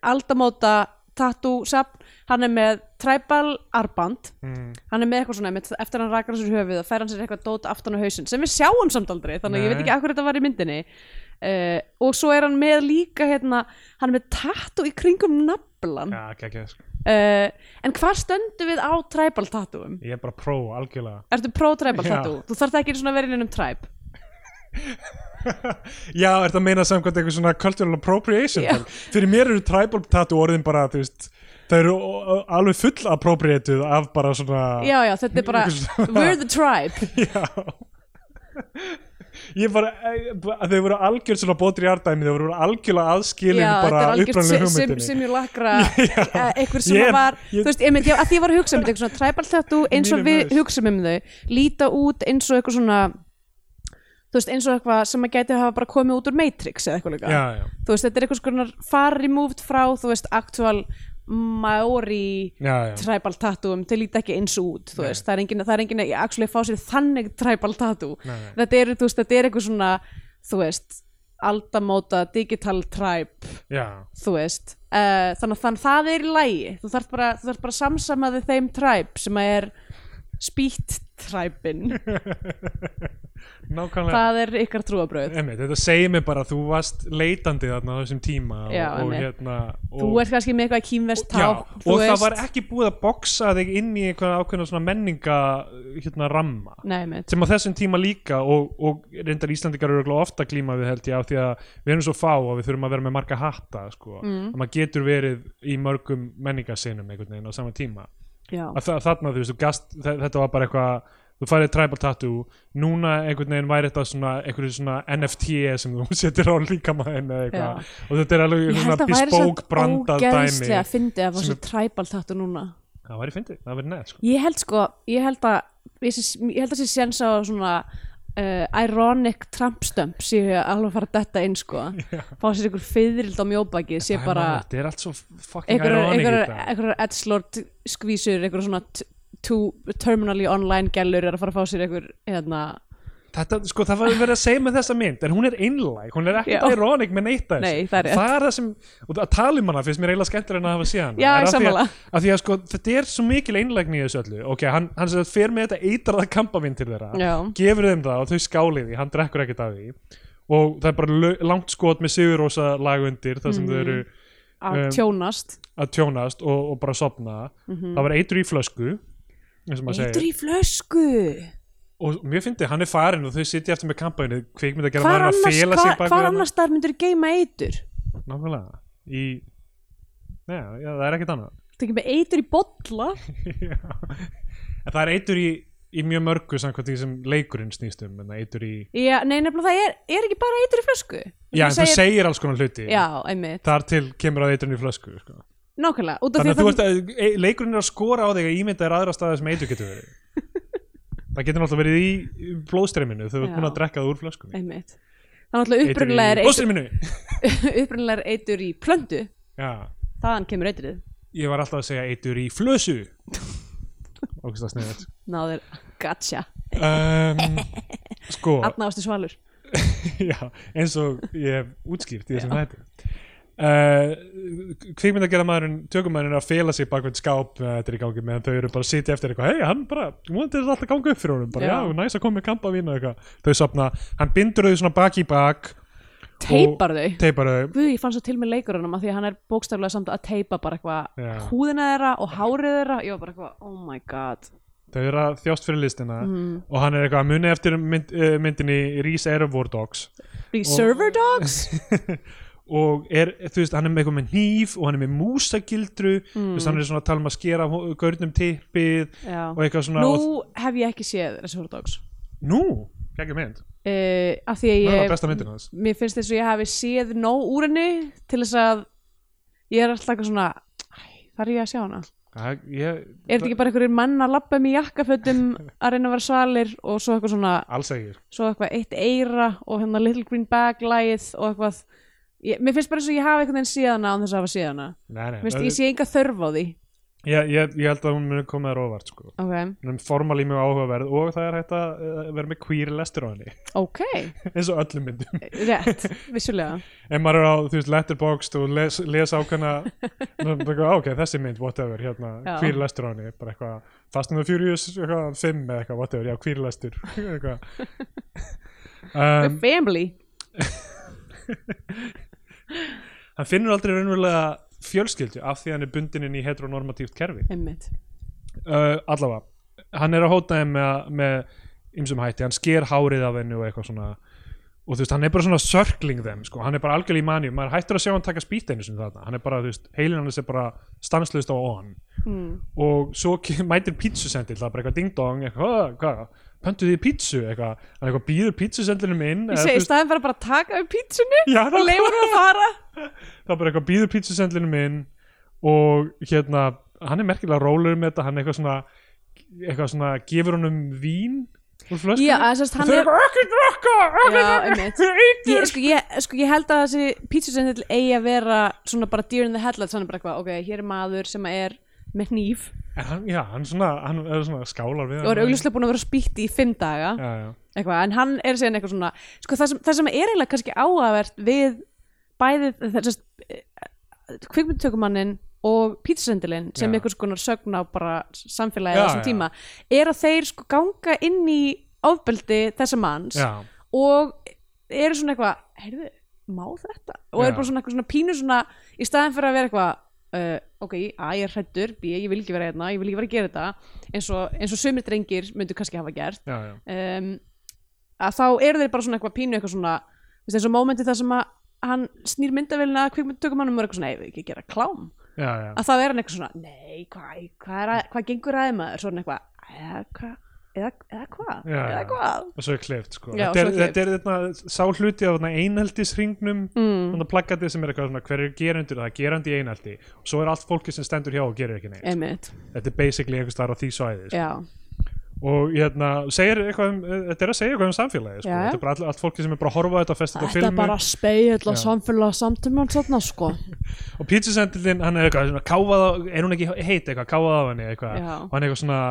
S2: aldamóta tattoo safn, hann er með tribal arband
S1: mm,
S2: hann er með eitthvað svona, einmitt, eftir að hann rakar sér höfuð og fær hann sér eitthvað dót aftan á hausinn sem við sjáum samt aldrei, þannig að ég
S1: Nei.
S2: veit ekki akkur þetta var í myndinni uh, og svo er hann með líka hérna, hann er með tattu í kringum naflan
S1: ja, ekki, ekki, sko.
S2: uh, en hvað stöndum við á tribal tattúum?
S1: ég er bara pró, algjörlega
S2: Ertu pro-tribal
S1: Já.
S2: tattú? Þú þarft ekki einu svona að vera innum tribe
S1: já, er þetta að meina samkvæmt eitthvað svona cultural appropriation
S2: Já.
S1: yeah. fyrir mér eru tribal tattoo orðin bara þú veist, það eru ó- ó- alveg full appropriatuð af bara svona
S2: Já, já, þetta er bara,
S1: Eitthvað svona.
S2: we're the tribe
S1: Já Ég bara, eh, bara- þau voru algjör svona bótri í ardæmi, þau voru algjörlega aðskilin
S2: Já, þetta
S1: bara
S2: er
S1: upprænlega
S2: algjörst sem,
S1: hugmyndinni
S2: sem ég lakra
S1: Já.
S2: eitthvað eh, sem
S1: Ég-
S2: var,
S1: ég-
S2: þú veist, ég myndi, að því ég var að hugsa um þetta, eitthvað svona tribal tattoo eins og
S1: Mínum
S2: við
S1: haus.
S2: hugsaum um þau, líta út eins og eitthvað svona þú veist, eins og eitthvað sem að gæti hafa bara komið út úr Matrix eða eitthvað líka,
S1: Já, já,
S2: þú veist, þetta er eitthvað skonar far removed frá, þú veist, actual Maori
S1: já, já.
S2: tribal tattooum, þau líta ekki eins og út þú veist, það er enginn, það er enginn að actually fá sér þannig tribal tattoo
S1: Nei, nei.
S2: þetta er, þú veist, þetta er eitthvað svona þú veist, aldamóta digital tribe,
S1: já.
S2: þú veist uh, þannig að þann, það er í lægi þú þarft bara, þú þarft bara að samsama þig þeim tribe sem að er spýtt tribin,
S1: Nákvæmlega,
S2: það er ykkar trúabröð
S1: emmi, þetta segir mér bara að þú varst leitandi þarna á þessum tíma og,
S2: Já,
S1: og
S2: einmitt.
S1: hérna og,
S2: þú ert kannski með eitthvað
S1: já,
S2: kýmvest tá,
S1: og
S2: þú
S1: það
S2: veist
S1: var ekki búið að boxa þig inn í einhverja ákveðna svona menninga hérna ramma
S2: Nei, mitt,
S1: sem á þessum tíma líka og, og reyndar Íslandingar eru örugglega ofta glíma við held ég af því að við erum svo fá og við þurfum að vera með marga hatta sko, mm. að maður getur verið í mörgum menningarsinum einhvern veginn á sama tíma
S2: já,
S1: að þa- þarna þú veist, þú gast, þe- þetta var bara eitthvað þú færið tribal tattoo, núna einhvern veginn væri þetta svona, einhverju svona NFT E sem þú setir á líkamaðin eða
S2: Já.
S1: eitthvað, og þetta er alveg
S2: ég
S1: svona
S2: held að væri
S1: bespoke
S2: samt
S1: brandað dæmi
S2: ógeðslega að fyndi að það var
S1: sem
S2: svo tribal tattoo núna
S1: það væri fyndið, það væri neð sko.
S2: Ég held sko, ég held að ég, sé- ég held að sé séns á svona uh, ironic Trump stump séu alveg að fara að detta inn sko fá sér einhver fyðrild á mjóbakið
S1: Það
S2: sé
S1: er
S2: bara
S1: maður, þetta er allt svo fucking
S2: einhverjar-
S1: ironic í
S2: einhverjar e-
S1: dag
S2: einhverjar edgelord skvísur einhverjar svona t- two terminally online gælur er að fara að fá sér einhver hérna,
S1: Þetta, sko, það var verið að segja með þessa mynd en hún er einlæg, hún er ekkert
S2: Já.
S1: ironic með neitt að
S2: Nei, það er rétt.
S1: það er það sem, og að tala um hana finnst mér eiginlega skemmtur en að hafa síðan
S2: Já, ég sammála.
S1: af því að sko, þetta er svo mikil einlægni í þessu öllu, ok, hann, hann sem sagt fer með þetta eitrað kampavinn til þeirra
S2: já,
S1: gefur þeim það og þau skálið því, hann drekkur ekkert af því og það er bara lau- langt skot með sigurósa lag undir þar sem þau
S2: Mhm.
S1: eru
S2: að
S1: Um,
S2: tjónast
S1: að tjónast og, og bara sopna það var eitur í flösku eins og maður segir.
S2: Mhm. Eitur í flösku
S1: og mjög fyndið, hann er farin og þau sitja eftir með kampavinu kvikmynd að gera
S2: Hvar
S1: maður að
S2: annars,
S1: fela
S2: hva,
S1: sig bak
S2: hvar
S1: við hana.
S2: annars þar myndur geima eitur?
S1: nákvæmlega í já, já, það er ekkert annað
S2: Það er ekki með eitur í bolla
S1: Já. en það er eitur í, í mjög mörgu samkvæmt því sem leikurinn snýst um en það eitur í,
S2: Já, nei, nefnilega það er, er ekki bara eitur í flösku
S1: já en
S2: segir-
S1: þú segir alls konar hluti
S2: Já, einmitt,
S1: þar til kemur að eiturinn í flösku sko.
S2: nákvæmlega út af
S1: þannig að þú
S2: því
S1: ert að, e, leikurinn er að skora á þig að ímynda er aðra staði sem eitur getur verið það getur náttúrulega verið í blóðstreyminu þegar þú ert
S2: Já.
S1: búin að drekka það úr flöskunni
S2: Einmitt Það er náttúrulega
S1: Eitur í
S2: upprunlega
S1: blóðstreyminu
S2: er eitur, upprunlega er eitur í plöndu
S1: já
S2: Þaðan kemur eitrið
S1: Ég var alltaf að segja eitur í flösu Ógust að sniðið
S2: Náður, gotcha
S1: um, Sko,
S2: Atna ástu svalur
S1: já, eins og ég hef útskýrt í þessum hætti Uh, kvikmynd að gera maðurinn tökumæðurinn er að fela sig bak við skáp uh, þetta er í gangi meðan þau eru bara að sitja eftir eitthvað hei, hann bara, múnandi er alltaf að ganga upp fyrir honum bara,
S2: Já.
S1: já, næs að koma með kampa vín og eitthvað þau sopna, hann bindur þau svona bak í bak
S2: Teipar þau
S1: teipar þau,
S2: Guð, ég fann svo til með leikurunum að því að hann er bókstaflega samt að teipa bara eitthvað
S1: Já.
S2: húðina þeirra og hárið þeirra Ég var bara eitthvað, oh my god
S1: þau eru að þjást fyrir listina
S2: Mm.
S1: og hann er eitthvað að muni eftir mynd, uh, myndinni Rís Air of War Dogs
S2: Reserver dogs?
S1: og er, þú veist, hann er með eitthvað með hníf og hann er með músagildru
S2: Mm.
S1: þú veist, hann er svona að tala um að skera hó- gaurnum tippið
S2: Já
S1: og eitthvað svona og,
S2: Nú hef ég ekki séð Reserver dogs
S1: nú, ekki mynd,
S2: uh, af því að
S1: það er
S2: ég
S1: það besta myndin hans
S2: mér finnst þess að ég hafi séð nóg úr henni til þess að ég er alltaf eitthvað svona æ, þar er ég að sjá hana
S1: Já, Það- ég,
S2: er þetta ekki bara einhverjir mann að lappa með jakkafötum að reyna að vera svalir og svo eitthvað svona
S1: alls ekki
S2: svo eitthvað eitt eira og hérna Little Green Bag lagið og eitthvað ég, mér finnst bara eins og ég hafi einhvern veginn síðana án þess að hafa síðana
S1: nei, nei,
S2: Mér finnst
S1: það-
S2: ég sé enga þörf á því
S1: ég, ég, ég held að hún muni koma þér óvart sko.
S2: ok,
S1: Hún er formalí mjög áhugaverð og það er hægt að eh, vera með queer lestur á henni
S2: ok,
S1: eins og öllum myndum
S2: rétt, vissulega
S1: ef maður er á þú veist, letterboxd og les, les ákveðna svona, bara, "Ah, ok, þessi mynd, whatever hérna,
S2: Já.
S1: queer lestur á henni bara eitthvað Fast and the Furious, eitthvað, 5 eða eitthvað, whatever, já, queer lestur eitthvað
S2: The
S1: um,
S2: family
S1: hann finnur aldrei raunverulega fjölskyldu af því að hann er bundin inn í heteronormatíft kerfi
S2: einmitt,
S1: uh, allavega, hann er að hóta þeim með, með ymsum hætti, hann sker hárið af henni og eitthvað svona og þú veist, hann er bara svona circling þeim sko. hann er bara algjörlega í manju, maður er hættur að sjá hann taka spýteinu sem þarna, hann er bara, þú veist, heilin hann er bara stanslust á on
S2: mm.
S1: og svo ke- mætir pítsusendil það er bara eitthvað ding-dong, eitthvað, "Hva, hvað pöntu því pítsu, eitthvað, hann eitthvað býður pítsusendilum inn
S2: ég
S1: eða, þú
S2: segi í staðin bara bara að taka við pítsunni
S1: já,
S2: og
S1: það-
S2: leifa hún að fara
S1: það er bara eitthvað býður pítsusendlinum inn og hérna hann er merkilega rólegur með þetta hann eitthvað svona, eitthvað svona gefur honum vín úr flösku
S2: já, að sérst
S1: og
S2: hann
S1: þau
S2: er
S1: eru ekki drakka ekki
S2: Já,
S1: drekka,
S2: einmitt.
S1: þau eitur."
S2: Ég, sko, ég, sko, ég held að þessi pítsusendil eigi að vera svona bara deer in the headlights hann er bara eitthvað, ok, hér er maður sem er með hníf
S1: en hann, já, hann svona, hann er svona skálar við
S2: og er
S1: hann.
S2: augljóslega búin að vera spýtt í fimm daga
S1: já, já.
S2: eitthvað, en hann er síðan eitthvað svona sko, það, sem, það sem er eiginlega kannski áhugavert við bæði þessast kvikmyndtökumannin og pítsasendilinn sem
S1: Já.
S2: einhvers konar sögn á bara samfélagi
S1: Já,
S2: á þessum
S1: já.
S2: tíma er að þeir sko ganga inn í ofbeldi þessa manns
S1: Já.
S2: og eru svona eitthvað heyrðu, má þetta? og
S1: Já.
S2: eru bara svona eitthvað svona pínu svona í staðin fyrir að vera eitthvað Uh, ok, a, ég er hrættur, b, ég vil ekki vera hérna ég vil ekki vera að gera þetta eins og, eins og sumir drengir myndu kannski hafa gert
S1: Já, já.
S2: um, að þá eru þeir bara svona eitthvað pínu eitthvað svona, þú veist eins og mómenti þar sem að hann snýr myndavélina kvikmyndtökum hann um eitthvað svona, eða ekki gera klám
S1: Já, já.
S2: að þá er hann eitthvað svona, nei, hvað hva er að, hvað gengur aðeim maður, svona eitthvað eða hvað, eða, eða hvað
S1: Já,
S2: eða
S1: já.
S2: hvað,
S1: og svo er kleift sko.
S2: Já,
S1: þetta, er,
S2: svo er kleift.
S1: þetta er þetta sá hluti af þarna einheldisringnum mm. þannig plakatið sem er eitthvað svona hver er gerendur, það er gerandi í einheldi og svo er allt fólki sem stendur hjá og gerir ekki neitt
S2: einmitt
S1: þetta er basically einhvers þar á því svæði sko.
S2: já,
S1: og hérna, segir eitthvað um, eh, þetta er að segja eitthvað um samfélagi sko.
S2: Já, já.
S1: þetta er bara all, allt fólki sem er bara að horfa á þetta og festa þetta á
S2: þetta
S1: filmu
S2: bara speil
S1: Já.
S2: að samfélag samtímann svona sko
S1: og pítsusendilinn, hann er eitthvað svona káfað á, er hún ekki heit eitthvað, káfað á henni eitthvað
S2: Já.
S1: og hann er eitthvað svona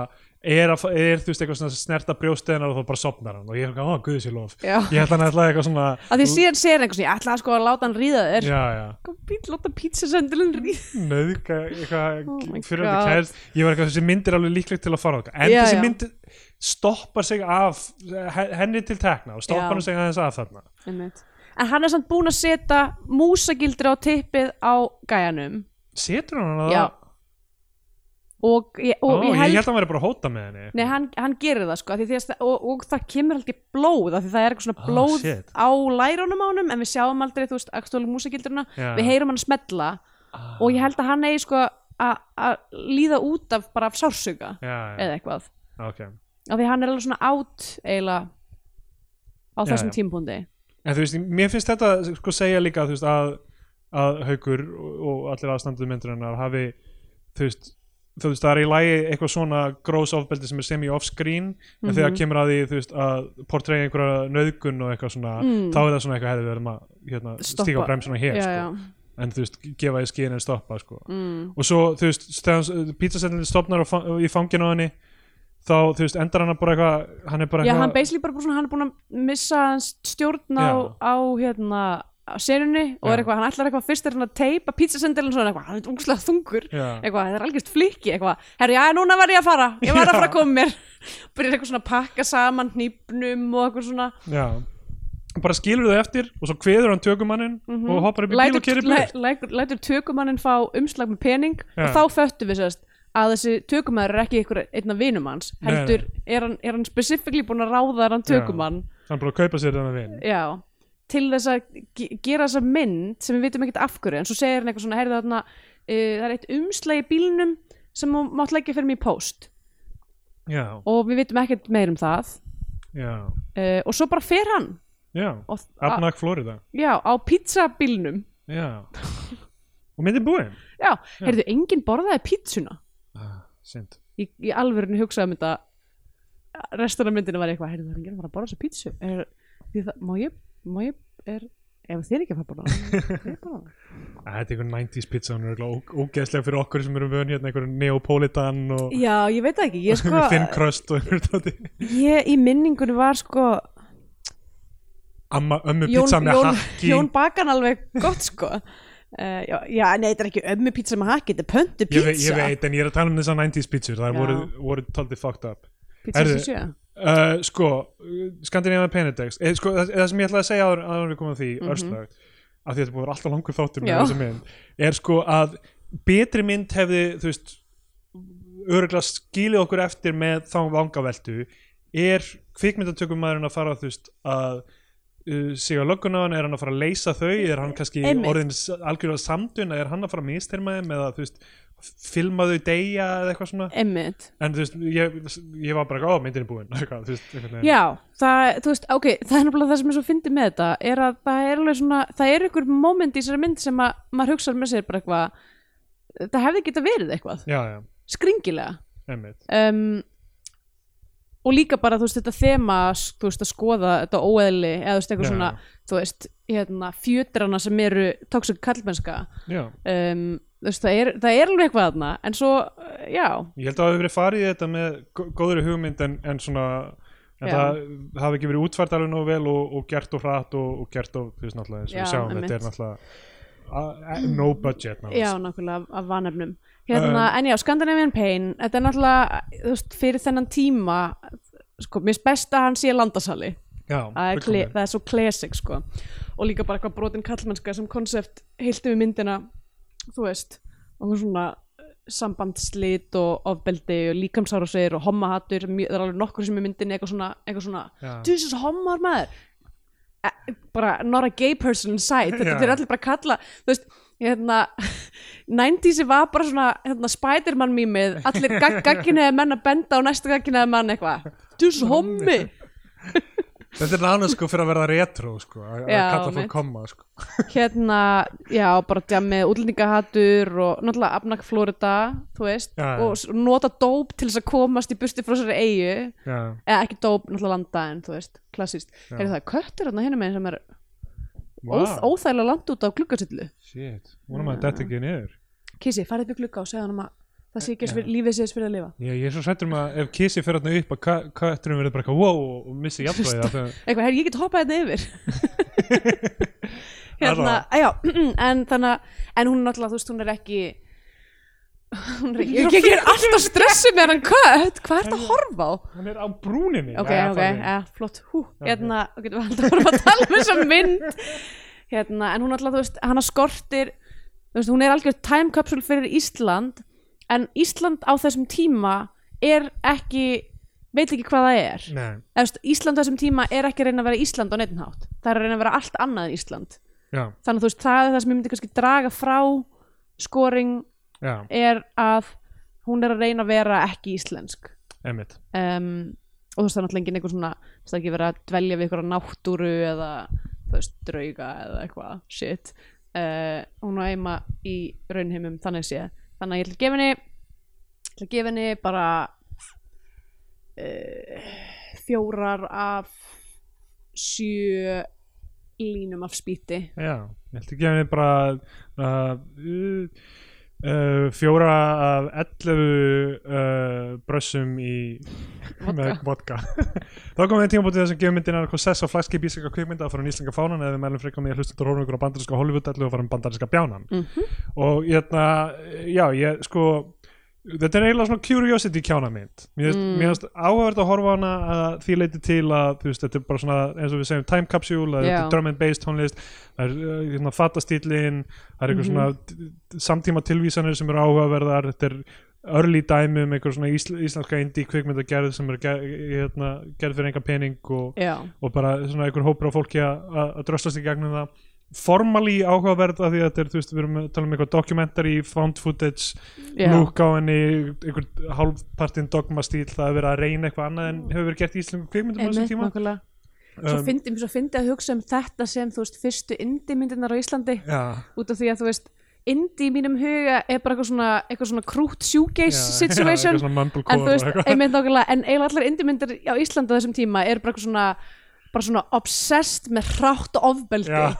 S1: er, að, fa- er þú veist eitthvað svona snerta brjósteðinar og þá bara sopnar hann og ég er eitthvað, ó, guði sér lof
S2: Já.
S1: ég held hann ætlaði eitthvað svona
S2: að því síðan segir hann eitthvað svona, ég ætla sko að láta hann ríða þér
S1: já, já,
S2: bíl, láta pítsasendilinn ríða
S1: nöðka eitthvað
S2: Oh my
S1: fyrir þetta
S2: God.
S1: kæðist ég var eitthvað, þessi mynd er alveg líklegt til að fara þangað. en
S2: Já,
S1: þessi
S2: já.
S1: mynd stoppar sig af eh, henni til tekna og
S2: Já.
S1: stoppar hann sig aðeins af þarna
S2: Einmitt. En hann er samt búinn að setja músagildri á tippið á gæjanum
S1: setur hann að
S2: Já.
S1: það
S2: og ég, og
S1: Ó,
S2: ég held,
S1: að hann væri bara að hóta með henni
S2: Nei, hann, hann gerir það sko af því því að, og, og það kemur aldrei blóð af því það er eitthvað svona
S1: Ah,
S2: blóð
S1: shit.
S2: á lærónum ánum en við sjáum aldrei, þú veist, aktuáli músagildruna
S1: Já.
S2: við heyrum hann smetla
S1: Ah.
S2: og ég held að hann eigi sko að að líða út af bara af sársuga
S1: já, já,
S2: eða eitthvað
S1: ok
S2: af því hann er alveg svona átt eiginlega á
S1: Já,
S2: þessum
S1: já.
S2: tímpúndi
S1: en þú veist, mér finnst þetta sko segja líka þú veist að, að haukur og, og allir aðstanduð myndurinnar hafi þú veist þú veist, það er í lagi eitthvað svona gross ofbeldi sem er semi offscreen en þegar
S2: Mhm.
S1: kemur að því, þú veist, að portreyja einhverja nöðgun og eitthvað svona
S2: Mm.
S1: þá er það svona eitthvað hefði verðum að hérna,
S2: Stoppa.
S1: stíga á bremsuna hér,
S2: já,
S1: sko
S2: já.
S1: en þú veist, gefa í skinn en stoppa, sko
S2: Mm.
S1: og svo þú veist, þegar pítsasendin stopnar á fa- í fanginu á henni þá þú veist, endar hann að bara eitthvað hann er bara
S2: Já,
S1: eitthvað
S2: hann basically bara bara svona, hann er búinn að missa hans stjórn á,
S1: Já.
S2: á hérna á senunni og
S1: Já.
S2: er eitthvað, hann ætlar eitthvað fyrst er hann að teipa pítsasendilin svona eitthvað, hann er ungslega þungur
S1: Já.
S2: eitthvað, þetta er algjörst fliki eitthvað, herru, já, núna var ég að fara ég var
S1: Já.
S2: að fara að koma mér byrjar eitthvað svona að pakka saman hnýpnum og eitthvað svona
S1: Já bara skilur þau eftir og svo kveður hann tökumanninn og hoppar upp í bíl og
S2: Mhm. lætur,
S1: kerir
S2: læ-
S1: burt
S2: lætur, lætur tökumannin fá umslag með pening
S1: Já.
S2: og þá föttum við sérst að þessi tökumæður er ekki einhver einna vinum hans
S1: Nei, nei.
S2: heldur er hann, er hann specifíkli búin að ráða hann
S1: Já.
S2: tökumann
S1: hann er bara að kaupa sér þennan vin
S2: já, til þess að ge- gera þessa mynd sem við vitum ekkert af hverju en svo segir hann eitthvað svona, heyrðu þarna uh, það er eitt umslag í bílnum sem hún mátt leggja fyrir mig í post
S1: já,
S2: og við vitum ekkert meir um það
S1: já,
S2: uh, og svo bara fer hann
S1: já
S2: og, a,
S1: Abnak Florida
S2: já, á pizzabílnum
S1: já. og myndin búin
S2: já, heyrðu, enginn borðaði pizzuna
S1: já, Sint.
S2: ég, ég alvörinu hugsaði um þetta restan af myndinu var eitthvað heyrðu það er enginn að fara að borða þessa pítsu er, því það, má ég, má ég, er ef þið er ekki að fara að borða hana, má ég borða hana?
S1: Æ, Þetta er einhver 90s pizza hún er örugglega ó- ógeðslega fyrir okkur sem eru vön hérna einhver neopolitan og
S2: já, ég veit það ekki ég, sko,
S1: einhver thin crust og einhver tóti
S2: ég í minningunni var sko
S1: Amma, ömmu
S2: Jón,
S1: pizza með
S2: Jón,
S1: hakki
S2: Jón bakan alveg gott sko uh, já, já, nei, þetta er ekki ömmu pizza með hakki, þetta er pöntu
S1: ég,
S2: pizza
S1: veit, ég veit, en ég er að tala um þessar 90s pizzur það
S2: Já.
S1: voru, voru taldið fucked up
S2: pizza
S1: Herðu,
S2: sem sjö
S1: Uh, sko, Skandinavian Penedex eða sko, það, það sem ég ætlaði að segja áður, áður en við komum að því mm
S2: Mhm.
S1: af því að þetta búið að vera alltaf langur þáttur með
S2: Já.
S1: þessa mynd, er sko að betri mynd hefði, þú veist öruglega skilið okkur eftir með þá vangaveltu er kvikmyndatökum maðurinn að fara þú veist að uh, siga löggunan, er hann að fara að leysa þau er hann kannski
S2: Einmitt.
S1: orðin s- algjörlega samdun er hann að fara að mistyrma þeim eða þú veist, filma þau deyja eða eitthvað svona
S2: emmitt
S1: en þú veist, ég, ég var bara á myndinni búin eitthvað, þú veist, einhvern veginn
S2: Já, það, þú veist, ok, það er náttúrulega það sem er svo fyndið með þetta, er að það er alveg svona, það er einhver moment í þessari mynd sem að maður hugsar með sér bara eitthvað, það hefði geta verið eitthvað,
S1: já, já,
S2: skringilega.
S1: einmitt
S2: Um, og líka bara, þú veist, þetta þema, þú veist, að skoða þetta óeðli, eða þú veist, eitthvað
S1: Já,
S2: svona, þú veist, hérna, fjötrana sem eru tóksik kallmennska,
S1: já.
S2: um, þú veist, það er, það er alveg eitthvað þarna, en svo, uh, já,
S1: ég held að það hafi verið farið í þetta með gó- góðri hugmynd en, en svona en
S2: Já.
S1: það hafi ekki verið útfært alveg nógu vel og, og gert og hratt og, og gert og þú veist náttúrulega eins og
S2: Já,
S1: við sjáum
S2: einmitt.
S1: þetta er náttúrulega a- a- no budget
S2: Já,
S1: náttúrulega
S2: nákvæmlega af- af vanefnum hérna, En já, Scandinavian Pain Þetta er náttúrulega, þú veist, fyrir þennan tíma sko, mér finnst best að hann sé landasali
S1: já,
S2: það er, kle,
S1: fullkomlega.
S2: það er svo classic, sko og líka bara eitthvað brotin kallmennska sem konsept heilt yfir myndina þú veist, og hún svona eh, sambandslit og ofbeldi og líkamsárásir og hommahattur mjö- það er alveg nokkur sem er myndinni eitthvað svona, eitthvað svona
S1: Já.
S2: þú veist þessu hommar maður Eh, bara not a gay person inside þetta
S1: Já.
S2: þeir allir bara kalla þú veist, hérna 90s var bara svona hérna, Spiderman mýmið, allir gag gagginniða menn að benda og næsta gagginniða mann eitthvað þú veist þessu hommi
S1: þetta er nána sko fyrir að verða retro sko, að að
S2: Já,
S1: kalla fólk
S2: einmitt.
S1: koma sko.
S2: hérna, já, bara djamið útlendingahattur og náttúrulega Abnak Florida, þú veist
S1: Já, já.
S2: og s- nota dóp til þess að komast í burti frá þessari eigu,
S1: já,
S2: eða ekki dóp náttúrulega landa en, þú veist, klassist er það köttur hérna hérna meginn sem er wow. óþægilega langt út á gluggasillu
S1: shit, vonum að þetta ekki niður
S2: Kissi, farið upp í glugga og segja hann um að það sé ekki eins fyrir, lífið sé eins fyrir að lifa
S1: Já, ég er svo sættur um að ef Kissi fer hérna upp að ka- kötturinn verður bara eitthvað wow og missi jafnvægi af því að-
S2: eitthvað, herri, ég get hoppað hérna yfir hérna,
S1: Allavega.
S2: að já, en þannig að en hún náttúrulega, þú veist, hún er ekki hún er ekki,
S1: Ég er á
S2: ég, ég er alltaf stressið með hann kött, hvað er þetta að horfa á?
S1: Hann er á brúninni
S2: ok,
S1: Jæja,
S2: ok, eh.
S1: farðu.
S2: ja, flott hú,
S1: Já,
S2: hérna, ok, við haldum bara að tala um þessa mynd hérna, en hún alltaf, þú veist, hana skortir þú veist, hún er algjör time capsule fyrir Ísland, en Ísland á þessum tíma er ekki veit ekki hvað það er
S1: Nei,
S2: Eða, þú veist, Ísland á þessum tíma er ekki að reyna að vera Ísland á neittn hátt, það er að reyna að vera allt annað en Ísland,
S1: já,
S2: þannig að þú veist, það er það sem ég myndi kannski draga frá skoring
S1: já,
S2: er að hún er að reyna að vera ekki íslensk
S1: emitt
S2: um, og þú veist það er náttúrulega enginn einhver svona þú veist það er ekki verið að dvelja við einhverja náttúru eða þú veist drauga eða eitthvað shit uh, hún á eima í raunheimum þannig sé þannig að ég ætla að gefa henni ég ætla að gefa henni bara uh, fjórar af sjö línum af spýti
S1: Já, ég held ekki að við bara uh, uh, uh, fjóra af 11 uh, brössum í með vodka Þá komum við tíma bútið þessum gefmyndin er eitthvað sess á flagskip íslenska kvikmynda að fara um íslenska fánan eða við mælum frekkum í að hlusta til rónum ykkur á bandarinska Hollywood ætlu og fara um bandarinska bjánan
S2: -hmm.
S1: og hérna, já, ég sko þetta er eiginlega svona curiosity kjána mynd mér finnst
S2: Mm.
S1: mm. áhverð að horfa á hana að því leiti til að þú veist, þetta er bara svona eins og við segjum time capsule, það er
S2: Já.
S1: yeah. drum and bass tónlist það er uh, hérna, fatastýlin það er einhver
S2: Mhm.
S1: svona samtíma tilvísanir sem eru áhugaverðar þetta er early dæmi um einhver svona ísl, íslenska indie kvikmyndagerð sem er ger, hérna, gerð fyrir enga pening og,
S2: já,
S1: og bara svona einhver hópur á fólki að- að að dröslast í gegnum það formali áhugaverð af því að þetta er, þú veist, við erum að tala um eitthvað documentary, found footage
S2: já.
S1: lúk á henni, einhver hálfpartinn dogma stíl, það hefur verið að reyna eitthvað annað en hefur verið gert í íslenskum kvikmyndum á þessum
S2: Einmitt,
S1: tíma
S2: nákvæmlega. Svo
S1: um,
S2: fyndi, svo fyndi að hugsa um þetta sem þú veist fyrstu indimyndirnar á Íslandi
S1: já,
S2: út af því að þú veist indie í mínum huga er bara eitthvað svona, eitthvað svona krútt sjúgeis situation
S1: svona
S2: en þú
S1: mumblecore
S2: veist,
S1: og eitthvað
S2: einmitt nákvæmlega en eiginlega allar indimyndir á Íslandi á þessum tíma er bara eitthvað svona bara svona obsessed með hrátt ofbeldi
S1: Já.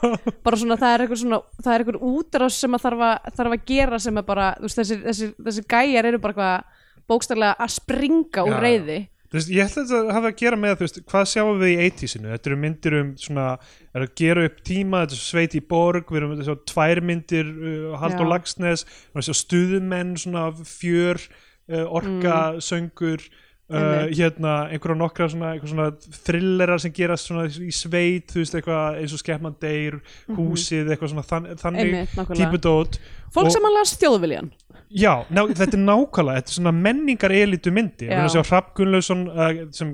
S2: bara svona það er eitthvað svona það er eitthvað útrás sem að þarf að, þarf að gera sem er bara, þú veist, þessir, þessir, þessir gæjar eru bara eitthvað bókstarlega að springa úr
S1: Já, já.
S2: reyði
S1: Þú veist, ég ætla að þetta hafa að gera með þú veist, hvað sjáum við í 80-sinu, þetta eru myndir um svona, er að gera upp tíma þetta er svo sveit í borg, við erum að sjá tvær myndir, uh, Haldur
S2: Já.
S1: Lagsnes við erum að sjá stuðumenn, svona fjör, uh, orka, söngur uh,
S2: Mm. Einmitt.
S1: hérna einhverja nokkra svona, einhver svona thrillerar sem gerast svona í sveit, þú veist, eitthvað eins og skemmand deyr, húsið, eitthvað svona þann, þannig
S2: Mhm. Einmitt, nákvæmlega.
S1: típudót
S2: fólk
S1: Og-
S2: sem að las þjóðviljan
S1: Já, ná, þetta er nákvæmlega, þetta er svona menningar elitu myndi, við erum að
S2: Já.
S1: sjá Hrafn Gunnlausson uh, sem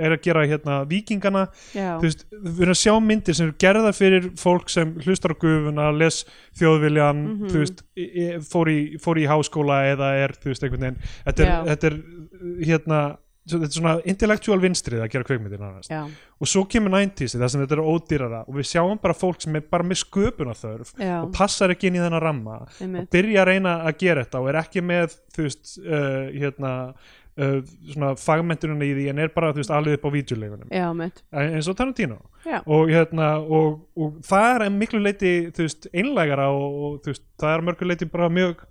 S1: er að gera hérna vikingana,
S2: já,
S1: þú veist, við erum að sjá myndir sem eru gerðar fyrir fólk sem hlustar á gufuna, les þjóðviljan,
S2: Mhm.
S1: þú veist, e- e- fór í, fór í háskóla eða er, þú veist, einhvern veginn, þetta er,
S2: Já.
S1: þetta er hérna, svo- þetta er svona intellectual vinstrið að gera kveikmyndir nánast
S2: já,
S1: og svo kemur 90s það sem þetta er ódýrara og við sjáum bara fólk sem er bara með sköpunarþörf
S2: Já.
S1: og passar ekki inn í þennan ramma
S2: Einmitt.
S1: og byrja að reyna að gera þetta og er ekki með þú veist uh, hérna uh, svona fagmentununa í því en er bara þú veist alveg upp á vídjuleikunum
S2: já, mitt
S1: eins og Tarantino
S2: já,
S1: og hérna og, og það er að miklu leiti þú veist einlægara og, og þú veist það er að mörgu leiti bara mjög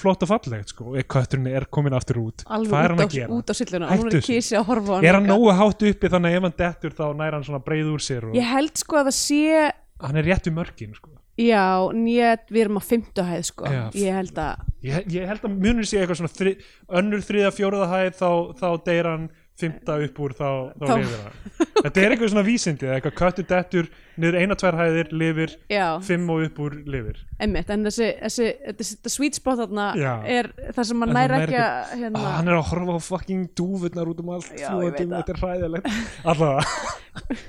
S1: flott og fallegt sko, kötturinn er komin aftur út hvað er hann að
S2: alveg út á,
S1: gera?
S2: út á silluna
S1: Hættu
S2: og hún er
S1: þessu.
S2: kísi að horfa á
S1: er hann
S2: líka.
S1: nógu hátt uppi þannig að ef hann dettur þá nær hann svona breið úr sér og
S2: ég held sko að það sé
S1: hann er rétt við mörkin sko.
S2: já, nýjað, við erum á fymtuhæð sko,
S1: Já.
S2: ég held að
S1: ég, ég held að munur sé eitthvað svona þri, önnur þriða fjóruða hæð þá, þá deyr hann fymta upp úr þá, þá,
S2: Þá-
S1: lifir hann þetta er eitthvað svona vísindi eða eitthvað köttur dettur niður eina tvær hæðir lifir
S2: já,
S1: fimm og upp úr lifir
S2: Einmitt, en þessi, þessi, þessi, þessi sweet spot þarna
S1: Já.
S2: er það sem maður
S1: En
S2: næri
S1: hann
S2: ekki að hérna,
S1: ah, hann er að horfa á fucking dúfurnar út um allt
S2: Já, ég
S1: fljóðum,
S2: veit það.
S1: þetta er hræðilegt allavega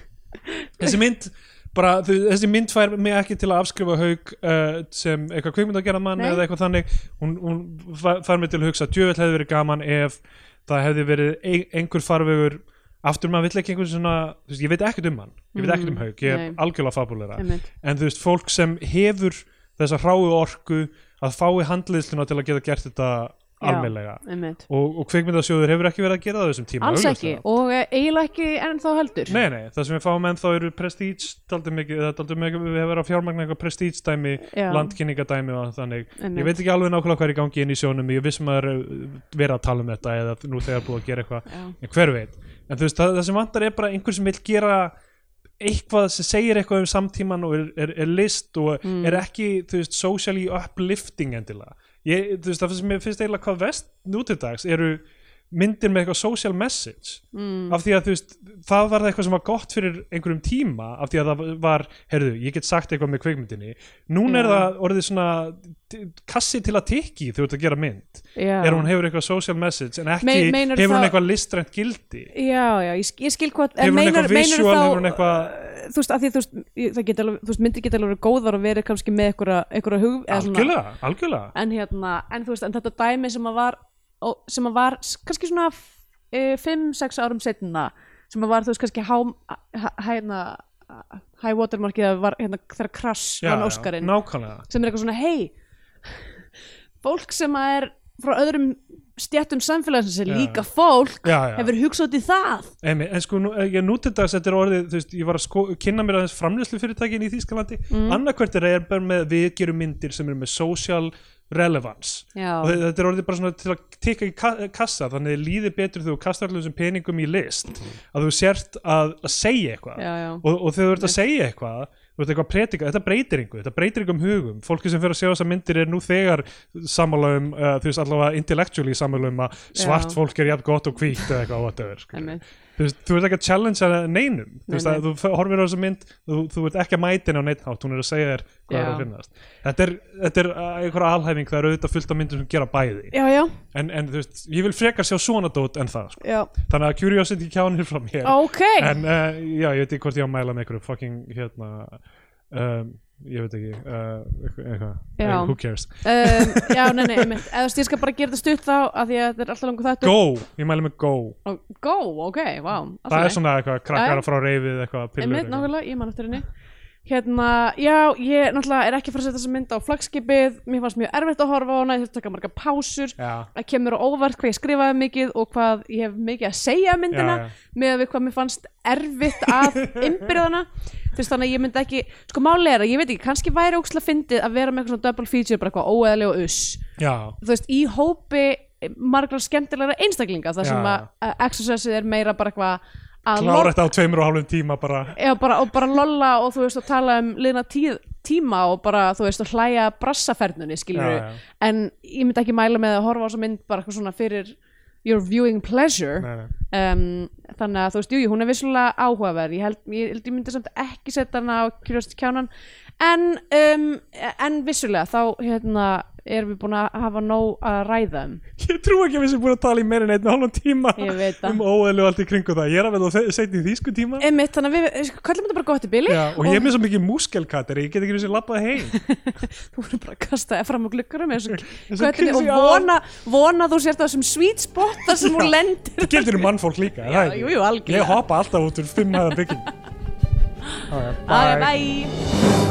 S1: þessi mynd bara, þú- þessi mynd fær mig ekki til að afskrifa haug uh, sem eitthvað kvikmynd að gera mann
S2: Nei.
S1: eða eitthvað þannig hún, hún fa- fær mig til að hugsa að djöfell hefði verið gaman ef það hefði verið ein, einhver farvegur aftur maður vill ekki einhvern svona þú veist, ég veit ekkert um hann, ég veit ekkert um haug ég er
S2: Mm, Nei.
S1: algjörlega fabulera
S2: Einmitt.
S1: en þú veist, fólk sem hefur þessa hráu orku að fái handliðsluna til að geta gert þetta almennlega
S2: einmitt.
S1: og, og kveikmyndasjóður hefur ekki verið að gera það á þessum tíma
S2: alls ekki
S1: augljóslega.
S2: og eh, eiginlega ekki ennþá heldur
S1: Nei, nei, það sem við fáum ennþá eru prestige daldum mikið, það daldum mikið, við hefur að fjármagna eitthvað prestige dæmi,
S2: Já.
S1: landkynningadæmi og þannig,
S2: Einmitt.
S1: ég veit ekki alveg nákvæmlega hvað er í gangi inn í sjónum, ég vissum að það er uh, verið að tala um þetta eða nú þegar búið að gera eitthvað,
S2: Já.
S1: en hver veit en þú veist, það, það sem vantar er bara einhver sem vil gera eitthvað sem segir eitthvað um samtíman og er, er, er list og er ekki, þú veist, socially uplifting endilega, ég, þú veist, það sem mér finnst eiginlega hvað vest nútidags eru myndir með eitthvað social message mm. af því að þú veist, það var það eitthvað sem var gott fyrir einhverjum tíma af því að það var, heyrðu, ég get sagt eitthvað með kveikmyndinni, núna er
S2: Já.
S1: það orðið svona t- kassi til að tikki þú ert að gera mynd,
S2: Já.
S1: er hún hefur eitthvað social message en ekki,
S2: Me- meinar
S1: hefur hún
S2: þá-
S1: eitthvað listrænt gildi
S2: já, já, ég, sk- ég skil hvað en
S1: hefur hún
S2: meinar-
S1: eitthvað
S2: meinar
S1: visual,
S2: þá-
S1: hefur hún eitthvað
S2: þú veist, að því þú veist, ég- það geta alveg, þú veist, myndir geta alveg verið góðar og verið kannski með einhverja, einhverja hug eða svona-
S1: algjörlega, algjörlega
S2: en hérna, en þú veist, en þetta dæmi sem að var, ó- sem að var s- kannski svona 5-6 árum setna, sem að var þú veist kannski há, hæ- hérna high watermarkið að var hérna þegar krass
S1: Já,
S2: hann
S1: já,
S2: Óskarinn,
S1: nákvæmlega
S2: sem er eitthvað svona hei, fólk sem að er frá öðrum stjættum samfélagsins er
S1: Já.
S2: líka fólk
S1: Já, já.
S2: hefur hugsað út í það
S1: Emi, en sko, nú, ég núti dags þetta er orðið, þú veist, ég var að sko, kynna mér aðeins framlýslufyrirtækin í Þýskalandi mm. annarkvært er að ég er bara með, við gerum myndir sem eru með social relevance
S2: Já.
S1: og þe- þetta er orðið bara svona til að tikka í ka kassa, þannig að þér líði betur þegar þú kastar allir þessum peningum í list að þú sért að, að segja eitthvað
S2: Mhm. Já, já.
S1: Og, og þegar þú ert að segja eitthvað þú ert eitthvað að predika, þetta breytir einhver, þetta breytir einhver um hugum, fólki sem fyrir að sjá þessar myndir er nú þegar sammála um, uh, þú veist allavega intellectually sammála um að svart
S2: Já.
S1: fólk er jafn gott og hvítt eða eitthvað whatever, skilur.
S2: Einmitt.
S1: þú veist, þú ert ekki að challengea neinum, þú veist að
S2: Einmitt.
S1: þú f- horfir á þessa mynd, þú, þú ert ekki að mæta henni á neitt hátt, hún er að segja þér hvað er
S2: Já.
S1: að finnast þetta er, þetta er uh, einhverja alhæfing, það eru auðvitað fullt af myndum sem gera bæði
S2: já, já,
S1: en, en þú veist, ég vil frekar sjá svona dót en það, sko.
S2: já
S1: þannig að curiosity kjánir frá mér
S2: ok,
S1: en uh, já, ég veit ekki hvort ég á að mæla með einhverju fucking hérna um, ég veit ekki uh, eitthvað, eitthvað.
S2: Já.
S1: Eh, who cares,
S2: um, já, nei, nei, einmitt eða þú veist, ég skal bara gera þetta stutt þá af því að þetta er alltaf langur þáttur
S1: go, ég mæla með go
S2: Ó, Go, ok, wow
S1: það er svona eitthvað krakkar
S2: Jæja.
S1: frá reyfið eitthvað pillur
S2: Einmitt,
S1: eitthvað.
S2: nákvæmlega, ég man eftir henni hérna, já, ég náttúrulega er ekki að fara að setja þessa mynd á flagskipið mér fannst mjög erfitt að horfa á hana, ég þurfti að taka marga pásur
S1: Já,
S2: það kemur á óvart hvað ég skrifaði mikið og hvað ég hef mikið að segja um myndina
S1: Já, já.
S2: með að við hvað mér fannst erfitt að innbyrðana þess þannig að ég myndi ekki, sko máli er að ég veit ekki kannski væri ókslega fyndið að vera með eitthvað svona double feature, bara eitthvað óeðlega og uss
S1: já,
S2: þú veist, í hópi margar skemmtilegra einstaklinga þar sem
S1: Já.
S2: að að exercise er meira bara eitthvað að
S1: klára þetta á tveimur og hálfum tíma bara
S2: Já, bara, og bara lolla og þú veist að tala um liðna tíð, tíma og bara þú veist að hlæja að brassaferðnunni skilur
S1: Já, já.
S2: en ég myndi ekki mæla með að horfa á þessa mynd bara eitthvað svona fyrir your viewing pleasure
S1: nei, nei.
S2: um, þannig að þú veist, jú, jú, hún er vissulega áhugaverð ég held, ég, held ég myndi samt ekki setja hana á Curiosity kjánan en, um, en vissulega þá hérna erum við búin að hafa nóg að ræða um
S1: Ég trú ekki að við sem búin að tala í meira en einn og hálfum tíma
S2: Ég veit það.
S1: um óeðlu og allt í kringu það Ég er að verða að setja í þýsku tíma
S2: Einmitt, þannig að við, kallum þetta bara gott í bili
S1: Já, og ég er með svo mikið múskelkater ég get ekki einu sinni labbað heim
S2: þú voru bara að kasta þér fram á glukkarum eins og
S1: og
S2: köttinni og
S1: kissi á.
S2: vona, vona þú sért á þessum sweet spot þar sem hún lendir
S1: Það gildir um mannfólk líka er
S2: Já,
S1: það ekki?
S2: jú, jú, algjörlega.
S1: Ég hoppa alltaf út úr fimm hæða bygging
S2: Æ, bye.